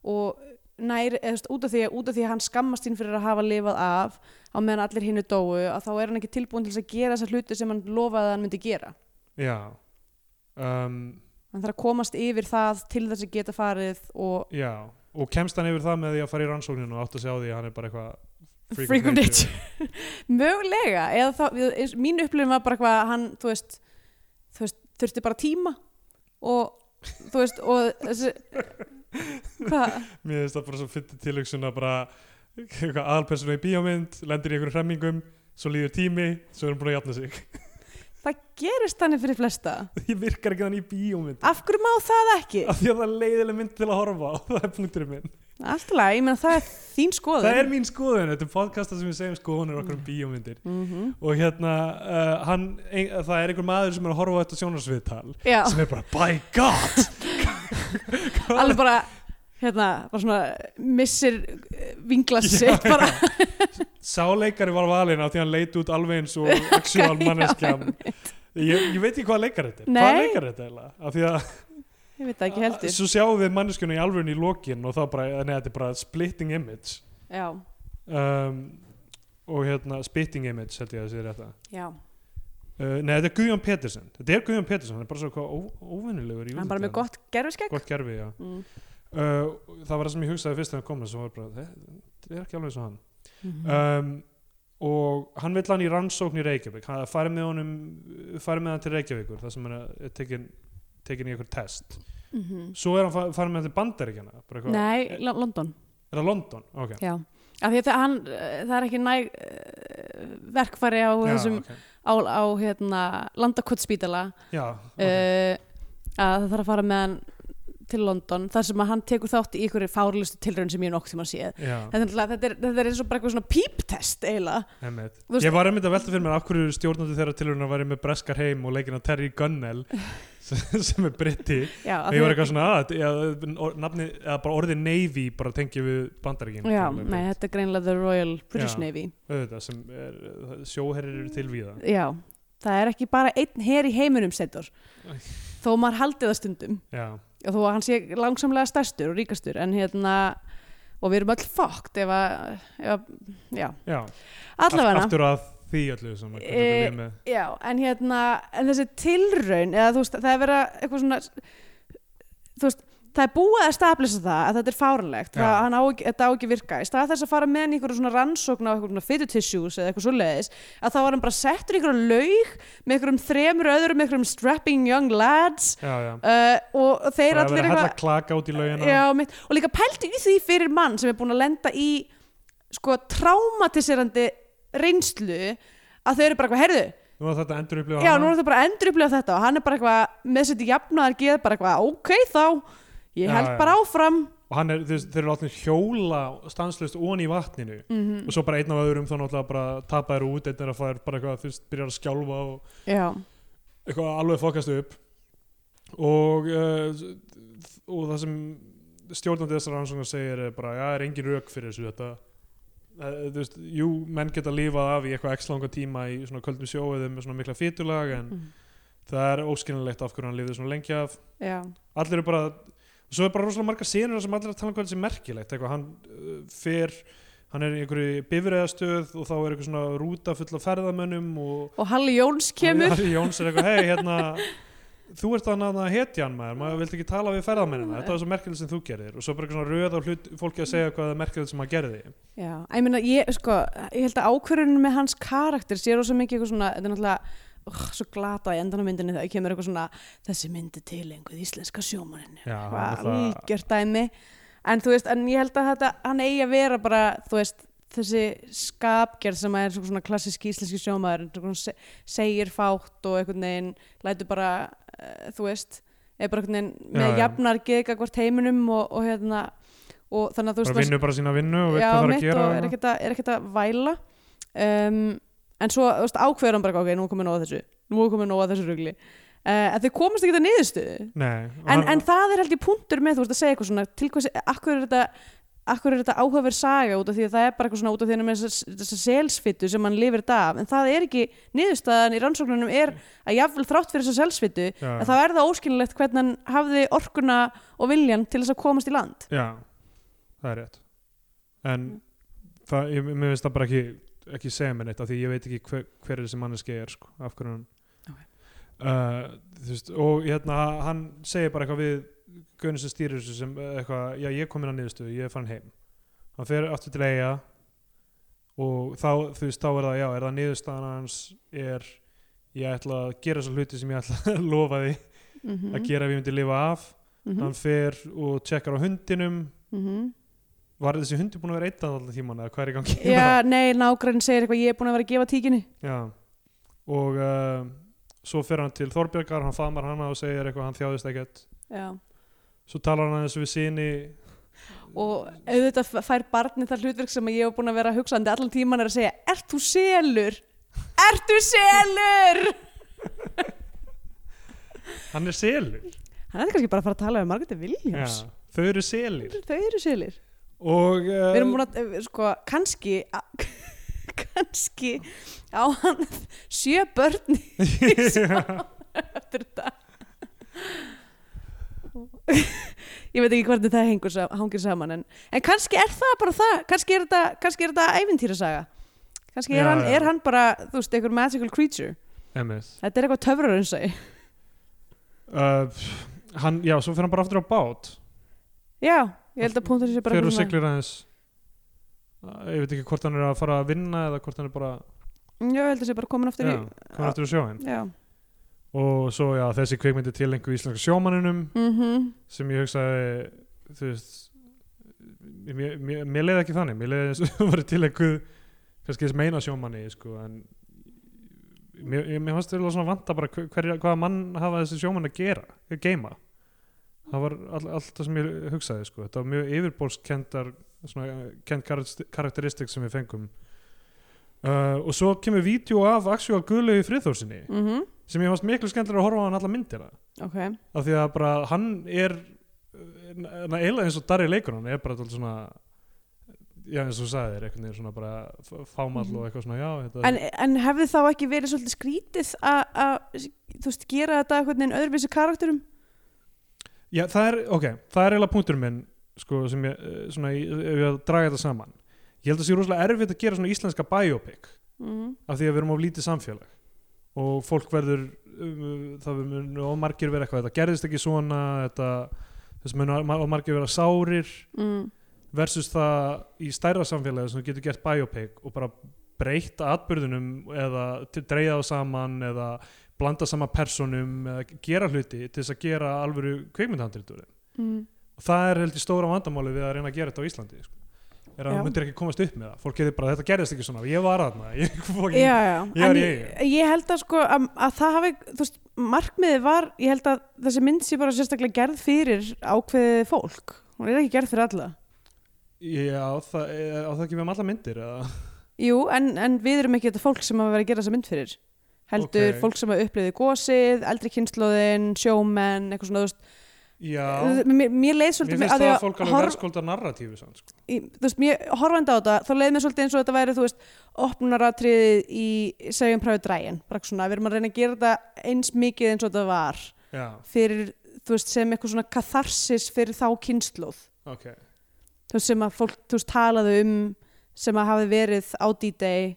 Speaker 2: og nær, eða þú veist, út af því að út af því að hann skammast þín fyrir að hafa lifað af á meðan allir hinnu dóu að þá er hann ekki tilbúin til þess að gera þessar hluti sem hann lofaði að hann myndi gera
Speaker 3: já um,
Speaker 2: hann þarf að komast yfir það til þess að geta farið og
Speaker 3: já, og kemst hann yfir það með því að fara í rannsókninu og átt að sjá því að hann er bara eitthvað
Speaker 2: freak, of nature mögulega, eða þá, eins- mín upplifin var bara hvað hann, þú veist, þú veist þurfti bara tíma og þú veist, og þessi hvað,
Speaker 3: Mér finnst það bara svo fyndi tilöksun að bara eitthvað aðalpersonu í bíómynd lendir í einhverjum hremmingum, svo líður tími svo erum búin að jafna sig.
Speaker 2: það gerist þannig fyrir flesta
Speaker 3: Ég virkar ekki þannig í bíómynd
Speaker 2: af hverju má það ekki?
Speaker 3: af því að það er leiðileg mynd til að horfa á það er punkturinn minn.
Speaker 2: Allt í lagi, ég meina það er þín skoðun
Speaker 3: Það er mín skoðun, þetta er podcasta sem við segjum skoðunir okkur um bíómyndir
Speaker 2: Mhm.
Speaker 3: og hérna, uh, hann, ein, það er einhver maður sem er að horfa á þetta sjónarsviðtal
Speaker 2: Já,
Speaker 3: sem er bara, by god Sko-
Speaker 2: alveg bara hérna, bara svona missir eh, vinglað
Speaker 3: Já,
Speaker 2: sitt bara,
Speaker 3: sáleikari var valinn af því að hann leit út alveg eins og actual
Speaker 2: Já,
Speaker 3: manneskjan ég, ég veit ekki hvað leikar þetta er
Speaker 2: Nei.
Speaker 3: hvað leikar þetta eiginlega af því að
Speaker 2: ég veit það ekki heldur
Speaker 3: svo sjáum við manneskjuna í alvörun í lokin og það bara, nei þetta er bara splitting image
Speaker 2: Já,
Speaker 3: um, og hérna spitting image held ég að það sé þetta
Speaker 2: já,
Speaker 3: uh, nei þetta er Guðjón Petersen þetta er Guðjón Petersen, hann er bara svo hvað ó- óvenjulegur í
Speaker 2: hann bara
Speaker 3: útliti
Speaker 2: með gott gerfiskegg
Speaker 3: gott gerfi, já
Speaker 2: mm.
Speaker 3: uh, það var það sem ég hugsaði fyrst þegar hann kom þessu var bara, þetta er ekki alveg svo hann
Speaker 2: Mhm.
Speaker 3: um, og hann vill hann í rannsókn í Reykjavík hann farið með honum farið með hann til Reykjavíkur þar sem hann er tekin, tekin í einhver test
Speaker 2: Mhm.
Speaker 3: svo er hann fa- farið með hann til Bandaríkjana bara eitthvað-
Speaker 2: Nei,
Speaker 3: er,
Speaker 2: Lo- London
Speaker 3: er það London? ok
Speaker 2: Já, af því að það- hann, eh, það er ekki næg eh, verkfæri á
Speaker 3: Já,
Speaker 2: þessum
Speaker 3: ok.
Speaker 2: á, á hérna, landakottspítala
Speaker 3: Já, okay.
Speaker 2: okay. að það þarf að fara með hann til London þar sem að hann tekur þátt í ykkur fárlistu tilraun sem ég nokk tíma séð
Speaker 3: já,
Speaker 2: þetta er, náttúrulega- þetta, er, þetta er eins og bara eitthvað svona píptest eiginlega
Speaker 3: einmitt.
Speaker 2: Þú veist-
Speaker 3: ég var einmitt að velta fyrir mér af hverju stjórnandi þeirra tilhörun að væri með breskar heim og leikina Terry Gunnell sem sem er britti
Speaker 2: Já, af
Speaker 3: og ég var
Speaker 2: því
Speaker 3: eitthvað svona að, að, nafni, að bara orðið Navy bara tengi við
Speaker 2: að-
Speaker 3: Bandaríkjana
Speaker 2: Já,
Speaker 3: Alveg
Speaker 2: nei,
Speaker 3: beint.
Speaker 2: þetta er greinlega The Royal British
Speaker 3: Já.
Speaker 2: Navy
Speaker 3: auðvitað sem er, sjóherrir eru til víða
Speaker 2: Já, það er ekki bara einn her í heiminum setur þó maður haldi það stundum
Speaker 3: já,
Speaker 2: og þó að hann sé langsamlega stærstur og ríkastur en hérna og við erum öll fokkt ef að, ef að já,
Speaker 3: já
Speaker 2: allavega
Speaker 3: Aft- aftur að því öllu sem að hvernig
Speaker 2: Eh,
Speaker 3: við lifum með.
Speaker 2: já, en hérna en þessi tilraun, eða þú veist það er verið að eitthvað svona þú veist, það er búið að stablisa það að þetta er fáranlegt,
Speaker 3: Já.
Speaker 2: það, hann á, ekki- þetta á ekki að virka í stað þess að fara með hann í einhverju svona rannsókn á einhverju svona fitutissjús eða eitthvað svoleiðis að þá var hann bara settur í einhverju laug með einhverjum þremur öðrum, einhverjum strapping young lads
Speaker 3: já, já.
Speaker 2: uh, og þeir
Speaker 3: Bara að
Speaker 2: allir
Speaker 3: vera að hella klaka út í laugina
Speaker 2: Já, mitt, og líka pælti í því fyrir mann sem er búin að lenda í sko traumatiserandi reynslu að þau eru bara eitthvað, herðu,
Speaker 3: nú er þetta endur upplifa
Speaker 2: já, nú er þau bara endur upplega þetta og hann er bara eitthvað, með sitt jafnaðar geð bara eitthvað, ok þá ég
Speaker 3: Já,
Speaker 2: held
Speaker 3: já.
Speaker 2: bara áfram
Speaker 3: og hann er, þeir, þeir eru allir hjóla stanslust ón í vatninu
Speaker 2: Mhm.
Speaker 3: og svo bara einn af öðrum þá náttúrulega bara tapa þér út einn er að fara bara eitthvað, þú veist, byrjar að skjálfa og
Speaker 2: já,
Speaker 3: eitthvað alveg fokast upp og uh, og það sem stjórnandi þessar rannsóknar segir er bara, já, það er engin rauk fyrir þessu þetta Eh, þú veist, jú, menn geta lifað af í eitthvað x langa tíma í svona köldum sjóið með svona mikla fýtulag en
Speaker 2: Mm.
Speaker 3: það er óskilinlegt af hverju hann lifið svona lengi af
Speaker 2: já,
Speaker 3: allir eru bara, svo er bara rosalega margar senur sem allir er að tala um hvað þetta er merkilegt eitthvað, hann uh, fer, hann er í einhverju bifræðastöð og þá er eitthvað svona rúta full af ferðamönnum og
Speaker 2: og Halli Jóns kemur
Speaker 3: Ari Jóns er eitthvað, hei hérna þú ert þannig að hetja hann maður maður vildi ekki tala við ferðamennina, þetta var svo merkilegt sem þú gerir og svo bara eitthvað svona röð á hlut fólki að segja hvað er merkilegt sem hann gerði
Speaker 2: já, ég meina, ég, sko, ég held að ákvörðunum með hans karakter sé rosa mikið eitthvað svona, þetta er náttúrulega Oh, svo glata í endan á myndinni þegar kemur eitthvað svona þessi myndi til einhver íslenska sjómaninu
Speaker 3: Já, hann
Speaker 2: eitthvað
Speaker 3: náttúrulega-
Speaker 2: algjört dæmi en þú veist, en ég held að þetta hann eigi að vera bara, þú veist þessi skapgerð sem er svona klassísk íslenski sjómaður svona se- segir fátt og einhvern veginn lætur bara, uh, þú veist er bara einhvern veginn með
Speaker 3: Já, já.
Speaker 2: jafnar geðga hvort heiminum og, og hérna og þannig að þú
Speaker 3: bara
Speaker 2: veist
Speaker 3: vinnu bara sína vinnu og veit
Speaker 2: já,
Speaker 3: hvað það er
Speaker 2: mitt
Speaker 3: að gera
Speaker 2: og er ekkert að, er ekkert að væla um, en svo þú veist, ákveður hann bara ok, nú er komið nóg að þessu nú er komið nóg að þessu rugli uh, en þau komast ekki að niðurstöðu
Speaker 3: Nei, og
Speaker 2: en,
Speaker 3: hann-
Speaker 2: en það er held ég punktur með þú veist að segja eitthvað svona til hvers, akkur er þetta akkur er þetta áhugaverð saga út af því að það er bara eitthvað svona út af því að hann er með þessa- þessa selsfittu sem hann lifir þetta af, en það er ekki niðurstaðan í rannsóknunum er að jafnvel þrátt fyrir þessa selsfittu,
Speaker 3: já,
Speaker 2: að þá er það óskilulegt hvernig hann hafði orkuna og viljan til þess að komast í land
Speaker 3: já, það er rétt en það, ég, mér finnst það bara ekki ekki segja mér neitt af því ég veit ekki hver, hver er þessi manneski er sko, af hverju hann
Speaker 2: Ok.
Speaker 3: uh, þú veist, og hérna hann segir bara eitthvað við Gunni sem stýrir þessu sem eh, eitthvað, já ég kom inn að niðurstöðu, ég er farin heim hann fer aftur til eiga og þá, þú veist, þá er það já, er það niðurstaðan hans er ég ætla að gera þessa hluti sem ég ætla að lofa því
Speaker 2: mm -hmm.
Speaker 3: að gera ef ég myndi lifa af
Speaker 2: mhm,
Speaker 3: hann fer og tjekkar á hundinum var þessi hundi búin að vera eittan alltaf tíman eða hvað er í gangi
Speaker 2: Já, nei, nágrann segir eitthvað ég er búin að vera að gefa tíkinni
Speaker 3: Já. og uh, svo fer hann til Þorbjörgar hann famar hana og segir eitthvað hann þjáðist ekkert
Speaker 2: Já.
Speaker 3: svo talar hann aðeins við síni
Speaker 2: og auðvitað f- fær barnið það hlutverk sem ég hef búin að vera hugsandi allan tíman er að segja, ert þú selur? Ert þú selur?
Speaker 3: hann er selir
Speaker 2: Hann er kannski bara að fara að tala um Margréti Viljáms
Speaker 3: þau eru selir
Speaker 2: Þau eru selir
Speaker 3: og uh,
Speaker 2: Við erum búin að, eh, sko, kannski a- kannski á hann sjö börn eftir þetta Ég veit ekki hvernig það hengur, sa- hangir saman en, en kannski er það bara það kannski er þetta, kannski er þetta ævintýrasaga kannski er,
Speaker 3: Já,
Speaker 2: hann,
Speaker 3: já.
Speaker 2: er hann bara þú veist, einhver magical creature
Speaker 3: Einmitt.
Speaker 2: Þetta er eitthvað töfrar eins og
Speaker 3: uh, hann, já, svo fer hann bara aftur á bát
Speaker 2: Já, ég held að punktur sé bara
Speaker 3: fer og
Speaker 2: eitthvað svona-
Speaker 3: siglir aðeins Uh, ég veit ekki hvort hann er að fara að vinna eða hvort hann er bara
Speaker 2: Já, ég held að sé bara komin aftur
Speaker 3: já,
Speaker 2: í
Speaker 3: hann er aftur á sjóin
Speaker 2: Já,
Speaker 3: og svo já, þessi kvikmyndi til einhver íslenska sjómaninum
Speaker 2: mhm
Speaker 3: sem ég hugsaði þú veist mér, mér, mér leiði ekki þannig mér leiði eins og það var til eitthvað kannski þess meina sjómanni sko, en mér, ég- mér fannst þurfa svona vanta bara hver, hver, hvaða mann hafa þessi sjómann að gera að geima það var all, allt það sem ég hugsaði sko. þetta var mjög yfirbólskendar kend karakteristik sem við fengum uh, og svo kemur vídeo af Axel Guðlegu Friðþórsinni
Speaker 2: mhm
Speaker 3: sem ég fannst miklu skemmtilega að horfa á hann alla myndina
Speaker 2: Ok,
Speaker 3: af því að bara hann er na, eiginlega eins og Darri leikur hann er bara alltaf svona já eins og þú sagði þér einhvern veginn svona bara f- fámall og eitthvað svona já þetta,
Speaker 2: en, en hefði þá ekki verið svolítið skrítið að, að þú veist, gera þetta einhvern veginn öðruvísi karakterum?
Speaker 3: já það er ok, það er eiginlega punktur minn sko sem ég eh, svona í- ef ég að draga þetta saman ég held að það sé rosalega erfitt að gera svona íslenska biopic
Speaker 2: Mm.
Speaker 3: af því að við erum of lítið samfélag og fólk verður um, það verður og margir verður eitthvað, þetta gerðist ekki svona þetta, þess að maður margir vera sárir
Speaker 2: mm,
Speaker 3: versus það í stærra samfélagi sem þú getur gert biopic og bara breytt atbyrðunum eða til- dreigjað þá saman eða blanda saman personum eða gera hluti til þess að gera alvöru kveikmyndhandritur
Speaker 2: mm.
Speaker 3: og það er heldur stóra vandamáli við að reyna að gera þetta á Íslandi sko. er að
Speaker 2: Já.
Speaker 3: það myndir ekki komast upp með það fólk getur bara þetta gerðist ekki svona, ég var aðna ég, fucking-
Speaker 2: já, já.
Speaker 3: Ég var
Speaker 2: en
Speaker 3: ég.
Speaker 2: ég held að sko að, að það hafi, þú veist, markmiðið var ég held að þessi mynd sé bara sérstaklega gerð fyrir ákveðið fólk hún er ekki gerð fyrir alla
Speaker 3: já, það er, á það ekki við um alla myndir eða,
Speaker 2: Jú, en, en við erum ekki þetta fólk sem að vera að gera þessa mynd fyrir heldur
Speaker 3: Ok.
Speaker 2: fólk sem að upplýði gósið, eldri kynnslóðin sjómenn, eitthvað svona, þú veist
Speaker 3: já,
Speaker 2: mér, mér leið
Speaker 3: mér
Speaker 2: svolítið
Speaker 3: finnst
Speaker 2: af því
Speaker 3: það
Speaker 2: að
Speaker 3: að fólk alveg
Speaker 2: horf-
Speaker 3: verðskulda narratífi samt, sko.
Speaker 2: í, þú veist, mér, horfandi á þetta þá leið mér svolítið eins og þetta væri, þú veist opnunaratriðið í segjum præfið drægin, bara svona, við erum að reyna að gera þetta eins mikið eins og þetta var
Speaker 3: já,
Speaker 2: fyrir, þú veist, sem eitthvað svona katharsis fyrir þá kynnslóð
Speaker 3: ok
Speaker 2: þú veist, sem að fólk, þú veist, talaði um sem að hafi verið á D-Day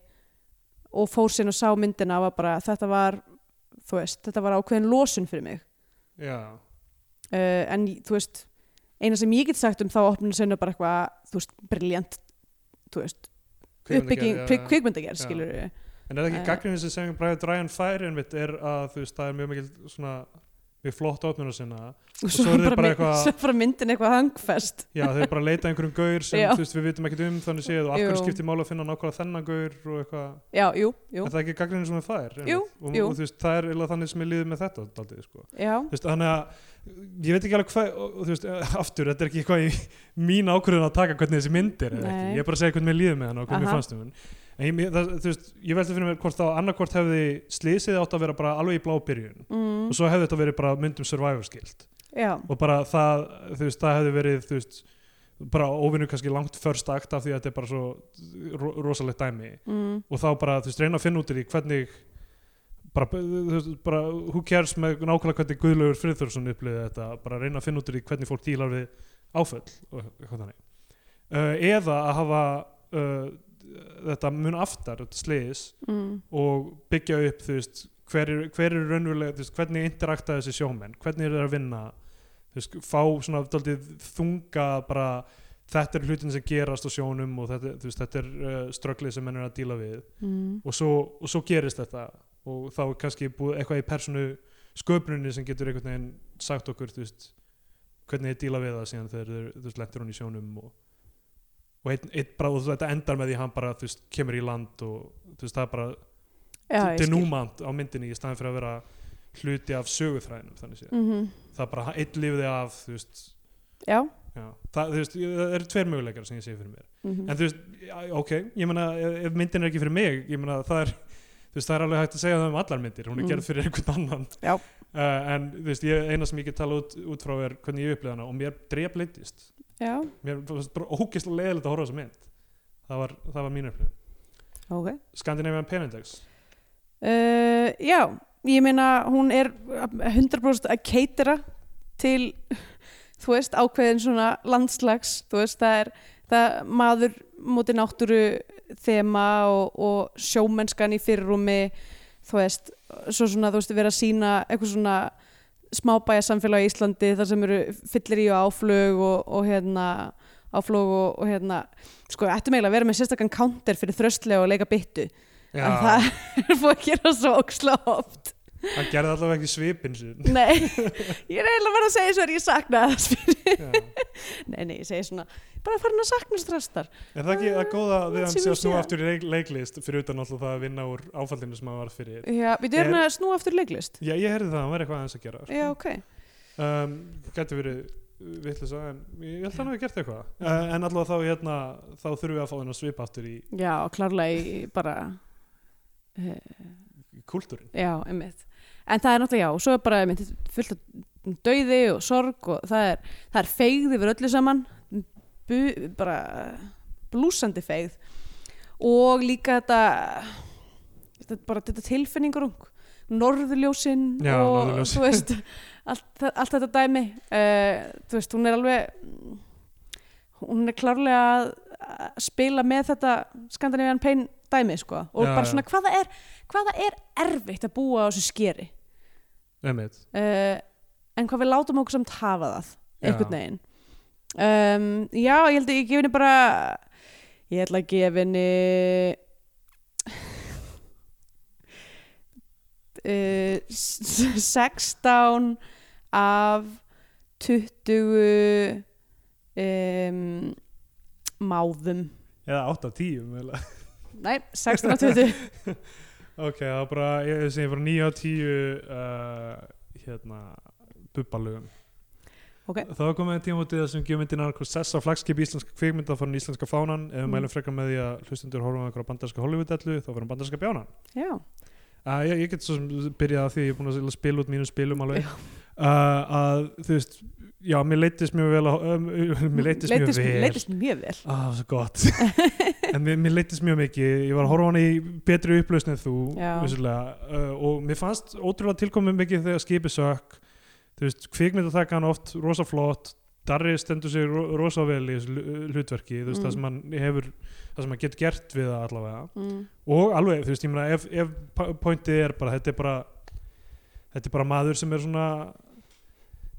Speaker 2: og fór sinn og sá myndina var bara, þetta var þú veist, þetta var ákveðin losun fyrir mig
Speaker 3: já,
Speaker 2: uh, en þú veist eina sem ég get sagt um þá opnum sinna bara eitthvað, þú veist, briljant þú veist, uppbygging
Speaker 3: Kvikmyndagerð, já.
Speaker 2: kvikmyndagerð,
Speaker 3: Já.
Speaker 2: skilur við
Speaker 3: En er það ekki
Speaker 2: Eh.
Speaker 3: gagnrýnið sem segjum Brian Ryan fær einmitt er að þú veist það er mjög mikil svona mjög flott opnuna sinna
Speaker 2: og
Speaker 3: svo eru þeir bara
Speaker 2: mynd-
Speaker 3: eitthvað-
Speaker 2: svo bara myndin eitthvað hangfest
Speaker 3: Já þau bara leita að einhverjum gaur sem
Speaker 2: Já.
Speaker 3: þú veist við vitum ekkert um þannig séð og af hverju
Speaker 2: Jú.
Speaker 3: skiptir mála að finna nákvæmlega þennan gaur og eitthvað
Speaker 2: já, jú, jú,
Speaker 3: Er það ekki gagnrýnið sem það fær? einmitt?
Speaker 2: Jú,
Speaker 3: og,
Speaker 2: jú.
Speaker 3: og þú veist það er eiginlega þannig sem ég líði með þetta daldið, sko.
Speaker 2: já
Speaker 3: Þú veist, Þannig að ég veit ekki alveg hvað og, og, þú veist, eh, aftur þetta er ekki eitthvað í mín ákvörðun að taka hvernig þessi mynd er eða ekki
Speaker 2: Nei.
Speaker 3: ég er bara að segja hvernig mér líði með hann og hvernig mér
Speaker 2: Aha.
Speaker 3: fannst um hann en ég, mér- það, þú veist, ég veldi fyrir mér hvort þá annarkvort hefði slísið átt að vera bara alveg í blá byrjun
Speaker 2: mm,
Speaker 3: og svo hefði þetta verið bara myndum survivor skilt
Speaker 2: já,
Speaker 3: og bara það, þú veist, það hefði verið þú veist, bara óvinnu kannski langt först akt af því að þetta er bara svo ro rosalegt dæmi
Speaker 2: mm,
Speaker 3: og þá bara, þú veist, reyna að finna út í því hvernig bara, þú veist, bara who cares með nákvæmlega hvernig Guðlaugur Friðþórsson upplýði þetta, bara reyna að finna út í því hvernig fólk dílar við áföll og eitthvað þannig uh, eða að hafa uh, þetta mun aftar, þetta sliðis
Speaker 2: mm,
Speaker 3: og byggja upp þú veist, hver, er- hver er raunverulega þú veist, hvernig interakta þessi sjómenn, hvernig eru þeir að vinna þú veist, fá svona daldið þunga bara þetta er hlutin sem gerast á sjónum og þetta, þú veist, þetta er uh, strögglið sem menn er að díla við
Speaker 2: mm,
Speaker 3: og svo, og svo gerist þetta og þá er kannski búið eitthvað í personu sköpunni sem getur einhvern veginn sagt okkur þú veist, hvernig þið díla við það síðan þegar þeir, þú veist, lentur hún í sjónum og, og einn, einn bara og þetta endar með því að hann bara, þú veist, kemur í land og þú veist, það er bara
Speaker 2: já, ég skil
Speaker 3: denúmant á myndinni í staðin fyrir að vera hluti af sögufræðinum þannig séð.
Speaker 2: Mhm.
Speaker 3: Það er bara einn lifði af, þú veist,
Speaker 2: já
Speaker 3: já, það, þú veist, það eru tveir möguleikar sem ég segi fyrir mér.
Speaker 2: mhm.
Speaker 3: En þú veist, já, ok, ég meina, ef- ef myndin er ekki fyrir mig, ég meina, það er, þú veist, það er alveg hægt að segja það um allar myndir, hún er
Speaker 2: Mm.
Speaker 3: gerð fyrir einhvern annan.
Speaker 2: Já.
Speaker 3: Uh, en, þú veist, ég, eina sem ég get tala út, út frá er hvernig ég upplýða hana og mér drep leittist.
Speaker 2: já,
Speaker 3: Mér fannst bara ógeðslega leiðilegt að horfa á þessa mynd. Það var, það var mín upplýðin.
Speaker 2: ok
Speaker 3: Scandinavian Penindex.
Speaker 2: Uh, já, ég meina hún er 100% að keitera til þú veist, ákveðin svona landslags þú veist, það er það er maður móti náttúru þema og, og sjómennskan í fyrirrúmi þú veist, svo svona þú veist, vera að sína eitthvað svona smábæja samfélag í Íslandi þar sem eru fyllir í og áflug og, og hérna áflug og, og hérna sko, ættum eiginlega að vera með sérstakann counter fyrir þröstlega og leika byttu en það er búið að gera svo óksla oft
Speaker 3: Hann gerði allavega ekki svipinn sín
Speaker 2: nei, ég er eiginlega bara að segja svo er ég sakna þess fyrir
Speaker 3: Já.
Speaker 2: nei, nei, ég segi svona, bara farin að sakna stresstar
Speaker 3: Er það ekki það góða við hann
Speaker 2: Sem
Speaker 3: sé
Speaker 2: ég
Speaker 3: að snúa
Speaker 2: sé.
Speaker 3: aftur í leik, leiklist fyrir utan alltaf það að vinna úr áfallinu sem hann var fyrir
Speaker 2: já, við erum að snúa aftur í leiklist
Speaker 3: Já, ég heyrði það, hann var eitthvað aðeins að gera sko.
Speaker 2: já, ok,
Speaker 3: um, Gæti verið vittlisa en ég held að hann hafi gert eitthvað uh, En allavega þá, hérna, þá þurfum við að fá hann að svipa aftur í
Speaker 2: já, klarlega ég bara,
Speaker 3: í kúltúrin
Speaker 2: já, einmitt en það er náttúrulega, já, svo er bara einmitt, fullt af dauði og sorg og það er, það er feigð yfir öllu saman bu, bara blúsandi feigð og líka þetta, þetta bara þetta tilfinningarung norðurljósin
Speaker 3: Já,
Speaker 2: og
Speaker 3: norðurljós.
Speaker 2: þú veist allt, þa- allt þetta dæmi uh, þú veist, hún er alveg hún er klárlega að að spila með þetta skandinavian pain dæmi sko og
Speaker 3: Já,
Speaker 2: bara
Speaker 3: já.
Speaker 2: svona hvaða er, hvaða er erfitt að búa á þessu skeri
Speaker 3: Einmitt.
Speaker 2: Eh, uh, en hvað við látum okkur samt hafa það einhvern
Speaker 3: Já.
Speaker 2: veginn um, já, ég held að ég gefi henni bara ég ætla að gefa henni uh, s- s- 16 af 20 um, máðum
Speaker 3: eða 8 af 10 vel.
Speaker 2: nei, 16 af 20
Speaker 3: ok, það var bara, ég ég segi bara 9 af 10 uh, hérna bubbalögum
Speaker 2: Ok.
Speaker 3: þá er komið tímamótið þar sem gjöfmyndin er sess á flagskip íslenska kvikmynda farin íslenska fánan ef við
Speaker 2: Mm.
Speaker 3: mælum frekar með því að hlustundur horfum að einhverja bandarska Hollywood-ellu þá verðum bandarska bjánan
Speaker 2: já,
Speaker 3: Uh, ég, ég get svo sem byrjað að því að ég er búin að spila út mínum spilum alveg uh, að þú veist, já, mér leittist mjög vel að, um, mér leittist mjög
Speaker 2: leiddist-
Speaker 3: vel
Speaker 2: leiddist mjög vel
Speaker 3: Ah, svo gott En mér, mér leittist mjög mikið, ég var að horfa á hann í betri upplausn en þú
Speaker 2: Já.
Speaker 3: vissulega, uh, og mér fannst ótrúlega tilkomið mikið þegar skipið sökk þú veist, kvikmynd að taka hann oft rosa flott, Darri stendur sig ro- rosa vel í þessu hlu- hlutverki þú veist,
Speaker 2: Mm.
Speaker 3: það sem hann hefur það sem hann getur gert við það allavega
Speaker 2: mm.
Speaker 3: og alveg, þú veist, ég meina ef, ef pa- pointið er bara, þetta er bara þetta er bara maður sem er svona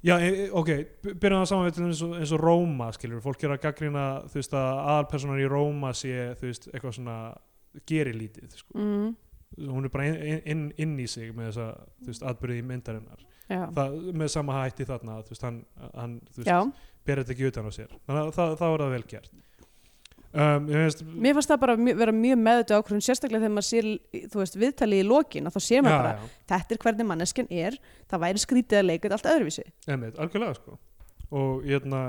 Speaker 3: já, e- e- ok by- byrjum það saman við til eins og, eins og Róma skilur, fólk er að gaggrina, þú veist, að aðalpersonar í Róma sé, þú veist, eitthvað svona gerir lítið, sko
Speaker 2: Mm.
Speaker 3: hún er bara inn, inn, inn í sig með þessa, þú veist, atbyrði í myndarinnar
Speaker 2: já,
Speaker 3: það, með sama hætti þarna, þú veist, hann, hann þú veist,
Speaker 2: já
Speaker 3: ber þetta ekki utan á sér þannig að það, það var það vel gert um, ég veist,
Speaker 2: Mér fannst það bara mjö- vera mjög meðut ákvörðun sérstaklega þegar maður sér, þú veist, viðtalið í lokin að þá sér maður bara,
Speaker 3: já,
Speaker 2: þetta er hvernig manneskjan er það væri skrítið að leika þetta allt öðruvísi
Speaker 3: Einmitt, algjörlega sko og hérna,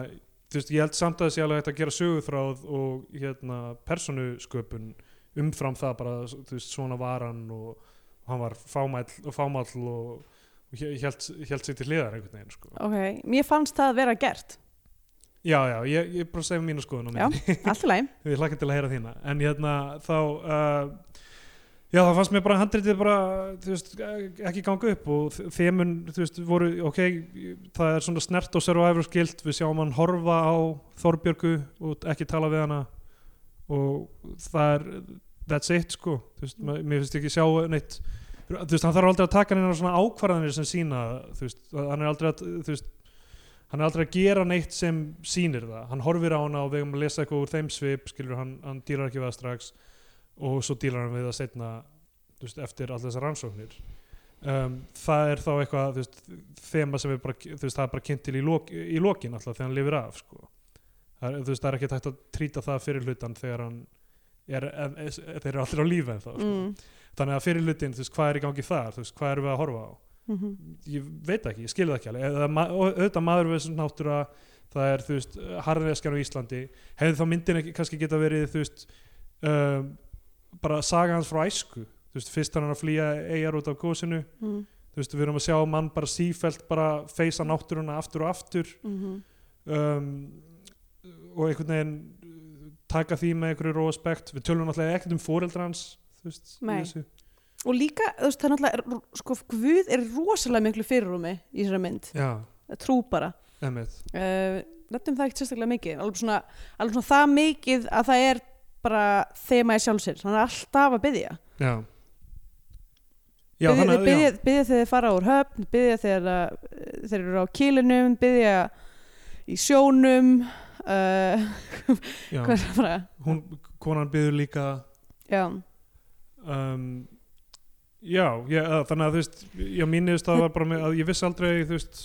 Speaker 3: þú veist, ég held samt að það sé alveg hægt að gera söguþráð og hérna persónusköpun umfram það bara, þú veist, svona var hann og, og hann var fámall og fámall og, og held, held sér til hliðar einhvern veginn sko.
Speaker 2: Ok, mér fannst það vera gert
Speaker 3: Já, já, ég, ég bara segi mínu skoðun
Speaker 2: Já,
Speaker 3: á mér,
Speaker 2: allt í lagi
Speaker 3: ég hlakka til að heyra þína en hérna, þá uh, Já, það fannst mér bara handritið bara, þú veist, eh, ekki ganga upp og þ- þemun, þú veist, voru, ok, það er svona snert og survivor skilt, við sjáum hann horfa á Þorbjörgu og ekki tala við hana og það er, that's it, sko, þú veist, ma- mér finnst ekki sjá neitt, þú veist, hann þarf aldrei að taka neina svona ákvarðanir sem sína, þú veist, hann er aldrei að, þú veist, hann er aldrei að gera neitt sem sýnir það, hann horfir á hana og við um að lesa eitthvað úr þeim svip, skilur, hann, hann dýlar ekki við það strax og svo dýlar hann við það setna þú veist, eftir allar þessar rannsóknir um, það er þá eitthvað þú veist, þema sem er bara, þú veist, það er bara kynnt til í, lok, í lokin alltaf þegar hann lifir af sko. það, er, þú veist, það er ekki hægt að trýta það fyrir hlutan þegar hann er, er, er, þeir eru allir á lífi en þá sko.
Speaker 2: mm.
Speaker 3: þannig að fyrir hlutin, þú veist, hvað er í gangi þar þú veist, hvað erum við að horfa á
Speaker 2: Mhm.
Speaker 3: ég veit ekki, ég skil það ekki alveg Eða ma- og auðvitað maður við þessum náttúra það er, þú veist, harðveskjan á Íslandi hefði þá myndin ekki, kannski geta verið þú veist um, bara saga hans frá æsku þú veist, fyrst hann er að flýja eigar út af gósinu
Speaker 2: Mm.
Speaker 3: þú veist, við erum að sjá mann bara sífelt bara feysa náttúruna aftur og aftur
Speaker 2: Mhm.
Speaker 3: um, og einhvern veginn uh, taka því með einhverju róaspekt við tölum náttúrulega ekkert um foreldra hans þú veist, í
Speaker 2: Nei.
Speaker 3: þessu.
Speaker 2: Og líka, þú veist, það er náttúrulega er- sko, Guð er rosalega miklu fyrirrúmi í þessari mynd,
Speaker 3: já,
Speaker 2: trú bara
Speaker 3: emmitt
Speaker 2: uh, Nefnum það ekkert sérstaklega mikið alveg svona, alveg svona það mikið að það er bara þema í sjálfsins hann er alltaf að byggja
Speaker 3: já, já
Speaker 2: Já,
Speaker 3: þannig
Speaker 2: byggja,
Speaker 3: að- já.
Speaker 2: byggja, byggja þegar þeir fara úr höfn byggja þegar að- þeir eru á kílinum byggja í sjónum uh,
Speaker 3: Já,
Speaker 2: hvað er það bara
Speaker 3: hún, konan byður líka
Speaker 2: já,
Speaker 3: um, já, ég, að, þannig að þú veist já, mínist það var bara með að ég vissi aldrei þú veist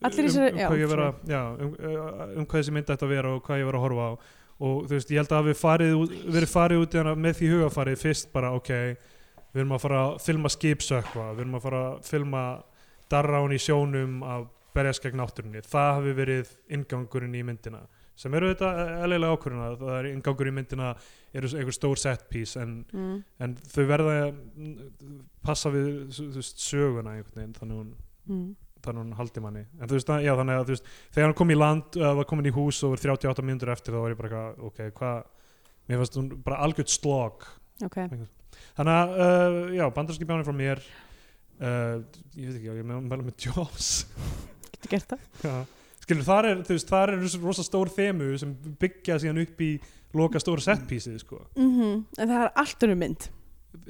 Speaker 2: Allir
Speaker 3: um,
Speaker 2: þessar-
Speaker 3: um,
Speaker 2: já,
Speaker 3: hvað ég vera, já, um, uh, um hvað þessi mynd ætti að vera og hvað ég var að horfa á og þú veist, ég held að við farið út, verið farið út í hana með því hugafarið fyrst bara, ok við erum að fara að filma skipsökva við erum að fara að filma darrán í sjónum að berjast gegn náttúrunni það hafi verið ingangurinn í myndina sem eru þetta eðlilega ákvörðina það er ingangur í myndina eru einhver stór set piece en
Speaker 2: mm,
Speaker 3: en þau verða að mm, passa við þú veist, söguna einhvern veginn þannig hún,
Speaker 2: mm,
Speaker 3: þannig hún haldi manni en þú veist, að- já, þannig að þú veist, þegar hann kom í land uh, var komin í hús og var 38 mínútur eftir þá var ég bara, eitthvað, ok, hvað mér fannst hún bara algjörð slog
Speaker 2: ok
Speaker 3: þannig að, uh, já, bandarski bjánir frá mér uh, ég veit ekki, ég meðan meðan með Jaws
Speaker 2: getur gert það
Speaker 3: Já. skilur, þar er, þú veist, þar er rosa stór þemu sem byggja síðan upp í loka stóra setpísið, sko
Speaker 2: mm en það er allt önnur mynd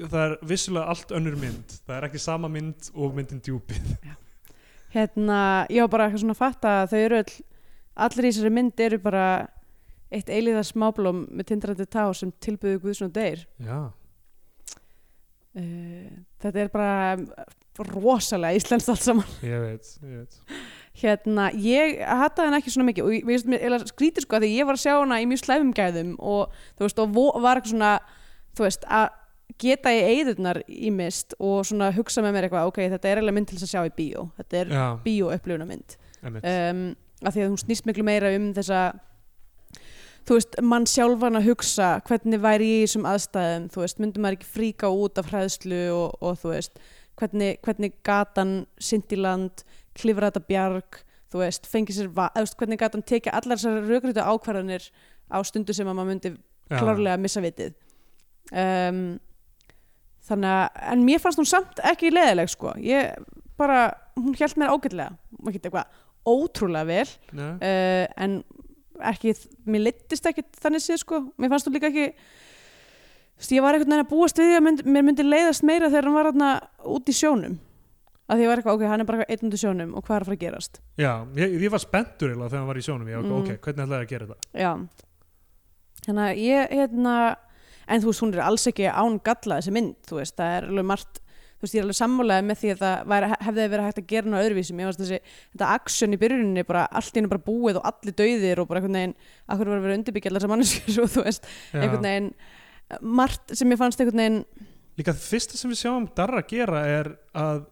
Speaker 3: það er vissulega allt önnur mynd það er ekki sama mynd og myndin djúpið
Speaker 2: hérna, ég var bara eitthvað svona að fatta að þau eru öll allir í þessari mynd eru bara eitt eilíða smáblóm með tindrandi tá sem tilbyðu Guðs og deyr
Speaker 3: já,
Speaker 2: uh, þetta er bara rosalega íslenskt allt saman
Speaker 3: ég veit, ég veit.
Speaker 2: hérna, ég hattaði hann ekki svona mikið og ég veist, mér eiginlega skrítið sko að því ég var að sjá hana í mjög slæfum gæðum og þú veist, og vo- var eitthvað svona þú veist, að geta í eigðurnar í mist og svona hugsa með mér eitthvað ok, þetta er eiginlega mynd til þess að sjá í bíó þetta er
Speaker 3: Já,
Speaker 2: bíó upplifnamynd
Speaker 3: einmitt.
Speaker 2: um, af því að hún snýst miklu meira um þessa þú veist, mann sjálfan að hugsa hvernig væri ég í þessum aðstæðum þú veist, myndum maður ekki fríka út af hræðslu og, og þú veist, hvernig, hvernig gatan sint í land klifra þetta bjarg, þú veist fengið sér, va- eða þú veist, hvernig gatan tekja allar þessar rökrutu ákvarðanir á stundu sem að maður myndi
Speaker 3: Já.
Speaker 2: klárlega að missa vitið um, þannig að en mér fannst hún samt ekki leðileg sko. ég bara, hún hjælt mér ágætlega maður geta eitthvað ótrúlega vel
Speaker 3: Nei.
Speaker 2: uh, en ekki, mér leittist ekki þannig séð sko, mér fannst hún líka ekki þú veist, ég var einhvern veginn að búast við því að mynd, mér myndi leiðast meira þegar hann var þarna út í sjónum að því ég var eitthvað, ok, hann er bara eitthvað einn út í sjónum og hvað er að fara að gerast
Speaker 3: Já, ég, ég var spenntur eiginlega þegar hann var í sjónum ég var
Speaker 2: Mm.
Speaker 3: ok, hvernig ætlaði ég að gera þetta?
Speaker 2: Já Þannig að ég, hérna En þú veist, hún er alls ekki án galla þessi mynd Þú veist, það er alveg margt Þú veist, ég er alveg sammálaði með því að það væri, hefði verið hægt að gera hana öðruvísi Mér varst þessi, þetta action í byrjuninni bara allt í henni bara búið og allir dauðir og bara einhvern veginn, akkur var að vera að undirbyggja allar sem manneskjur og þú veist,
Speaker 3: Já.
Speaker 2: einhvern veginn margt sem ég fannst einhvern veginn
Speaker 3: Líka það fyrsta sem við sjáum Darra gera er að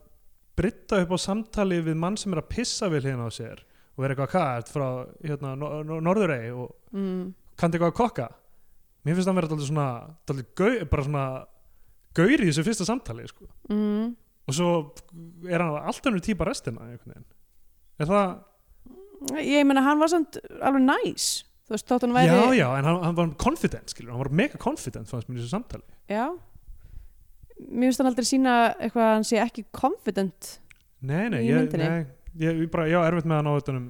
Speaker 3: brytta upp á samtali við mann sem er að pissa við hérna á sér og vera eitthvað kært frá hérna, no, no, Norðurey og
Speaker 2: mm,
Speaker 3: kannti eitthvað að kokka Mér finnst það vera daldið svona, daldið gau, bara svona gaur í þessu fyrsta samtali sko.
Speaker 2: mm,
Speaker 3: og svo er hann alltaf ennur típa restina einhvern veginn Er það,
Speaker 2: Ég meina, hann var samt alveg næs Þú veist, þótt hann væri
Speaker 3: já, já, en hann, hann var confident, skilur, hann var mega confident fannst mér í þessu samtali.
Speaker 2: Já Mér finnst hann aldrei sína eitthvað að hann sé ekki confident
Speaker 3: Nei, nei,
Speaker 2: í
Speaker 3: ég,
Speaker 2: myndinni.
Speaker 3: nei ég, ég bara, já, erfitt með hann á utanum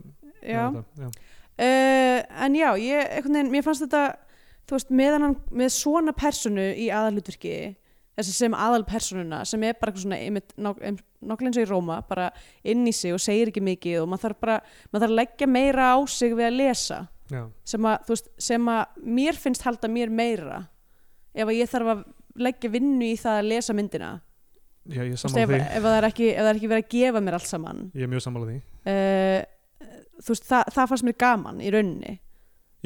Speaker 2: Já,
Speaker 3: með þetta, já.
Speaker 2: uh, en já, ég, einhvern veginn, mér fannst þetta þú veist, meðan hann, með svona personu í aðalutverki, þessi sem aðalpersonuna, sem er bara eitthvað svona einmitt nák- em- nákvæmlega eins og í Róma, bara inn í sig og segir ekki mikið og maður þarf bara maður þarf að leggja meira á sig við að lesa
Speaker 3: Já.
Speaker 2: sem að, þú veist, sem að mér finnst halda mér meira ef að ég þarf að leggja vinnu í það að lesa myndina
Speaker 3: já,
Speaker 2: Þú
Speaker 3: ég er
Speaker 2: veist, ef,
Speaker 3: sammála því
Speaker 2: ef, það er ekki, ef það er ekki verið að gefa mér allt saman
Speaker 3: ég er mjög sammála því
Speaker 2: uh, þú veist, það, það fannst mér gaman í rauninni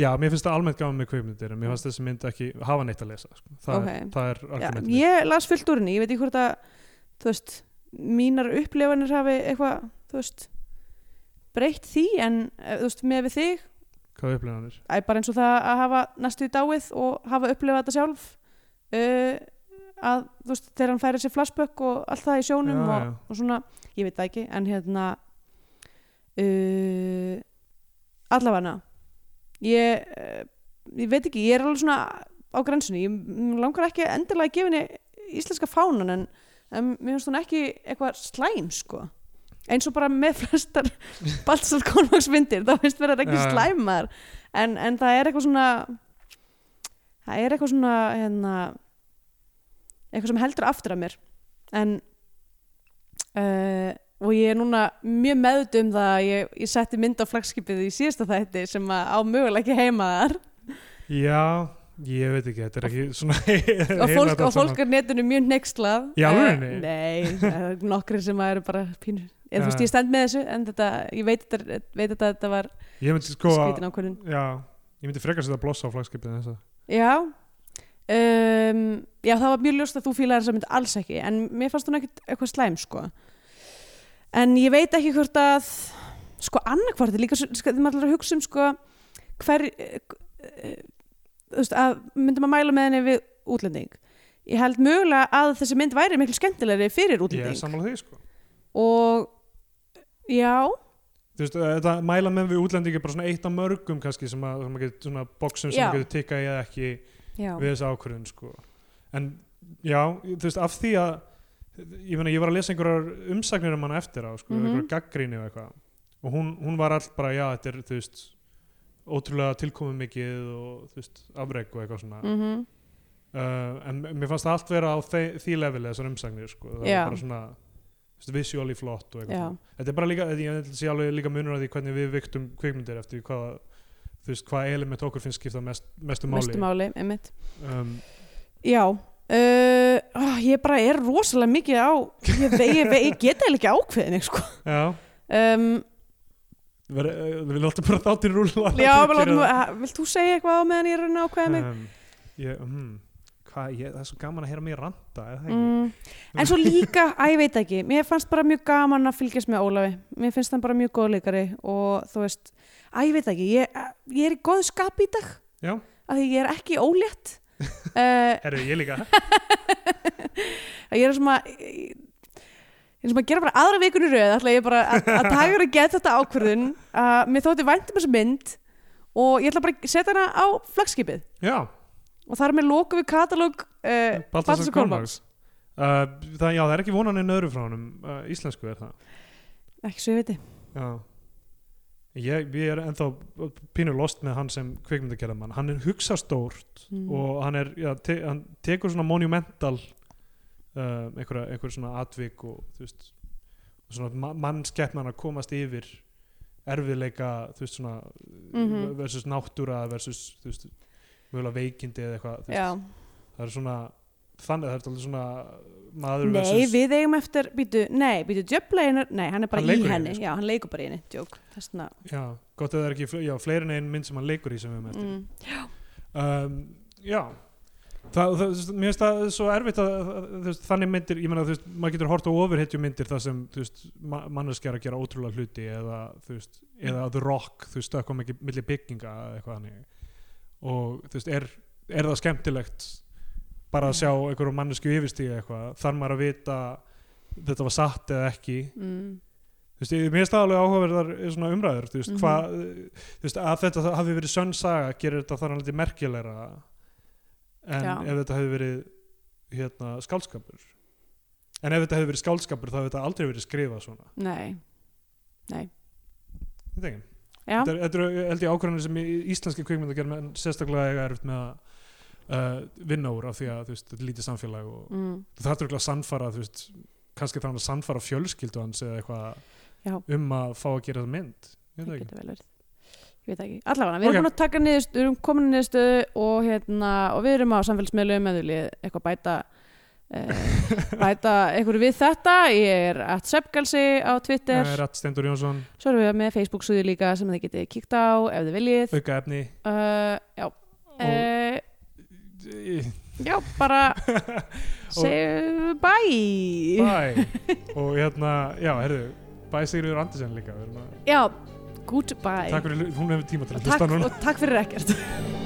Speaker 3: já, mér finnst það almennt gaman með kveikmyndir en mér fannst þessi mynd ekki hafa neitt að lesa sko. það,
Speaker 2: Ok.
Speaker 3: er, það er
Speaker 2: Já,
Speaker 3: argumentin
Speaker 2: ég las fullt úr henni, ég veit ekki hvort að þú veist, mínar upplifanir hafi eitthvað, þú veist breytt því en eh, þú veist, með við þig,
Speaker 3: hvað upplifanir
Speaker 2: æ, bara eins og það að hafa næstu í dáið og hafa upplifað þetta sjálf uh, að þú veist, þegar hann færir sér flashback og allt það í sjónum
Speaker 3: Já,
Speaker 2: og,
Speaker 3: já.
Speaker 2: og svona, ég veit það ekki en hérna uh, allavega ég, eh, ég veit ekki ég er alveg svona á grensunni ég mig langar ekki endilega að gefa henni íslenska fánan en, en mér finnst hún ekki eitthvað slæm sko eins og bara með flestar Baltasar Konváks myndir, þá finnst verið ekki
Speaker 3: Já, já.
Speaker 2: slæmar en, en það er eitthvað svona það er eitthvað svona hérna, eitthvað sem heldur aftur að mér en uh, og ég er núna mjög meðut um það að ég, ég setti mynd á flagskipið í síðasta þætti sem að á mögulega ekki heima þar
Speaker 3: já, ég veit ekki, þetta er ekki svona
Speaker 2: og fólk, og fólk er netinu mjög neykslað
Speaker 3: Í alvörunni?
Speaker 2: Eh, Nei, það eru nokkrir sem að eru bara pínur eða þú
Speaker 3: Já.
Speaker 2: veist ég stend með þessu en þetta, ég veit þetta, veit þetta, að þetta var
Speaker 3: ég myndi sko að-
Speaker 2: skrítin ákvörðun
Speaker 3: já, ég myndi frekar setja blossa á flagskipið þess að
Speaker 2: Já um, Já, það var mjög ljóst að þú fílaði þess að mynd alls ekki en mér fannst hún ekkert eitthvað slæm sko en ég veit ekki hvort að sko annarkvort er líka svo- sko, þegar maður ætlar að hugsa um sko hver eh, eh, þú veist að myndum að mæla með henni við útlending ég held mögulega að þessi mynd væri miklu skemmtilegri fyrir
Speaker 3: ég er
Speaker 2: útlending
Speaker 3: sammála því sko
Speaker 2: og já,
Speaker 3: Þú veist, eh, þetta mæla menn við útlendingi er bara svona eitt af mörgum kannski sem að, sem að getur svona boxum sem
Speaker 2: Já.
Speaker 3: að getur tikka í eða ekki
Speaker 2: já.
Speaker 3: við þessa ákvörðun sko. en já, þú veist, af því að ég meina, ég var að lesa einhverjar umsagnir um hana eftir á, sko,
Speaker 2: Mhm.
Speaker 3: einhverjar gaggríni og eitthvað og hún, hún var all bara, já, þetta er þú veist, ótrúlega tilkomið mikið og þú veist, afreg og eitthvað svona
Speaker 2: Mm
Speaker 3: Eh, uh, en mér fannst það allt vera á þe því leveli þessar umsagnir, sko, það
Speaker 2: Já.
Speaker 3: var bara svona þú veist, visually flott og
Speaker 2: Já.
Speaker 3: eitthvað svona. þetta er bara líka, ég held að sé alveg líka munur á því hvernig við viktum kvikmyndir eftir því hvað þú veist, hvað element okkur finnst skipta mest, mestu máli
Speaker 2: mestu máli, einmitt
Speaker 3: Um,
Speaker 2: Já, uh, ó, ég bara er rosalega mikið á ég, ve- ég, ve- ég geta eða ekki ákveðin ég, sko.
Speaker 3: já,
Speaker 2: um,
Speaker 3: við, við látum bara þáttir rúla
Speaker 2: Já, bara látum við- vilt þú segja eitthvað á meðan ég er að reyna að ákveða mig?
Speaker 3: um, ég, mm, hvað, ég, það er svo gaman að heyra mig ranta eða það ekki
Speaker 2: Mm. En svo líka, að ég veit ekki mér fannst bara mjög gaman að fylgjast með Ólafi mér finnst hann bara mjög góðleikari og þú veist, að ég veit ekki ég, ég er í góðu skapi í dag
Speaker 3: já,
Speaker 2: af því ég er ekki ólétt uh,
Speaker 3: herru, ég líka
Speaker 2: ég er svona ég ég er svona að gera bara aðra vikun í röð ætla ég bara að að taka og geta þetta ákvörðun að mér þótti væntum þessa mynd og ég ætla bara að setja hana á flagskipið
Speaker 3: já,
Speaker 2: og þar með lokum við katalóg uh,
Speaker 3: Baltasar
Speaker 2: Baltasar Kormáks.
Speaker 3: Kormáks uh, það, já, það er ekki vonaninn öðru frá honum uh, íslensku er það
Speaker 2: ekki svo ég veit
Speaker 3: Já Ég, ég er ennþá pínu lost með hann sem kvikmyndagerðamann, hann er hugsa stórt
Speaker 2: Mm.
Speaker 3: og hann er, já, te, hann tekur svona monumental uh, einhverja, einhverja svona atvik og þú veist, og svona ma- mannskeppnan að komast yfir erfiðleika, þú veist svona
Speaker 2: Mhm.
Speaker 3: versus náttúra versus, þú veist, mögulega veikindi eða eitthvað, þú
Speaker 2: já.
Speaker 3: veist, það er svona þannig, það er alltaf svona maður
Speaker 2: nei
Speaker 3: versus
Speaker 2: við eigum eftir býtu, nei býtu djöflegin nei hann er bara
Speaker 3: Hann leikur
Speaker 2: í
Speaker 3: í henni,
Speaker 2: henni
Speaker 3: sko.
Speaker 2: já hann leikur bara í henni djók þessna
Speaker 3: Já, gott að það er ekki, fle- já, fleiri en einn mynd sem hann leikur í sem við höfum eftir
Speaker 2: mm.
Speaker 3: um, já það, það, þú veist, mér finnst það svo erfitt að, að, þú veist, þannig myndir, ég meina þú veist, maður getur hort á ofurhetju myndir þar sem þú veist, ma- manneskja er að gera ótrúlega hluti eða þú veist, eða The Rock þú veist, stökkva mikið milli bygginga eða eitthvað þannig og þú veist, er, er það skemmtilegt bara að sjá einhverjum mannesku yfirstíga eitthvað þar maður að vita þetta var satt eða ekki
Speaker 2: Mm.
Speaker 3: þú veist, ég- mér finnst það alveg áhugaverðar eh, svona umræður, þú veist,
Speaker 2: Mhm.
Speaker 3: hvað eh, þú veist, að þetta hafi verið sönn saga gerir þetta þar hann litið merkilegra en
Speaker 2: Já.
Speaker 3: ef þetta hefði verið hérna, skálskapur en ef þetta hefði verið skálskapur þá hefði þetta aldrei verið skrifað svona
Speaker 2: nei
Speaker 3: Ég veit ekki.
Speaker 2: já
Speaker 3: þetta er, þetta er held ég ákvörðanir sem í íslenski kvikmynd að gera með sérstaklega eiga erfitt með að uh, vinna úr af því að þú veist, þetta er lítið samfélag og
Speaker 2: mm.
Speaker 3: þú þarf ekki að sannfara þú veist, kannski þarf hann að sannfara fjölskyldu hans eða
Speaker 2: Já.
Speaker 3: eitthvað um að fá að gera það mynd Ég
Speaker 2: það
Speaker 3: veit ekki.
Speaker 2: getur vel verið ég veit ekki, allavega, við erum
Speaker 3: Ok.
Speaker 2: búin að taka niðurstöðu við erum komin að niðurstöðu og, hérna, og við erum á samfélagsmiðlum eða viljið eitthvað bæta eh, bæta einhverju við þetta ég er at sepgalsi á Twitter
Speaker 3: Það er Rætt Steindur Jónsson,
Speaker 2: svo erum við með Facebook suðu líka sem þið getið kíkt á ef þið viljið
Speaker 3: auka efni
Speaker 2: uh, já
Speaker 3: Og-
Speaker 2: uh, já, bara segju bye
Speaker 3: Bæ Og hérna, já, herðu Bæ Sigriður Andersen líka við erum að-
Speaker 2: já, goodbye
Speaker 3: Takk fyrir, hún hefur tíma til
Speaker 2: og
Speaker 3: að
Speaker 2: takk,
Speaker 3: hlusta núna
Speaker 2: og takk fyrir ekkert